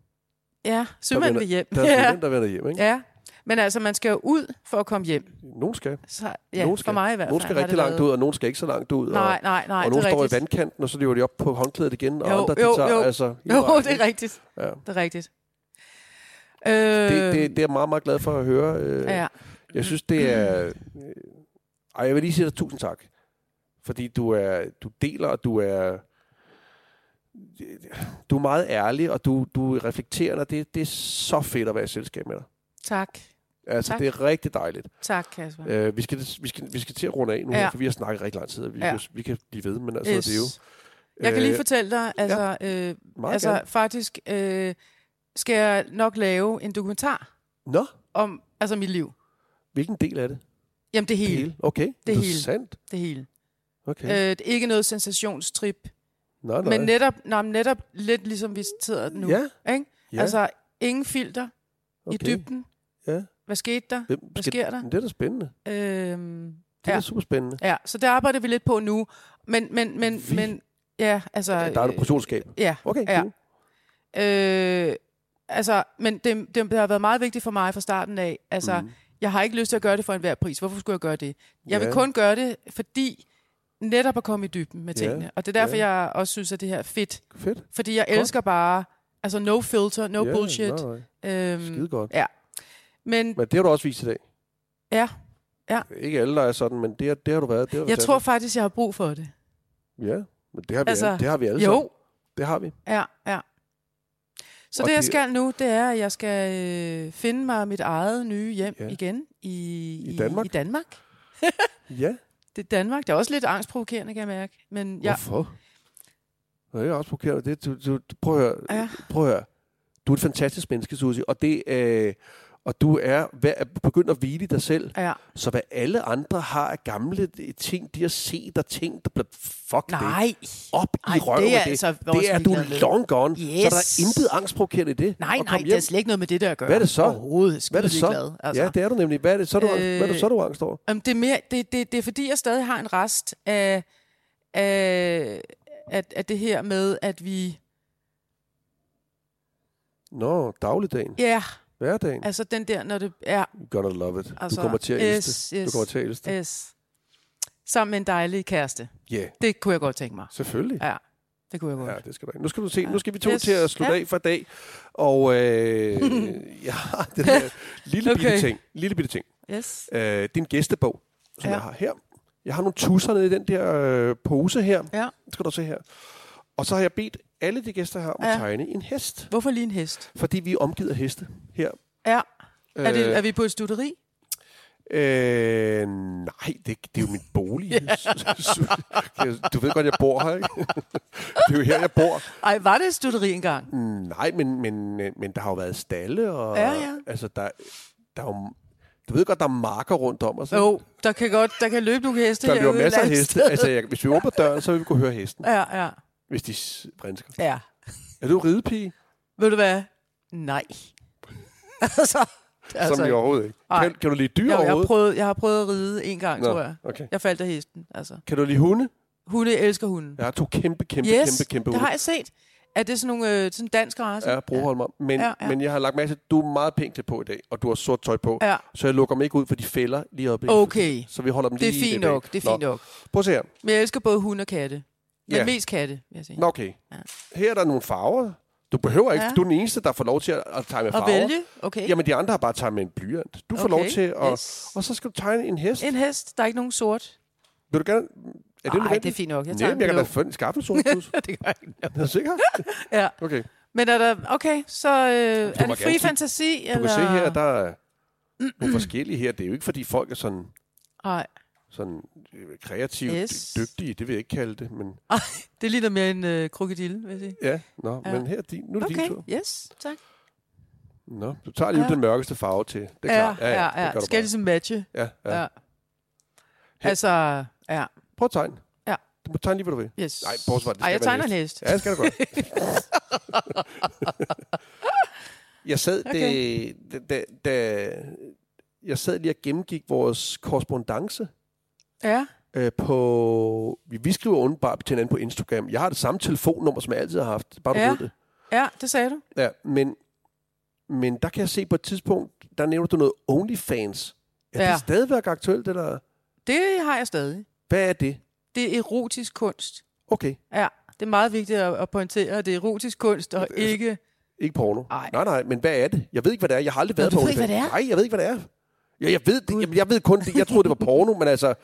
[SPEAKER 2] ja, sømanden
[SPEAKER 1] vender-
[SPEAKER 2] vil hjem.
[SPEAKER 1] Der er
[SPEAKER 2] Ja.
[SPEAKER 1] sømanden, der vender hjem, ikke?
[SPEAKER 2] ja. Men altså, man skal jo ud for at komme hjem.
[SPEAKER 1] Nogen skal.
[SPEAKER 2] Så, ja,
[SPEAKER 1] Nogen skal.
[SPEAKER 2] for mig i hvert fald.
[SPEAKER 1] Nogen skal
[SPEAKER 2] har
[SPEAKER 1] rigtig
[SPEAKER 2] det
[SPEAKER 1] langt
[SPEAKER 2] været-
[SPEAKER 1] ud, og nogen skal ikke så langt ud. og-
[SPEAKER 2] Nej, nej, nej,
[SPEAKER 1] og
[SPEAKER 2] det
[SPEAKER 1] nogen
[SPEAKER 2] er
[SPEAKER 1] står i
[SPEAKER 2] rigtigt.
[SPEAKER 1] vandkanten, og så lever de op på håndklædet igen, og
[SPEAKER 2] Jo,
[SPEAKER 1] andre, de
[SPEAKER 2] jo,
[SPEAKER 1] tager
[SPEAKER 2] jo.
[SPEAKER 1] altså... hele
[SPEAKER 2] Jo,
[SPEAKER 1] vejen,
[SPEAKER 2] det
[SPEAKER 1] ikke?
[SPEAKER 2] er rigtigt.
[SPEAKER 1] Ja.
[SPEAKER 2] Det er rigtigt.
[SPEAKER 1] Det,
[SPEAKER 2] Øh,
[SPEAKER 1] det, det er jeg meget, meget glad for at høre. Øh,
[SPEAKER 2] ja.
[SPEAKER 1] Jeg synes, det er... øh, Ej, jeg vil lige sige dig tusind tak. Fordi du er, du deler, og du er... Du er meget ærlig, og du, du er reflekterende, og det, det er så fedt at være i selskab med dig.
[SPEAKER 2] Tak.
[SPEAKER 1] Altså,
[SPEAKER 2] Tak.
[SPEAKER 1] det er rigtig dejligt.
[SPEAKER 2] Tak, Kasper.
[SPEAKER 1] Øh, vi, skal, vi, skal, vi skal til at runde af nu, ja.
[SPEAKER 2] Ja.
[SPEAKER 1] for vi har snakket rigtig lang tid, og vi, ja.
[SPEAKER 2] Ja.
[SPEAKER 1] kan, vi kan blive ved, men altså, yes. det er jo...
[SPEAKER 2] Jeg kan lige
[SPEAKER 1] øh,
[SPEAKER 2] fortælle dig, altså, ja, øh,
[SPEAKER 1] meget
[SPEAKER 2] altså
[SPEAKER 1] gerne.
[SPEAKER 2] faktisk øh, skal jeg nok lave en dokumentar
[SPEAKER 1] Nå,
[SPEAKER 2] om altså mit liv.
[SPEAKER 1] hvilken del af det?
[SPEAKER 2] Jamen det hele,
[SPEAKER 1] Okay,
[SPEAKER 2] Det hele.
[SPEAKER 1] interessant.
[SPEAKER 2] det hele.
[SPEAKER 1] Okay.
[SPEAKER 2] Øh, det er ikke noget sensationstrip,
[SPEAKER 1] nej, nej.
[SPEAKER 2] men netop, nej, men netop lidt ligesom vi sidder nu.
[SPEAKER 1] Ja,
[SPEAKER 2] Ikke?
[SPEAKER 1] ja.
[SPEAKER 2] Altså ingen filter okay. i
[SPEAKER 1] okay.
[SPEAKER 2] dybden.
[SPEAKER 1] Ja.
[SPEAKER 2] Hvad skete der?
[SPEAKER 1] Hvem
[SPEAKER 2] Hvad
[SPEAKER 1] skal-
[SPEAKER 2] sker der?
[SPEAKER 1] Men det er da spændende.
[SPEAKER 2] Øh,
[SPEAKER 1] Det er
[SPEAKER 2] Ja.
[SPEAKER 1] da super spændende.
[SPEAKER 2] ja, så det arbejder vi lidt på nu. Men, men, men,
[SPEAKER 1] Vi?
[SPEAKER 2] men ja, altså...
[SPEAKER 1] Der er et portionskab.
[SPEAKER 2] øh, Ja,
[SPEAKER 1] Okay,
[SPEAKER 2] Ja.
[SPEAKER 1] cool.
[SPEAKER 2] Øh, altså, men det, det har været meget vigtigt for mig fra starten af. Altså, mm. jeg har ikke lyst til at gøre det for enhver pris. Hvorfor skulle jeg gøre det? Jeg
[SPEAKER 1] Ja.
[SPEAKER 2] vil kun gøre det, fordi netop at komme i dybden med
[SPEAKER 1] Ja,
[SPEAKER 2] tingene. Og det er derfor,
[SPEAKER 1] ja.
[SPEAKER 2] jeg også synes, at det her er fedt.
[SPEAKER 1] Fedt.
[SPEAKER 2] Fordi jeg elsker bare, altså no filter, no
[SPEAKER 1] Ja,
[SPEAKER 2] bullshit.
[SPEAKER 1] Nej, nej. Skide
[SPEAKER 2] Øhm,
[SPEAKER 1] godt.
[SPEAKER 2] men
[SPEAKER 1] Men det har du også vist i dag.
[SPEAKER 2] ja,
[SPEAKER 1] Ikke alle, der er sådan, men det, har- det har du været. Det har du
[SPEAKER 2] jeg
[SPEAKER 1] fortalt
[SPEAKER 2] tror faktisk, jeg har brug for det.
[SPEAKER 1] mig. Ja, men det har vi, altså,
[SPEAKER 2] Altså,
[SPEAKER 1] alle, det har vi alle sammen.
[SPEAKER 2] Jo,
[SPEAKER 1] Det har vi.
[SPEAKER 2] ja, ja. Så
[SPEAKER 1] Og
[SPEAKER 2] det, jeg
[SPEAKER 1] det-
[SPEAKER 2] skal nu, det er, at jeg skal øh, finde mig mit eget nye hjem
[SPEAKER 1] Ja.
[SPEAKER 2] ja. igen i,
[SPEAKER 1] I Danmark?
[SPEAKER 2] I Danmark.
[SPEAKER 1] Ja,
[SPEAKER 2] Det er Danmark. Det er også lidt angstprovokerende, kan jeg mærke. Men jeg,
[SPEAKER 1] hvorfor? Nå, jeg er også provokeret. af Det, du, du, du, prøv at høre.
[SPEAKER 2] Ja.
[SPEAKER 1] Prøv at høre. Du er et fantastisk menneske, Susie, og det øh, og du er vær- begyndt at hvile i dig selv.
[SPEAKER 2] ja,
[SPEAKER 1] Så hvad alle andre har af gamle øh, ting, de har set og tænkt, bl- fuck det.
[SPEAKER 2] nej.
[SPEAKER 1] Op
[SPEAKER 2] Ej,
[SPEAKER 1] i
[SPEAKER 2] det er
[SPEAKER 1] røven med det.
[SPEAKER 2] altså vores
[SPEAKER 1] det er du
[SPEAKER 2] ligeglade med.
[SPEAKER 1] long gone. Så er der
[SPEAKER 2] Yes.
[SPEAKER 1] intet angstprovokerende i det.
[SPEAKER 2] Nej,
[SPEAKER 1] Og
[SPEAKER 2] nej,
[SPEAKER 1] kom
[SPEAKER 2] det
[SPEAKER 1] hjem.
[SPEAKER 2] er slet ikke noget med det, der at gøre.
[SPEAKER 1] Hvad er det så?
[SPEAKER 2] Overhovedet.
[SPEAKER 1] Hvad er det så?
[SPEAKER 2] Glad, altså.
[SPEAKER 1] Ja, det er du nemlig. Hvad er det så, du, øh...
[SPEAKER 2] Øh,
[SPEAKER 1] hvad er det, så du angst over?
[SPEAKER 2] Jamen, det, er mere, det, det, det er fordi, jeg stadig har en rest af, af at, at det her med, at vi...
[SPEAKER 1] Nå, dagligdagen.
[SPEAKER 2] Ja,
[SPEAKER 1] Hverdagen.
[SPEAKER 2] altså den der, når det er...
[SPEAKER 1] You gotta love it. Altså,
[SPEAKER 2] Altså,
[SPEAKER 1] du kommer til at elske.
[SPEAKER 2] yes, Øh.
[SPEAKER 1] Yes. Du
[SPEAKER 2] yes,
[SPEAKER 1] kommer til at elske.
[SPEAKER 2] yes. sammen med en dejlig kæreste.
[SPEAKER 1] Ja, yeah,
[SPEAKER 2] Det kunne jeg godt tænke mig.
[SPEAKER 1] selvfølgelig.
[SPEAKER 2] Ja, det kunne jeg godt.
[SPEAKER 1] Ja,
[SPEAKER 2] Ja.
[SPEAKER 1] det skal du ikke. Nu skal du se,
[SPEAKER 2] Ja.
[SPEAKER 1] nu skal vi to
[SPEAKER 2] Yes.
[SPEAKER 1] til at slutte
[SPEAKER 2] Ja.
[SPEAKER 1] af for i dag. Og øh, jeg har den her lille bitte
[SPEAKER 2] Okay.
[SPEAKER 1] ting. Lille bitte ting.
[SPEAKER 2] Yes.
[SPEAKER 1] Øh, det er en gæstebog, som
[SPEAKER 2] Ja.
[SPEAKER 1] ja. jeg har her. Jeg har nogle tusser nede i den der øh, pose her.
[SPEAKER 2] Ja.
[SPEAKER 1] Den skal du se her. Og så har jeg bedt alle de gæster her om ja.
[SPEAKER 2] Ja.
[SPEAKER 1] at tegne en hest.
[SPEAKER 2] Hvorfor lige en hest?
[SPEAKER 1] Fordi vi er omgivet af heste her.
[SPEAKER 2] Ja. Er, det, er
[SPEAKER 1] Øh,
[SPEAKER 2] vi på et studeri?
[SPEAKER 1] Øh, nej, det, det er jo min bolig. du ved godt, jeg bor her, ikke? det er jo her, jeg bor.
[SPEAKER 2] Ej, var det et studeri engang?
[SPEAKER 1] Mm, Nej, men, men, øh, men der har jo været stalle, og
[SPEAKER 2] Ja, ja.
[SPEAKER 1] altså, der, der er jo, du ved godt, der er marker rundt om os. ikke?
[SPEAKER 2] Jo, der kan godt, der kan løbe nogle heste
[SPEAKER 1] der bliver
[SPEAKER 2] herude
[SPEAKER 1] masser af
[SPEAKER 2] et eller andet
[SPEAKER 1] heste.
[SPEAKER 2] sted.
[SPEAKER 1] Altså, jeg, hvis vi åbner døren, så vil vi kunne høre hesten,
[SPEAKER 2] Ja, ja,
[SPEAKER 1] hvis de s- vrinsker.
[SPEAKER 2] ja.
[SPEAKER 1] Er du ridepige?
[SPEAKER 2] Ved du hvad? Nej. altså,
[SPEAKER 1] Altså, Som jeg overhovedet ikke.
[SPEAKER 2] nej.
[SPEAKER 1] Kan, kan du lide dyr
[SPEAKER 2] jeg, jeg, har
[SPEAKER 1] overhovedet?
[SPEAKER 2] prøvet, jeg har prøvet at ride en gang, Nå. tror jeg.
[SPEAKER 1] okay.
[SPEAKER 2] Jeg faldt af hesten, altså.
[SPEAKER 1] Kan du lide hunde?
[SPEAKER 2] Hunde elsker hunden.
[SPEAKER 1] Jeg har to kæmpe, kæmpe,
[SPEAKER 2] yes,
[SPEAKER 1] kæmpe, kæmpe
[SPEAKER 2] det
[SPEAKER 1] hunde.
[SPEAKER 2] har jeg set. Er det sådan nogle øh, sådan dansk race?
[SPEAKER 1] Ja, Broholm om. Men,
[SPEAKER 2] Ja,
[SPEAKER 1] ja,
[SPEAKER 2] ja.
[SPEAKER 1] ja. men jeg har lagt mærke til, at du er meget pænt klædt på i dag, og du har sort tøj på.
[SPEAKER 2] Ja.
[SPEAKER 1] Så jeg lukker dem ikke ud for de fælder lige op i.
[SPEAKER 2] Okay,
[SPEAKER 1] Så vi holder dem
[SPEAKER 2] det
[SPEAKER 1] lige
[SPEAKER 2] er fint
[SPEAKER 1] i
[SPEAKER 2] nok, det er fint
[SPEAKER 1] Nå.
[SPEAKER 2] nok.
[SPEAKER 1] Prøv at se her.
[SPEAKER 2] Men jeg elsker både hunde og katte. Men
[SPEAKER 1] Ja.
[SPEAKER 2] mest katte, vil jeg sige.
[SPEAKER 1] Nå, okay.
[SPEAKER 2] Ja.
[SPEAKER 1] Her er der nogle farver. Du behøver ikke.
[SPEAKER 2] Ja.
[SPEAKER 1] Ja. Du er den eneste, der får lov til at, at tegne med
[SPEAKER 2] og
[SPEAKER 1] farver.
[SPEAKER 2] vælge, okay.
[SPEAKER 1] Jamen, de andre har bare tegnet med en blyant. Du okay.
[SPEAKER 2] okay.
[SPEAKER 1] får lov til at... Yes.
[SPEAKER 2] Yes.
[SPEAKER 1] Og så skal du tegne en hest. En...
[SPEAKER 2] En hest, der er ikke nogen sort.
[SPEAKER 1] Vil du gerne... Er det
[SPEAKER 2] Nej, det er fint nok. Jeg tager
[SPEAKER 1] Nej, jeg kan da
[SPEAKER 2] en
[SPEAKER 1] få en skaffe en sort plus.
[SPEAKER 2] blå. det gør jeg ikke.
[SPEAKER 1] Er du sikker?
[SPEAKER 2] Ja.
[SPEAKER 1] Okay. Du
[SPEAKER 2] Men er der, okay, så øh, er
[SPEAKER 1] må
[SPEAKER 2] det fri
[SPEAKER 1] gerne se-
[SPEAKER 2] fantasi? Du
[SPEAKER 1] kan
[SPEAKER 2] eller?
[SPEAKER 1] se her, at der er nogle forskellige her. Det er jo ikke, fordi folk er sådan,
[SPEAKER 2] Nej,
[SPEAKER 1] sådan øh, kreativt
[SPEAKER 2] Yes.
[SPEAKER 1] yes. dygtige. Det vil jeg ikke kalde det, men...
[SPEAKER 2] det ligner mere en øh, krokodille, vil jeg sige.
[SPEAKER 1] Ja, nå,
[SPEAKER 2] Ja.
[SPEAKER 1] ja. men her er din. Nu er det
[SPEAKER 2] Okay,
[SPEAKER 1] din tur.
[SPEAKER 2] yes, tak.
[SPEAKER 1] Nå, du tager lige
[SPEAKER 2] Ja.
[SPEAKER 1] ja. den mørkeste farve til. Det er klart.
[SPEAKER 2] ja, ja.
[SPEAKER 1] Det gør
[SPEAKER 2] ja.
[SPEAKER 1] du
[SPEAKER 2] Skal
[SPEAKER 1] bare.
[SPEAKER 2] ligesom matche.
[SPEAKER 1] ja, ja.
[SPEAKER 2] Ja. Altså, ja,
[SPEAKER 1] Prøv at tegne.
[SPEAKER 2] Ja.
[SPEAKER 1] Du må tegne lige, hvad du vil.
[SPEAKER 2] yes.
[SPEAKER 1] Nej, bortset fra, at det
[SPEAKER 2] Ej,
[SPEAKER 1] skal være
[SPEAKER 2] jeg tegner en hest.
[SPEAKER 1] Ja, det skal du godt. jeg sad, okay. da, da, da, jeg sad lige og gennemgik vores korrespondence
[SPEAKER 2] Ja,
[SPEAKER 1] øh, på... Vi, vi skriver åbenbart til hinanden på Instagram. Jeg har det samme telefonnummer, som jeg altid har haft. Bare du
[SPEAKER 2] Ja.
[SPEAKER 1] ved det.
[SPEAKER 2] ja, det sagde du.
[SPEAKER 1] Ja, men, men der kan jeg se på et tidspunkt, der nævner du noget OnlyFans. Er ja.
[SPEAKER 2] Ja.
[SPEAKER 1] det stadigvæk aktuelt, eller
[SPEAKER 2] Det har jeg stadig.
[SPEAKER 1] hvad er det?
[SPEAKER 2] Det er erotisk kunst.
[SPEAKER 1] Okay,
[SPEAKER 2] Ja, det er meget vigtigt at, at pointere, at det er erotisk kunst, og
[SPEAKER 1] Øh,
[SPEAKER 2] ikke...
[SPEAKER 1] ikke porno.
[SPEAKER 2] Ej.
[SPEAKER 1] Nej, nej, men hvad er det? Jeg ved ikke, hvad det er. Jeg har aldrig været
[SPEAKER 2] du
[SPEAKER 1] på
[SPEAKER 2] ved ikke,
[SPEAKER 1] OnlyFans.
[SPEAKER 2] hvad det
[SPEAKER 1] Nej, jeg ved ikke, hvad det er. Ja, jeg ved, det, jeg, jeg ved kun det. Jeg troede, det var porno, men altså...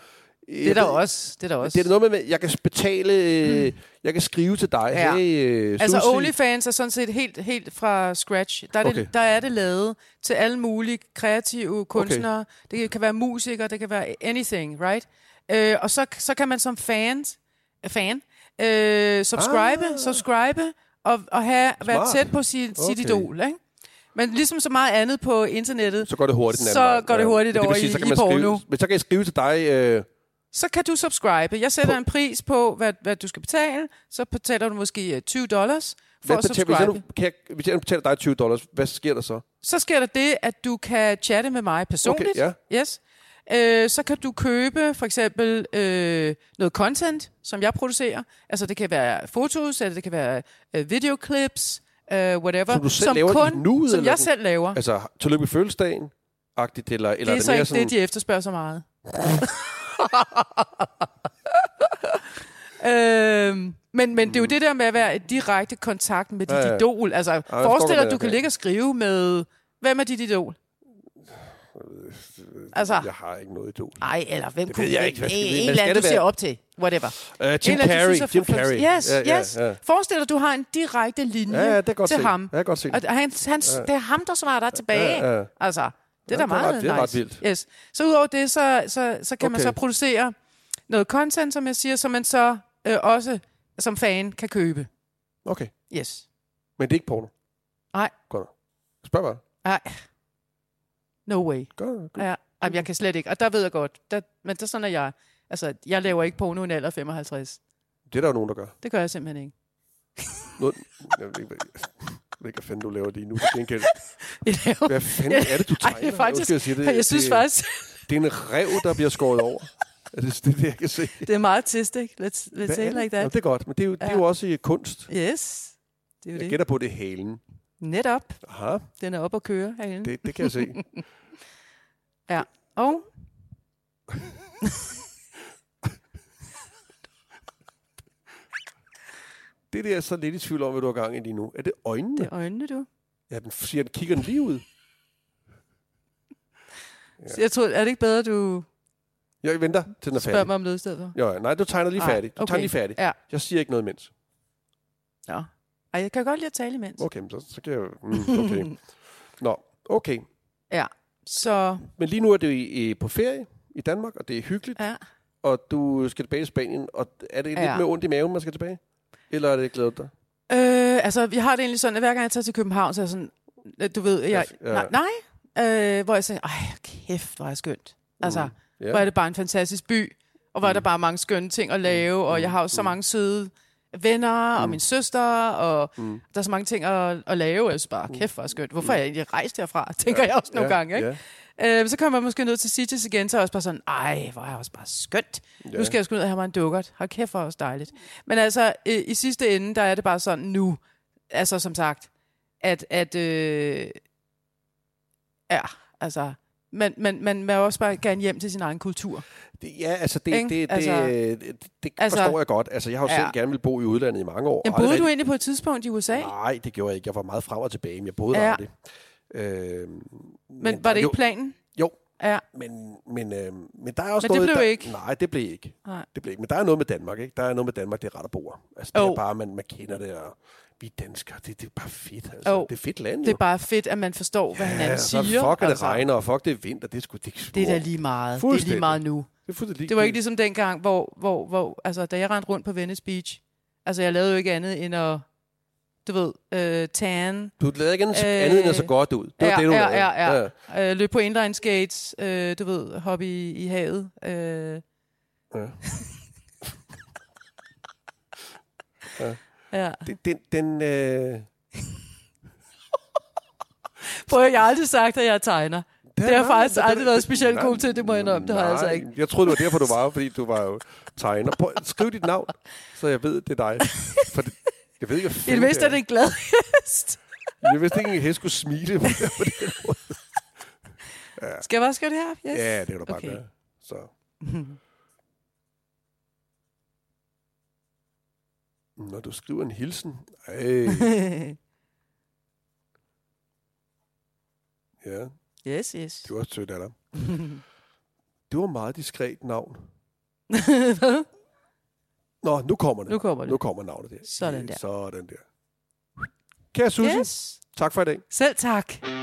[SPEAKER 1] øh,
[SPEAKER 2] Det er der også. Det er der
[SPEAKER 1] Det
[SPEAKER 2] også. Mm.
[SPEAKER 1] er da noget med, at jeg kan betale... øh, Jeg kan skrive til dig.
[SPEAKER 2] Ja.
[SPEAKER 1] Ja. Hey, øh,
[SPEAKER 2] Altså
[SPEAKER 1] Susie.
[SPEAKER 2] OnlyFans er sådan set helt, helt fra scratch. Der er, okay.
[SPEAKER 1] Okay.
[SPEAKER 2] det, der er det lavet til alle mulige kreative kunstnere. Okay. Det kan være musikere, det kan være anything, right? Øh, og så, så kan man som fans, fan øh, subscribe, ah.
[SPEAKER 1] Ah.
[SPEAKER 2] subscribe og, og have, være
[SPEAKER 1] Smart.
[SPEAKER 2] tæt på sit, okay. sit
[SPEAKER 1] Okay.
[SPEAKER 2] idol. Ikke? Men ligesom så meget andet på internettet,
[SPEAKER 1] Så går det hurtigt den anden
[SPEAKER 2] Så
[SPEAKER 1] vej.
[SPEAKER 2] går det hurtigt
[SPEAKER 1] Men vil
[SPEAKER 2] over i-
[SPEAKER 1] så kan
[SPEAKER 2] i
[SPEAKER 1] man
[SPEAKER 2] porno.
[SPEAKER 1] Skrive, men så kan jeg skrive til dig... Øh,
[SPEAKER 2] så kan du subscribe. Jeg sætter en pris på, hvad, hvad du skal betale. Så betaler du måske øh, 20 dollars for
[SPEAKER 1] hvad
[SPEAKER 2] at
[SPEAKER 1] betaler, hvis, jeg nu,
[SPEAKER 2] subscribe.
[SPEAKER 1] kan jeg, hvis jeg nu betaler dig 20 dollars, hvad sker der så?
[SPEAKER 2] Så sker der det, at du kan chatte med mig personligt.
[SPEAKER 1] Okay,
[SPEAKER 2] Yes. Øh, så kan du købe for eksempel øh, noget content, som jeg producerer. Altså det kan være fotos, eller det kan være øh, videoclips, øh, whatever.
[SPEAKER 1] Som du selv laver i nuet,
[SPEAKER 2] Som
[SPEAKER 1] eller
[SPEAKER 2] jeg
[SPEAKER 1] sådan?
[SPEAKER 2] selv laver. Altså,
[SPEAKER 1] Altså, tillykke med fødselsdagen? Agtigt, eller, eller
[SPEAKER 2] det er
[SPEAKER 1] det
[SPEAKER 2] så
[SPEAKER 1] mere
[SPEAKER 2] ikke
[SPEAKER 1] sådan,
[SPEAKER 2] det, de efterspørger så meget. øhm, men, men det er jo det der med at være i direkte kontakt med dit
[SPEAKER 1] Ja, ja.
[SPEAKER 2] idol. Altså,
[SPEAKER 1] forstår
[SPEAKER 2] forestil
[SPEAKER 1] godt,
[SPEAKER 2] dig,
[SPEAKER 1] hvad
[SPEAKER 2] at
[SPEAKER 1] det
[SPEAKER 2] du
[SPEAKER 1] er.
[SPEAKER 2] kan ligge og skrive med... Hvem er dit idol? Altså,
[SPEAKER 1] Jeg har ikke noget idol.
[SPEAKER 2] Ej, eller hvem
[SPEAKER 1] Det
[SPEAKER 2] kunne
[SPEAKER 1] ved jeg ikke, hvad skal
[SPEAKER 2] en,
[SPEAKER 1] det være?
[SPEAKER 2] en
[SPEAKER 1] Hvad
[SPEAKER 2] eller
[SPEAKER 1] skal
[SPEAKER 2] anden, du
[SPEAKER 1] det
[SPEAKER 2] ser
[SPEAKER 1] være?
[SPEAKER 2] op til. Whatever.
[SPEAKER 1] Uh, Jim
[SPEAKER 2] en eller anden, du
[SPEAKER 1] Carrey.
[SPEAKER 2] synes er
[SPEAKER 1] Jim
[SPEAKER 2] for-
[SPEAKER 1] Carrey.
[SPEAKER 2] Yes,
[SPEAKER 1] Ja, ja,
[SPEAKER 2] yes.
[SPEAKER 1] ja.
[SPEAKER 2] Forestil dig, du har en direkte linje
[SPEAKER 1] Ja, ja, det er godt
[SPEAKER 2] til
[SPEAKER 1] set.
[SPEAKER 2] ham.
[SPEAKER 1] Ja, det er godt set.
[SPEAKER 2] Og han, han,
[SPEAKER 1] Ja.
[SPEAKER 2] det er ham, der svarer dig tilbage.
[SPEAKER 1] Ja, ja.
[SPEAKER 2] Altså, det er da
[SPEAKER 1] det er
[SPEAKER 2] meget
[SPEAKER 1] ret- det er
[SPEAKER 2] nice.
[SPEAKER 1] ret vildt.
[SPEAKER 2] Yes. Så udover det, så, så, så kan man
[SPEAKER 1] Okay.
[SPEAKER 2] så producere noget content, som jeg siger, som man så øh, også som fan kan købe.
[SPEAKER 1] Okay,
[SPEAKER 2] Yes.
[SPEAKER 1] men det er ikke porno?
[SPEAKER 2] Nej.
[SPEAKER 1] Godt nok. Spørg bare.
[SPEAKER 2] Ej. No way.
[SPEAKER 1] Godt nok.
[SPEAKER 2] Ja. Ej, men jeg kan slet ikke. Og der ved jeg godt. Der, men det er sådan, at jeg... Altså, jeg laver ikke porno i en alder af 55.
[SPEAKER 1] Det er der jo nogen, der gør.
[SPEAKER 2] Det gør jeg simpelthen ikke.
[SPEAKER 1] Noget, jeg ved ikke, hvad- jeg ved ikke, hvad fanden du laver lige nu. til gengæld.
[SPEAKER 2] Jeg laver
[SPEAKER 1] Hvad fanden er det, du
[SPEAKER 2] Ej,
[SPEAKER 1] tegner?
[SPEAKER 2] det er faktisk,
[SPEAKER 1] Undskyld, jeg, siger,
[SPEAKER 2] det, jeg synes
[SPEAKER 1] det,
[SPEAKER 2] faktisk,
[SPEAKER 1] Det er en rev, der bliver skåret over. Er det det, er det, jeg kan se?
[SPEAKER 2] det er meget tistik. Let's, let's
[SPEAKER 1] Hvad
[SPEAKER 2] say
[SPEAKER 1] er
[SPEAKER 2] it like
[SPEAKER 1] Nå,
[SPEAKER 2] that.
[SPEAKER 1] det er godt, men det er jo, det er jo også i kunst.
[SPEAKER 2] Yes, det er jo
[SPEAKER 1] Jeg
[SPEAKER 2] det.
[SPEAKER 1] gætter på, det er halen.
[SPEAKER 2] Netop,
[SPEAKER 1] Aha,
[SPEAKER 2] den er op at køre herinde.
[SPEAKER 1] det, det kan jeg se.
[SPEAKER 2] Og
[SPEAKER 1] Det der er jeg så lidt i tvivl om, hvad du har gang i lige nu. Er det øjnene?
[SPEAKER 2] Det
[SPEAKER 1] Det.
[SPEAKER 2] er øjnene, du.
[SPEAKER 1] Ja, den siger, den kigger den lige ud.
[SPEAKER 2] Ja. Jeg tror, er det ikke bedre, du
[SPEAKER 1] Jeg venter, til den er
[SPEAKER 2] spørger
[SPEAKER 1] færdig.
[SPEAKER 2] mig om noget i stedet for?
[SPEAKER 1] Jo, ja, nej, du tegner lige
[SPEAKER 2] Ej,
[SPEAKER 1] færdig. Du okay.
[SPEAKER 2] okay.
[SPEAKER 1] tegner lige færdig.
[SPEAKER 2] Ja.
[SPEAKER 1] Jeg siger ikke noget imens.
[SPEAKER 2] Nå. Ej, jeg kan godt lide at tale imens.
[SPEAKER 1] Okay, men så, så kan jeg... Mm, okay. Nå, okay.
[SPEAKER 2] Så,
[SPEAKER 1] Men lige nu er det jo i, i, på ferie i Danmark, og det er hyggeligt,
[SPEAKER 2] ja.
[SPEAKER 1] og du skal tilbage i Spanien. Og er det lidt
[SPEAKER 2] Ja.
[SPEAKER 1] med ondt i maven, man skal tilbage? Eller er det glædet dig?
[SPEAKER 2] Øh, altså, jeg har det egentlig sådan, at hver gang jeg tager til København, så er jeg sådan, øh, du ved, jeg,
[SPEAKER 1] Ja, ja.
[SPEAKER 2] nej, nej øh, hvor jeg siger, ej, kæft, hvor er det skønt. Altså, mm.
[SPEAKER 1] Ja. Mm.
[SPEAKER 2] hvor er det bare en fantastisk by, og hvor er der bare mange skønne ting at lave, og jeg har jo så mange søde venner, og min søster, og
[SPEAKER 1] Mm.
[SPEAKER 2] der er så mange ting at, at lave, og jeg synes bare, kæft, hvor er det skønt. Hvorfor er jeg egentlig rejst herfra, tænker jeg også nogle
[SPEAKER 1] ja,
[SPEAKER 2] gange, ikke?
[SPEAKER 1] Ja.
[SPEAKER 2] Øh, så kommer jeg måske ned til Sitges igen, så er jeg også bare sådan, ej, hvor er jeg også bare skønt. Ja.
[SPEAKER 1] Ja.
[SPEAKER 2] Nu skal jeg sgu ned og have mig en dukkert. Hold kæft, hvor er det også dejligt. Men altså, øh, i sidste ende, der er det bare sådan nu, altså som sagt, at, at øh, ja, altså, man, man, man, man vil også bare gerne hjem til sin egen kultur.
[SPEAKER 1] Det, ja, altså det, det,
[SPEAKER 2] Ikke?
[SPEAKER 1] det,
[SPEAKER 2] Altså-
[SPEAKER 1] det, det, det
[SPEAKER 2] Altså-
[SPEAKER 1] forstår jeg godt. Altså, jeg har jo selv
[SPEAKER 2] Ja.
[SPEAKER 1] gerne vil bo i udlandet i mange år.
[SPEAKER 2] Jamen,
[SPEAKER 1] og aldrig
[SPEAKER 2] boede du egentlig på et tidspunkt i USA?
[SPEAKER 1] Nej, det gjorde jeg ikke. Jeg var meget frem og tilbage, men jeg boede ja.
[SPEAKER 2] Ja.
[SPEAKER 1] aldrig. Øh, men,
[SPEAKER 2] Men var det
[SPEAKER 1] jo,
[SPEAKER 2] ikke planen?
[SPEAKER 1] Jo,
[SPEAKER 2] Ja,
[SPEAKER 1] men, men, øh, men der er også
[SPEAKER 2] Men det
[SPEAKER 1] noget...
[SPEAKER 2] blev
[SPEAKER 1] der,
[SPEAKER 2] ikke.
[SPEAKER 1] Nej, det blev ikke.
[SPEAKER 2] Nej.
[SPEAKER 1] Det blev ikke. Men der er noget med Danmark, ikke? Der er noget med Danmark, det er ret at bo. her. Altså, det
[SPEAKER 2] Jo.
[SPEAKER 1] er bare, man, man kender det, og vi er danskere, det, det er bare fedt. Altså.
[SPEAKER 2] Jo.
[SPEAKER 1] Det er fedt land,
[SPEAKER 2] det er bare fedt, at man forstår, hvad hinanden
[SPEAKER 1] så
[SPEAKER 2] siger.
[SPEAKER 1] fuck, at det
[SPEAKER 2] altså.
[SPEAKER 1] regner, og fuck, det er vinter. Det er sgu... Det er,
[SPEAKER 2] Det er da lige meget. Det er lige
[SPEAKER 1] Fuldstændig.
[SPEAKER 2] meget nu.
[SPEAKER 1] Det er fuldstændig
[SPEAKER 2] Det var ikke
[SPEAKER 1] ligegyldigt.
[SPEAKER 2] ligesom dengang, hvor, hvor, hvor altså, da jeg rendte rundt på Venice Beach, altså jeg lavede jo ikke andet end at, du ved, øh, tan,
[SPEAKER 1] Du lavede ikke andet, øh, andet end at så
[SPEAKER 2] Øh,
[SPEAKER 1] godt ud. Det var
[SPEAKER 2] ja,
[SPEAKER 1] det, du
[SPEAKER 2] ja,
[SPEAKER 1] lavede.
[SPEAKER 2] ja, ja. øh, løb på inline skates, øh, du ved, hoppe i, i havet. Øh,
[SPEAKER 1] ja.
[SPEAKER 2] ja.
[SPEAKER 1] Den, den, den øh,
[SPEAKER 2] Prøv at jeg har aldrig sagt, at jeg er tegner. Det har jeg faktisk aldrig været specielt god til, det må jeg indrømme, det har jeg altså
[SPEAKER 1] nej.
[SPEAKER 2] ikke.
[SPEAKER 1] Jeg troede, det var derfor, du var her, fordi du var jo tegner. Prøv, skriv dit navn, så jeg ved, det er dig. For det, jeg ved ikke, hvad
[SPEAKER 2] I det
[SPEAKER 1] fanden
[SPEAKER 2] mindste er det en glad hest.
[SPEAKER 1] Jeg vidste ikke, at jeg skulle smile. på det.
[SPEAKER 2] Skal jeg bare skrive det her? Yes.
[SPEAKER 1] ja, det kan du bare okay.
[SPEAKER 2] Okay.
[SPEAKER 1] gøre. Så. Når du skriver en hilsen. Ej, ja.
[SPEAKER 2] yes, yes.
[SPEAKER 1] Det var sødt af dig. Det var meget diskret navn.
[SPEAKER 2] Hvad?
[SPEAKER 1] Nå, nu kommer det.
[SPEAKER 2] nu kommer
[SPEAKER 1] nu
[SPEAKER 2] det.
[SPEAKER 1] kommer navnet der.
[SPEAKER 2] Sådan der.
[SPEAKER 1] Sådan der. Kære Susie, yes.
[SPEAKER 2] Yes.
[SPEAKER 1] tak for i dag.
[SPEAKER 2] Selv tak.